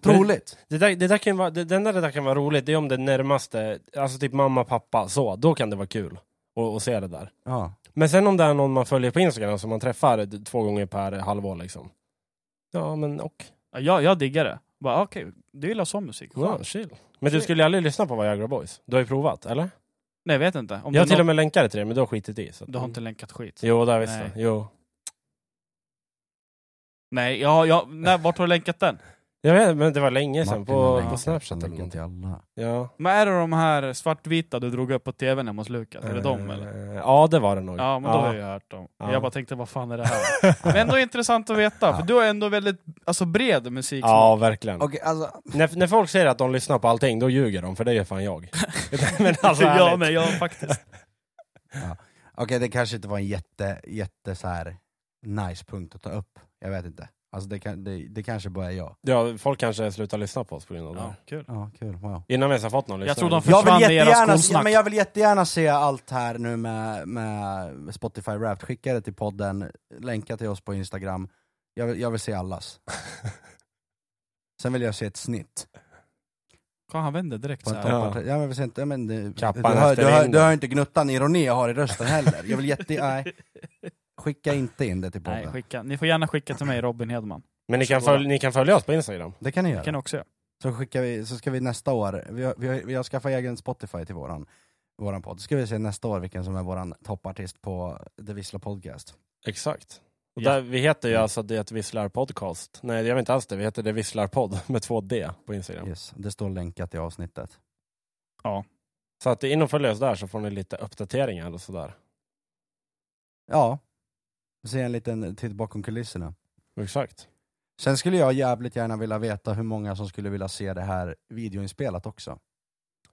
[SPEAKER 1] Men-
[SPEAKER 2] Troligt!
[SPEAKER 1] Det där, det där kan ju vara, det, den där, det där kan vara roligt, det är om det närmaste, alltså typ mamma, pappa, så. Då kan det vara kul att att se det där.
[SPEAKER 2] Ja.
[SPEAKER 1] Men sen om det är någon man följer på Instagram som man träffar d- två gånger per halvår liksom. Ja, men och.
[SPEAKER 3] Ja, Jag, jag diggar det. Bara ah, okej, du gillar sån musik.
[SPEAKER 1] Ja,
[SPEAKER 3] Skönt.
[SPEAKER 1] chill. Men du skulle ju aldrig lyssna på Viagra Boys? Du har ju provat, eller?
[SPEAKER 3] Nej, jag vet inte. Om
[SPEAKER 1] jag har
[SPEAKER 3] det är
[SPEAKER 1] till och
[SPEAKER 3] något-
[SPEAKER 1] med länkat det till dig, men du har skitit i. Så. att-
[SPEAKER 3] Du har inte länkat skit.
[SPEAKER 1] Jo, där visst
[SPEAKER 3] Nej.
[SPEAKER 1] det. Jo.
[SPEAKER 3] Nej, jag, jag, när, vart har du länkat den?
[SPEAKER 1] Jag vet, men det var länge sedan
[SPEAKER 2] har
[SPEAKER 1] på,
[SPEAKER 2] länkat,
[SPEAKER 1] på
[SPEAKER 2] han
[SPEAKER 1] Snapchat eller
[SPEAKER 2] lägger
[SPEAKER 1] någonting.
[SPEAKER 2] till alla.
[SPEAKER 1] Ja.
[SPEAKER 3] Men är det de här svartvita du drog upp på tvn hemma hos Lukas? Är det de eller?
[SPEAKER 1] Eh, Ja, det var det nog.
[SPEAKER 3] Ja, men då har jag ju hört dem.
[SPEAKER 1] Ja.
[SPEAKER 3] Jag bara tänkte, vad fan är
[SPEAKER 1] [LAUGHS]
[SPEAKER 3] det här? Men ändå intressant att veta, för du har ändå väldigt alltså, bred musik. [LAUGHS]
[SPEAKER 1] Ja, verkligen.
[SPEAKER 2] Okej, alltså,
[SPEAKER 1] När, när folk säger att de lyssnar på allting, då ljuger de, för det gör fan
[SPEAKER 3] [LAUGHS]
[SPEAKER 1] jag. [LAUGHS] men alltså,
[SPEAKER 3] ja,
[SPEAKER 1] ärligt.
[SPEAKER 3] men
[SPEAKER 1] [LAUGHS]
[SPEAKER 3] jag faktiskt.
[SPEAKER 2] okej, det kanske inte var en jätte, jätte så här nice punkt att ta upp. Jag vet inte. Alltså det, kan, det, det kanske bara är jag.
[SPEAKER 1] Ja, folk kanske slutar lyssna på oss på grund av det.
[SPEAKER 3] Ja,
[SPEAKER 1] här.
[SPEAKER 3] kul.
[SPEAKER 2] Ja, kul. Wow.
[SPEAKER 1] Innan vi ens har fått någon
[SPEAKER 3] Jag
[SPEAKER 1] lyssnare.
[SPEAKER 3] tror de
[SPEAKER 2] Jag, vill
[SPEAKER 3] försvann i era
[SPEAKER 2] jättegärna, ja,
[SPEAKER 3] skolsnack.
[SPEAKER 2] men jag vill jättegärna se allt här nu med, med Spotify Wrapped. Skicka det till podden, länka till oss på Instagram. Jag vill, jag vill se allas. Sen vill jag se ett snitt.
[SPEAKER 3] Fan, han vände direkt
[SPEAKER 2] På
[SPEAKER 3] så
[SPEAKER 2] en
[SPEAKER 3] här.
[SPEAKER 1] Ja.
[SPEAKER 2] toppartist. ja. men vi ser inte, ja, men du, du,
[SPEAKER 1] Kappan
[SPEAKER 2] hör,
[SPEAKER 1] efter
[SPEAKER 2] du, hör,
[SPEAKER 1] vinden.
[SPEAKER 2] du hör inte gnuttan ironi jag har i rösten heller. Jag vill
[SPEAKER 3] [LAUGHS]
[SPEAKER 2] jätte... Nej. Skicka inte in det till podden.
[SPEAKER 3] Nej, skicka. Ni får gärna skicka till mig, Robin Hedman.
[SPEAKER 1] [LAUGHS] Men ni kan, följ, ni kan följa oss på Instagram.
[SPEAKER 2] det kan ni
[SPEAKER 3] Det
[SPEAKER 2] göra.
[SPEAKER 3] kan jag också göra.
[SPEAKER 2] Så, skickar vi, så ska vi nästa år, vi har, vi har, vi har skaffat egen Spotify till våran, våran podd, så ska vi se nästa år vilken som är våran toppartist på The Vissla Podcast.
[SPEAKER 1] Exakt. Och
[SPEAKER 3] Ja.
[SPEAKER 1] där, vi heter
[SPEAKER 2] Mm.
[SPEAKER 1] ju alltså Det Visslar Podcast. Nej, det gör vi inte alls det. Vi heter Det Visslar Podd [LAUGHS] med två D på Instagram.
[SPEAKER 2] Yes, det står länkat i avsnittet.
[SPEAKER 1] Så att in och följ oss där så får ni lite uppdateringar och sådär.
[SPEAKER 2] Ja, se en liten titt bakom kulisserna.
[SPEAKER 1] Exakt.
[SPEAKER 2] Sen skulle jag jävligt gärna vilja veta hur många som skulle vilja se det här videoinspelat också.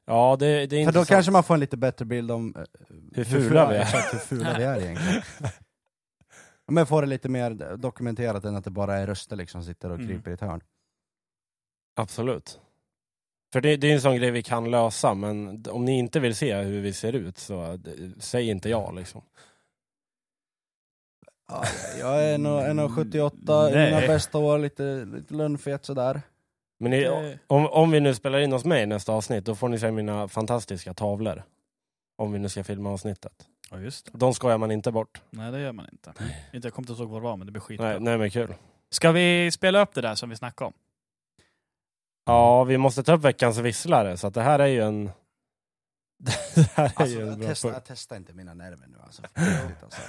[SPEAKER 1] Ja, det, det är
[SPEAKER 2] För då
[SPEAKER 1] intressant.
[SPEAKER 2] kanske man får en lite bättre bild om eh,
[SPEAKER 1] Hur fula vi är.
[SPEAKER 2] exakt, hur fula vi är egentligen. [LAUGHS] Men får det lite mer dokumenterat än att det bara är röster liksom sitter och
[SPEAKER 3] Mm.
[SPEAKER 2] kryper i ett hörn.
[SPEAKER 1] Absolut. För det, det är en sån grej vi kan lösa, men om ni inte vill se hur vi ser ut så eh, säg inte ja liksom.
[SPEAKER 2] Ja, jag är nog 1,78, i
[SPEAKER 3] Nej.
[SPEAKER 2] mina bästa år, lite, lite lönnfet sådär.
[SPEAKER 1] Men ni,
[SPEAKER 3] Det-
[SPEAKER 1] om, om vi nu spelar in oss med i nästa avsnitt, då får ni se mina fantastiska tavlor. Om vi nu ska filma avsnittet.
[SPEAKER 3] Ja, just det.
[SPEAKER 1] De skojar man inte bort.
[SPEAKER 3] Nej, det gör man inte. Inte jag kommer inte ihåg vad det var, men det blir skit.
[SPEAKER 1] Nej, nej men kul.
[SPEAKER 3] Ska vi spela upp det där som vi snackade om?
[SPEAKER 1] Ja, vi måste ta upp veckans visslare, så att det här är ju en... [LAUGHS] det här är
[SPEAKER 2] Alltså,
[SPEAKER 1] ju en
[SPEAKER 2] jag,
[SPEAKER 1] bra
[SPEAKER 2] testar,
[SPEAKER 1] punkt. [LAUGHS]
[SPEAKER 2] jag testar inte mina nerver nu [LAUGHS] alltså. För riktigt, alltså.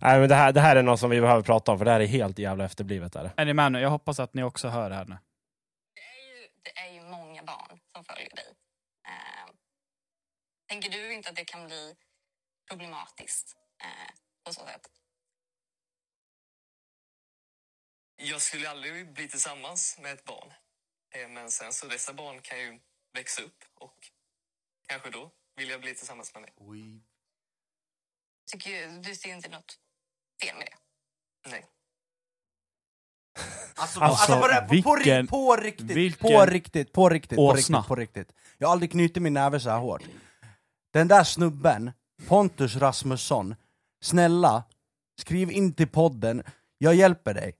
[SPEAKER 1] Nej, men det här, det här är något som vi behöver prata om, för det här är helt jävla efterblivet. Där.
[SPEAKER 3] Är ni med nu? Jag hoppas att ni också hör det här nu.
[SPEAKER 6] Det är ju, det är ju många barn som följer dig. Eh, tänker du inte att det kan bli problematiskt eh, på så sätt?
[SPEAKER 7] Jag skulle aldrig bli tillsammans med ett barn. Eh, Men sen så dessa barn kan ju växa upp och kanske då vill jag bli tillsammans med dig.
[SPEAKER 2] Oj.
[SPEAKER 6] Tycker ju, du ser inte något fel med det.
[SPEAKER 7] Nej.
[SPEAKER 2] Alltså,
[SPEAKER 3] Alltså,
[SPEAKER 2] alltså, på, det- på, på,
[SPEAKER 3] vilken-
[SPEAKER 2] ri- på riktigt, på
[SPEAKER 3] vilken
[SPEAKER 2] riktigt, på riktigt, på
[SPEAKER 3] åsna.
[SPEAKER 2] riktigt, på riktigt. Jag har aldrig knutit min näve så här hårt. Den där snubben, Pontus Rasmusson, snälla, skriv in till podden, jag hjälper dig.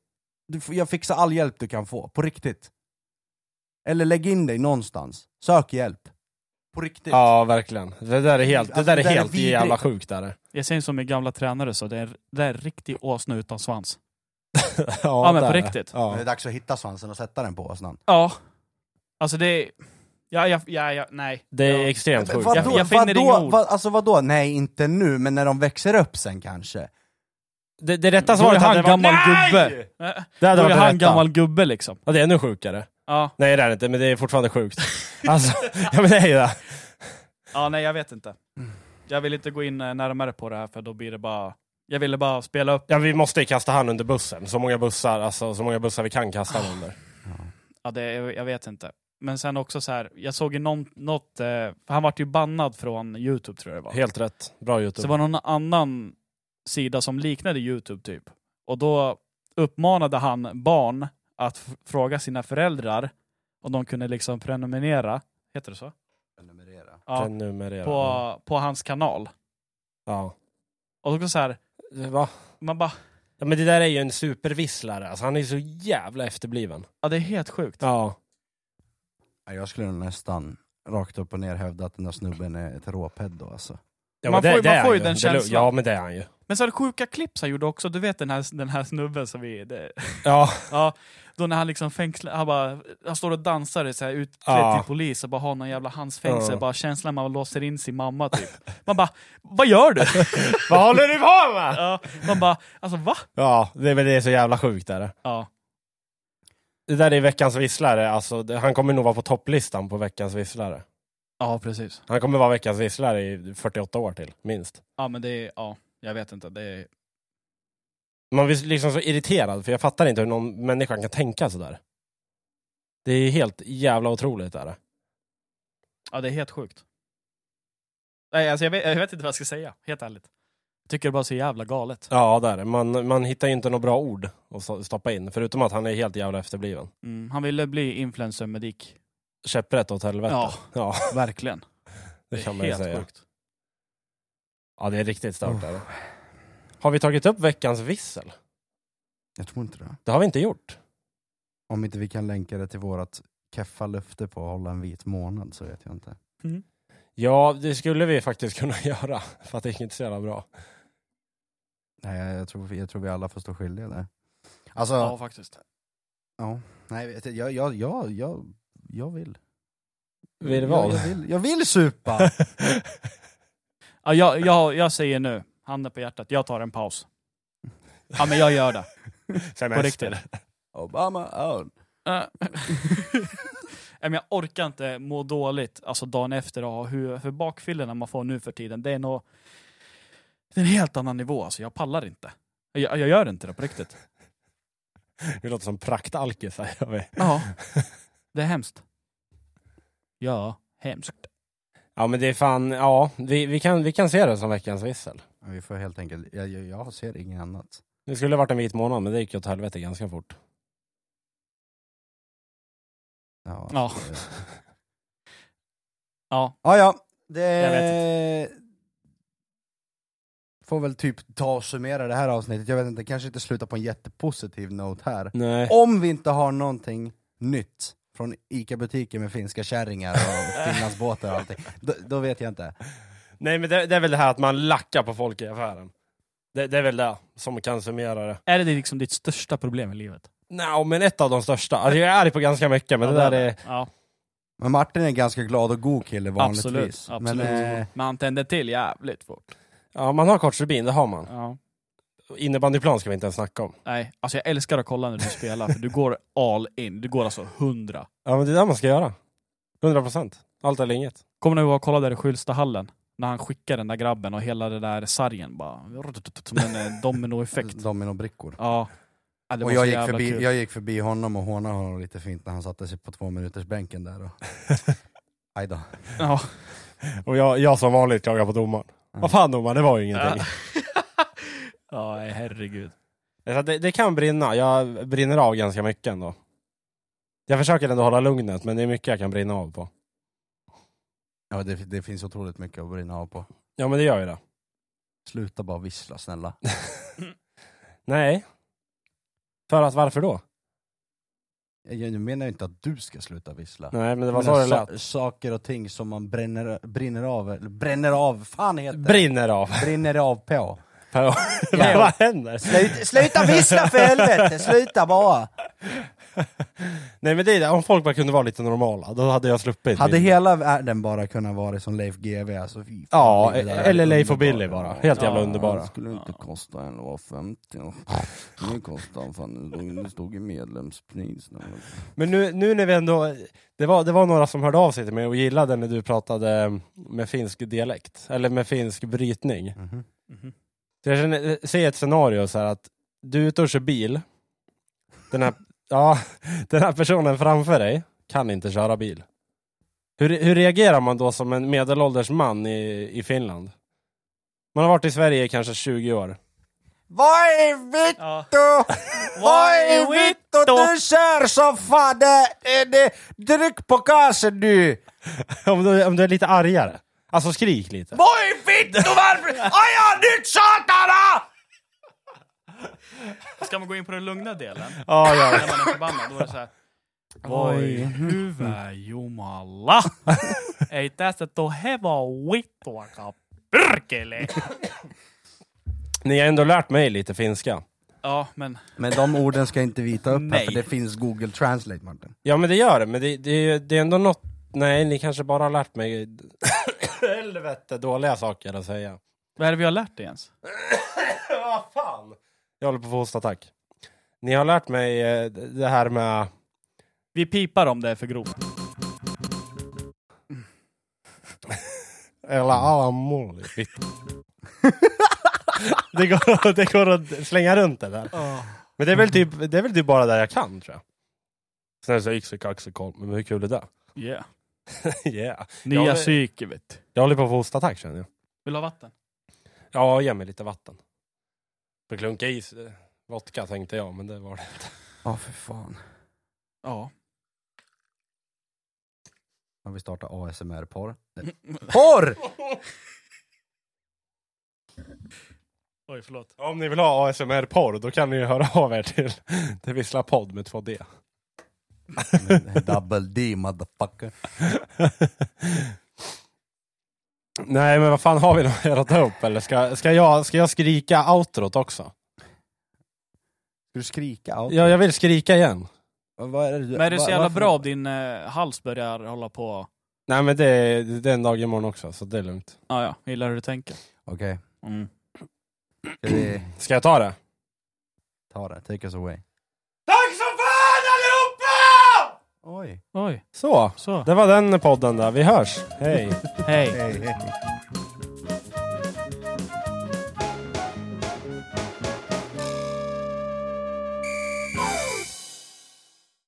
[SPEAKER 2] Du, får- jag fixar all hjälp du kan få, på riktigt. Eller lägg in dig någonstans, sök hjälp. På riktigt.
[SPEAKER 1] Ja, verkligen. Det där är helt,
[SPEAKER 2] Alltså,
[SPEAKER 1] det där är
[SPEAKER 2] det där är
[SPEAKER 1] helt
[SPEAKER 2] vidrigt.
[SPEAKER 1] jävla sjukt. Där.
[SPEAKER 3] Jag säger som min gamla tränare så, det är, det är en riktig åsna utan svans.
[SPEAKER 1] ja,
[SPEAKER 3] Ja, men på
[SPEAKER 1] där.
[SPEAKER 3] riktigt.
[SPEAKER 1] Ja.
[SPEAKER 2] Men det är dags att hitta svansen och sätta den på åsnan.
[SPEAKER 3] Ja. Alltså det är... Ja, ja, ja, ja nej.
[SPEAKER 1] Det är
[SPEAKER 3] Ja.
[SPEAKER 1] extremt sjukt.
[SPEAKER 2] Vadå,
[SPEAKER 3] Jag- jag finner
[SPEAKER 2] vadå,
[SPEAKER 3] inga ord.
[SPEAKER 2] vad, alltså vadå, nej inte nu, men när de växer upp sen kanske.
[SPEAKER 1] Det, det rätta
[SPEAKER 3] Då är
[SPEAKER 1] svaret
[SPEAKER 3] han
[SPEAKER 1] hade varit...
[SPEAKER 3] gammal gubbe.
[SPEAKER 1] Nej!
[SPEAKER 3] Äh,
[SPEAKER 1] Det
[SPEAKER 3] Då
[SPEAKER 1] hade
[SPEAKER 3] är
[SPEAKER 1] varit
[SPEAKER 3] han
[SPEAKER 1] det rätta.
[SPEAKER 3] gammal gubbe liksom.
[SPEAKER 1] Ja, det är ännu sjukare.
[SPEAKER 3] Ja.
[SPEAKER 1] Nej, det är det inte, men det är fortfarande
[SPEAKER 3] [LAUGHS]
[SPEAKER 1] sjukt. Alltså, ja men det är ju det.
[SPEAKER 3] ja, nej jag vet inte. Jag vill inte gå in eh, närmare på det här för då blir det bara... Jag ville bara spela upp
[SPEAKER 1] Ja, vi måste ju kasta han under bussen. Så många bussar, alltså, så många bussar vi kan kasta han under.
[SPEAKER 3] Ja, det, jag vet inte. Men sen också så här, jag såg ju någon, något, eh, för han vart ju bannad från Youtube tror jag det var.
[SPEAKER 1] Helt rätt. Bra
[SPEAKER 3] Ah. Så det
[SPEAKER 1] Youtube.
[SPEAKER 3] var någon annan sida som liknade Youtube typ. Och då uppmanade han barn att f- fråga sina föräldrar om de kunde liksom prenumerera, heter det så? Ja,
[SPEAKER 1] Prenumerera.
[SPEAKER 3] på, på hans kanal.
[SPEAKER 1] Ja.
[SPEAKER 3] Och då så här,
[SPEAKER 1] Va?
[SPEAKER 3] man bara,
[SPEAKER 1] Ja, men det där är ju en supervisslare. Alltså, han är så jävla efterbliven.
[SPEAKER 3] ja det är helt sjukt.
[SPEAKER 1] Ja.
[SPEAKER 2] Ja, Jag skulle nog nästan rakt upp och ner hävda att den där snubben är ett råpeddo alltså.
[SPEAKER 1] Ja,
[SPEAKER 3] Man
[SPEAKER 1] men
[SPEAKER 3] får ju- man
[SPEAKER 1] är han
[SPEAKER 3] får ju
[SPEAKER 1] ju. Det
[SPEAKER 3] den
[SPEAKER 1] lu-
[SPEAKER 3] känslan.
[SPEAKER 1] Ja, men det är han ju.
[SPEAKER 3] Men så här sjuka klipps han gjorde också, du vet den här, den här snubben som vi, det,
[SPEAKER 1] Ja,
[SPEAKER 3] Ja, då när han liksom fängslar, han bara, han står och dansar så här utklädd
[SPEAKER 1] Ja.
[SPEAKER 3] till polis och bara har någon jävla handfängsel,
[SPEAKER 1] Ja.
[SPEAKER 3] bara känslan man låser in sin mamma typ. Man bara, vad gör du?
[SPEAKER 1] [LAUGHS] vad håller du på med?
[SPEAKER 3] ja, man bara, alltså va?
[SPEAKER 1] Ja, det är väl det är så jävla sjukt. Där.
[SPEAKER 3] Ja,
[SPEAKER 1] Det där är veckans visslare. Alltså, det, han kommer nog vara på topplistan på veckans visslare.
[SPEAKER 3] ja precis.
[SPEAKER 1] Han kommer vara veckans visslare i 48 år till, minst.
[SPEAKER 3] Ja men det är, ja, jag vet inte, det är,
[SPEAKER 1] Man blir liksom så irriterad, för jag fattar inte hur någon människa kan tänka sådär. Det är helt jävla otroligt. Där.
[SPEAKER 3] ja, det är helt sjukt. Nej alltså jag vet, jag vet inte vad jag ska säga, helt ärligt. Jag tycker det bara är så jävla galet.
[SPEAKER 1] Ja, där. Man, man hittar ju inte några bra ord att so- stoppa in, förutom att han är helt jävla efterbliven.
[SPEAKER 3] Mm, han ville bli influencer
[SPEAKER 1] [LAUGHS]
[SPEAKER 3] med Dick.
[SPEAKER 1] Käpprätt åt helvete.
[SPEAKER 3] Ja.
[SPEAKER 1] ja [LAUGHS]
[SPEAKER 3] Verkligen.
[SPEAKER 1] det
[SPEAKER 3] är
[SPEAKER 1] kan man ju
[SPEAKER 3] helt
[SPEAKER 1] säga.
[SPEAKER 3] sjukt.
[SPEAKER 1] Ja, det är riktigt stört. där. Har vi tagit upp veckans vissel?
[SPEAKER 2] Jag tror inte det.
[SPEAKER 1] Det har vi inte gjort.
[SPEAKER 2] Om inte vi kan länka det till vårat keffa löfte på att hålla en vit månad så vet jag inte.
[SPEAKER 3] Mm.
[SPEAKER 1] Ja, det skulle vi faktiskt [LAUGHS] kunna göra, för att det gick inte så jävla bra.
[SPEAKER 2] Nej, jag, jag, tror, jag tror vi alla får stå skyldiga där. Alltså,
[SPEAKER 3] Ja faktiskt.
[SPEAKER 2] ja. Nej, vet du, jag, jag, jag, jag, jag vill.
[SPEAKER 1] Vill
[SPEAKER 2] jag,
[SPEAKER 1] vad? [LAUGHS]
[SPEAKER 2] jag vill. Jag vill supa! [LAUGHS]
[SPEAKER 3] Ja, jag, jag, jag säger nu, handen på hjärtat, jag tar en paus. Ja men jag gör det, på riktigt.
[SPEAKER 2] Obama out.
[SPEAKER 3] Äh. [LAUGHS] Nej, men jag orkar inte må dåligt alltså dagen efter och ha hur, för bakfyllorna man får nu för tiden, det är nog det är en helt annan nivå alltså, jag pallar inte. Jag, jag gör inte det på riktigt.
[SPEAKER 1] Vi låter som praktalkisar. gör vi.
[SPEAKER 3] Ja, [LAUGHS] det är hemskt. Ja, hemskt.
[SPEAKER 1] Ja, men det är fan, ja, vi, vi, kan, vi kan se det som veckans vissel.
[SPEAKER 2] Vi får helt enkelt, jag, jag, jag ser inget annat.
[SPEAKER 1] Det skulle ha varit en vit månad, men det gick ju åt helvete ganska fort.
[SPEAKER 2] Ja,
[SPEAKER 3] Ja.
[SPEAKER 2] alltså, det-
[SPEAKER 3] Ja,
[SPEAKER 2] Ja, ja.
[SPEAKER 3] Jag
[SPEAKER 2] Det... Får väl typ ta och summera det här avsnittet, jag vet inte, kanske inte sluta på en jättepositiv note här.
[SPEAKER 1] Nej.
[SPEAKER 2] Om vi inte har någonting nytt från ICA-butiken med finska kärringar
[SPEAKER 3] [LAUGHS]
[SPEAKER 2] och finlandsbåtar och allting, då, då vet jag inte.
[SPEAKER 1] Nej, men det, det är väl det här att man lackar på folk i affären. Det, det är väl det som kan summera det.
[SPEAKER 3] är det liksom ditt största problem i livet?
[SPEAKER 1] Nej, men ett av de största. Alltså, jag är arg på ganska mycket, men
[SPEAKER 3] Ja,
[SPEAKER 1] det där är...
[SPEAKER 3] Ja,
[SPEAKER 2] Men Martin är en ganska glad och god kille vanligtvis.
[SPEAKER 3] absolut. absolut.
[SPEAKER 2] Men, eh,
[SPEAKER 3] Men han tänder till jävligt fort.
[SPEAKER 1] Ja, man har kort rubin, det har man.
[SPEAKER 3] Ja.
[SPEAKER 1] Innebandyplan ska vi inte ens snacka om.
[SPEAKER 3] Nej, alltså jag älskar att kolla när du spelar, för du går all in. Du går alltså 100.
[SPEAKER 1] Ja, men det är det man ska göra. 100 procent. Allt eller inget.
[SPEAKER 3] Kommer du ihåg att kolla där i Skylstahallen? När han skickar den där
[SPEAKER 2] [LAUGHS]
[SPEAKER 3] grabben och hela den där sargen bara... Som en eh, dominoeffekt.
[SPEAKER 2] dominobrickor.
[SPEAKER 3] Ja. Ja, det var
[SPEAKER 2] Och
[SPEAKER 3] så
[SPEAKER 2] jag gick,
[SPEAKER 3] jävla
[SPEAKER 2] förbi,
[SPEAKER 3] kul.
[SPEAKER 2] jag gick förbi honom och hånade honom lite fint när han satte sig på två minuters bänken där. Och...
[SPEAKER 3] [LAUGHS]
[SPEAKER 2] Aj då.
[SPEAKER 3] Ja.
[SPEAKER 1] Och jag, jag som vanligt klagar på domaren. Vad fan domaren, det var ju ingenting.
[SPEAKER 3] [LAUGHS] ja, herregud.
[SPEAKER 1] Så att Det, det kan brinna. Jag brinner av ganska mycket ändå. Jag försöker ändå hålla lugnet, men det är mycket jag kan brinna av på.
[SPEAKER 2] Ja, det, det finns otroligt mycket att brinna av på.
[SPEAKER 1] Ja, men det gör ju det.
[SPEAKER 2] Sluta bara vissla snälla.
[SPEAKER 1] Nej. För att varför då?
[SPEAKER 2] Jag, jag menar ju inte att du ska sluta vissla.
[SPEAKER 1] Nej, men alltså, det
[SPEAKER 2] Jag
[SPEAKER 1] var så
[SPEAKER 2] menar
[SPEAKER 1] det lät.
[SPEAKER 2] sa- Saker och ting som man bränner, brinner av, eller bränner av, fan heter det?
[SPEAKER 1] Brinner av. [LAUGHS]
[SPEAKER 2] Brinner av på.
[SPEAKER 1] Per-
[SPEAKER 2] Ja.
[SPEAKER 1] [LAUGHS] Vad händer?
[SPEAKER 2] Sluta, sluta vissla för helvete, sluta bara!
[SPEAKER 1] Nej men det är det, om folk bara kunde vara lite normala, då hade jag sluppit.
[SPEAKER 2] Hade
[SPEAKER 1] min-
[SPEAKER 2] hela världen bara kunnat vara som Leif GW, alltså fy fan,
[SPEAKER 1] Ja, e-
[SPEAKER 2] det där är
[SPEAKER 1] eller Leif och
[SPEAKER 2] underbart.
[SPEAKER 1] Billy bara. Helt jävla
[SPEAKER 3] Ja,
[SPEAKER 1] underbara.
[SPEAKER 8] skulle inte kosta 11,50. Nu kostar han fan, det stod- det stod ju medlemspris. när man-
[SPEAKER 1] Men nu, nu när vi ändå, det var, det var några som hörde av sig till mig och gillade när du pratade med finsk dialekt, eller med finsk brytning.
[SPEAKER 2] Mhm.
[SPEAKER 1] Så jag känner, se ett scenario så här att du är ute och kör bil, den här, ja, den här personen framför dig kan inte köra bil. Hur, hur reagerar man då som en medelålders man i, i Finland? Man har varit i Sverige i kanske 20 år. [LAUGHS]
[SPEAKER 2] Vad är vitto?
[SPEAKER 4] Ja.
[SPEAKER 2] Vad är vitto? Du kör som fan! Det, det, det, tryck på gasen du!
[SPEAKER 1] Om du, om du är lite argare. Alltså skrik lite.
[SPEAKER 2] Vad är vitto? Varför? Aja, nytt satana!
[SPEAKER 4] Ska man gå in på den lugna delen?
[SPEAKER 1] Ja, ja.
[SPEAKER 4] När man är förbannad, då är det såhär... Voi hyvä jumala! Ei tästä tuu hevon vittuakaan pyrkele!
[SPEAKER 1] Ni har ändå lärt mig lite finska.
[SPEAKER 4] Ja, men...
[SPEAKER 2] Men de orden ska inte vi ta upp här,
[SPEAKER 4] Nej.
[SPEAKER 2] för det finns Google Translate Martin.
[SPEAKER 1] Ja, men det gör det. Men det, det, är ju- det är ändå något... Nej, ni kanske bara har lärt [COUGHS] mig helvete dåliga saker att säga.
[SPEAKER 4] Vad är det vi har lärt dig ens?
[SPEAKER 1] [LAUGHS] Vad fan! Jag håller på att få hostattack. Ni har lärt mig eh, det här med...
[SPEAKER 4] Vi pipar om det är för grovt.
[SPEAKER 1] Eller alla mål. [LAUGHS] det, går, det går att slänga runt det där. Men det är väl typ, det är väl typ bara där jag kan, tror jag. Sen är det så här, yxig, axel, kolm. Men hur kul är det? [LAUGHS]
[SPEAKER 4] Yeah.
[SPEAKER 1] yeah.
[SPEAKER 4] Nya ja,
[SPEAKER 1] Ja, men-
[SPEAKER 4] psyke vet du.
[SPEAKER 1] Jag håller på att få hostattack känner jag.
[SPEAKER 4] Vill du ha vatten?
[SPEAKER 1] Ja, ge mig lite vatten. För klunka i eh, vodka tänkte jag, men det var det.
[SPEAKER 2] Ja, för fan.
[SPEAKER 4] Ja.
[SPEAKER 2] Har vi startat ASMR-porr? Porr!
[SPEAKER 4] Oj, förlåt.
[SPEAKER 1] Om ni vill ha ASMR-porr, då kan ni ju höra av er till, till Vissla podd med 2D.
[SPEAKER 2] Double D motherfucker.
[SPEAKER 1] Nej, men vad fan har vi något mer att ta upp? Eller ska, ska, jag, ska jag skrika outrot också?
[SPEAKER 2] Ska du skrika? Ja.
[SPEAKER 1] Ja, jag vill skrika igen.
[SPEAKER 2] Vad är det du,
[SPEAKER 4] Men är det
[SPEAKER 2] va-
[SPEAKER 4] så jävla
[SPEAKER 2] varför-
[SPEAKER 4] bra om din eh, hals börjar hålla på...
[SPEAKER 1] Nej, men det, är- det är en dag imorgon också, så det är lugnt.
[SPEAKER 4] Ah, ja, gillar hur du tänker.
[SPEAKER 2] Okej,
[SPEAKER 4] Mm.
[SPEAKER 2] ska vi
[SPEAKER 1] Ska jag ta det?
[SPEAKER 2] ta det? Take us away.
[SPEAKER 1] Tack så fan allihopa!
[SPEAKER 2] Oj.
[SPEAKER 4] Oj,
[SPEAKER 1] Så,
[SPEAKER 4] så.
[SPEAKER 1] det var den podden där. Vi hörs. Hej.
[SPEAKER 4] Hej.
[SPEAKER 2] Hej, hej.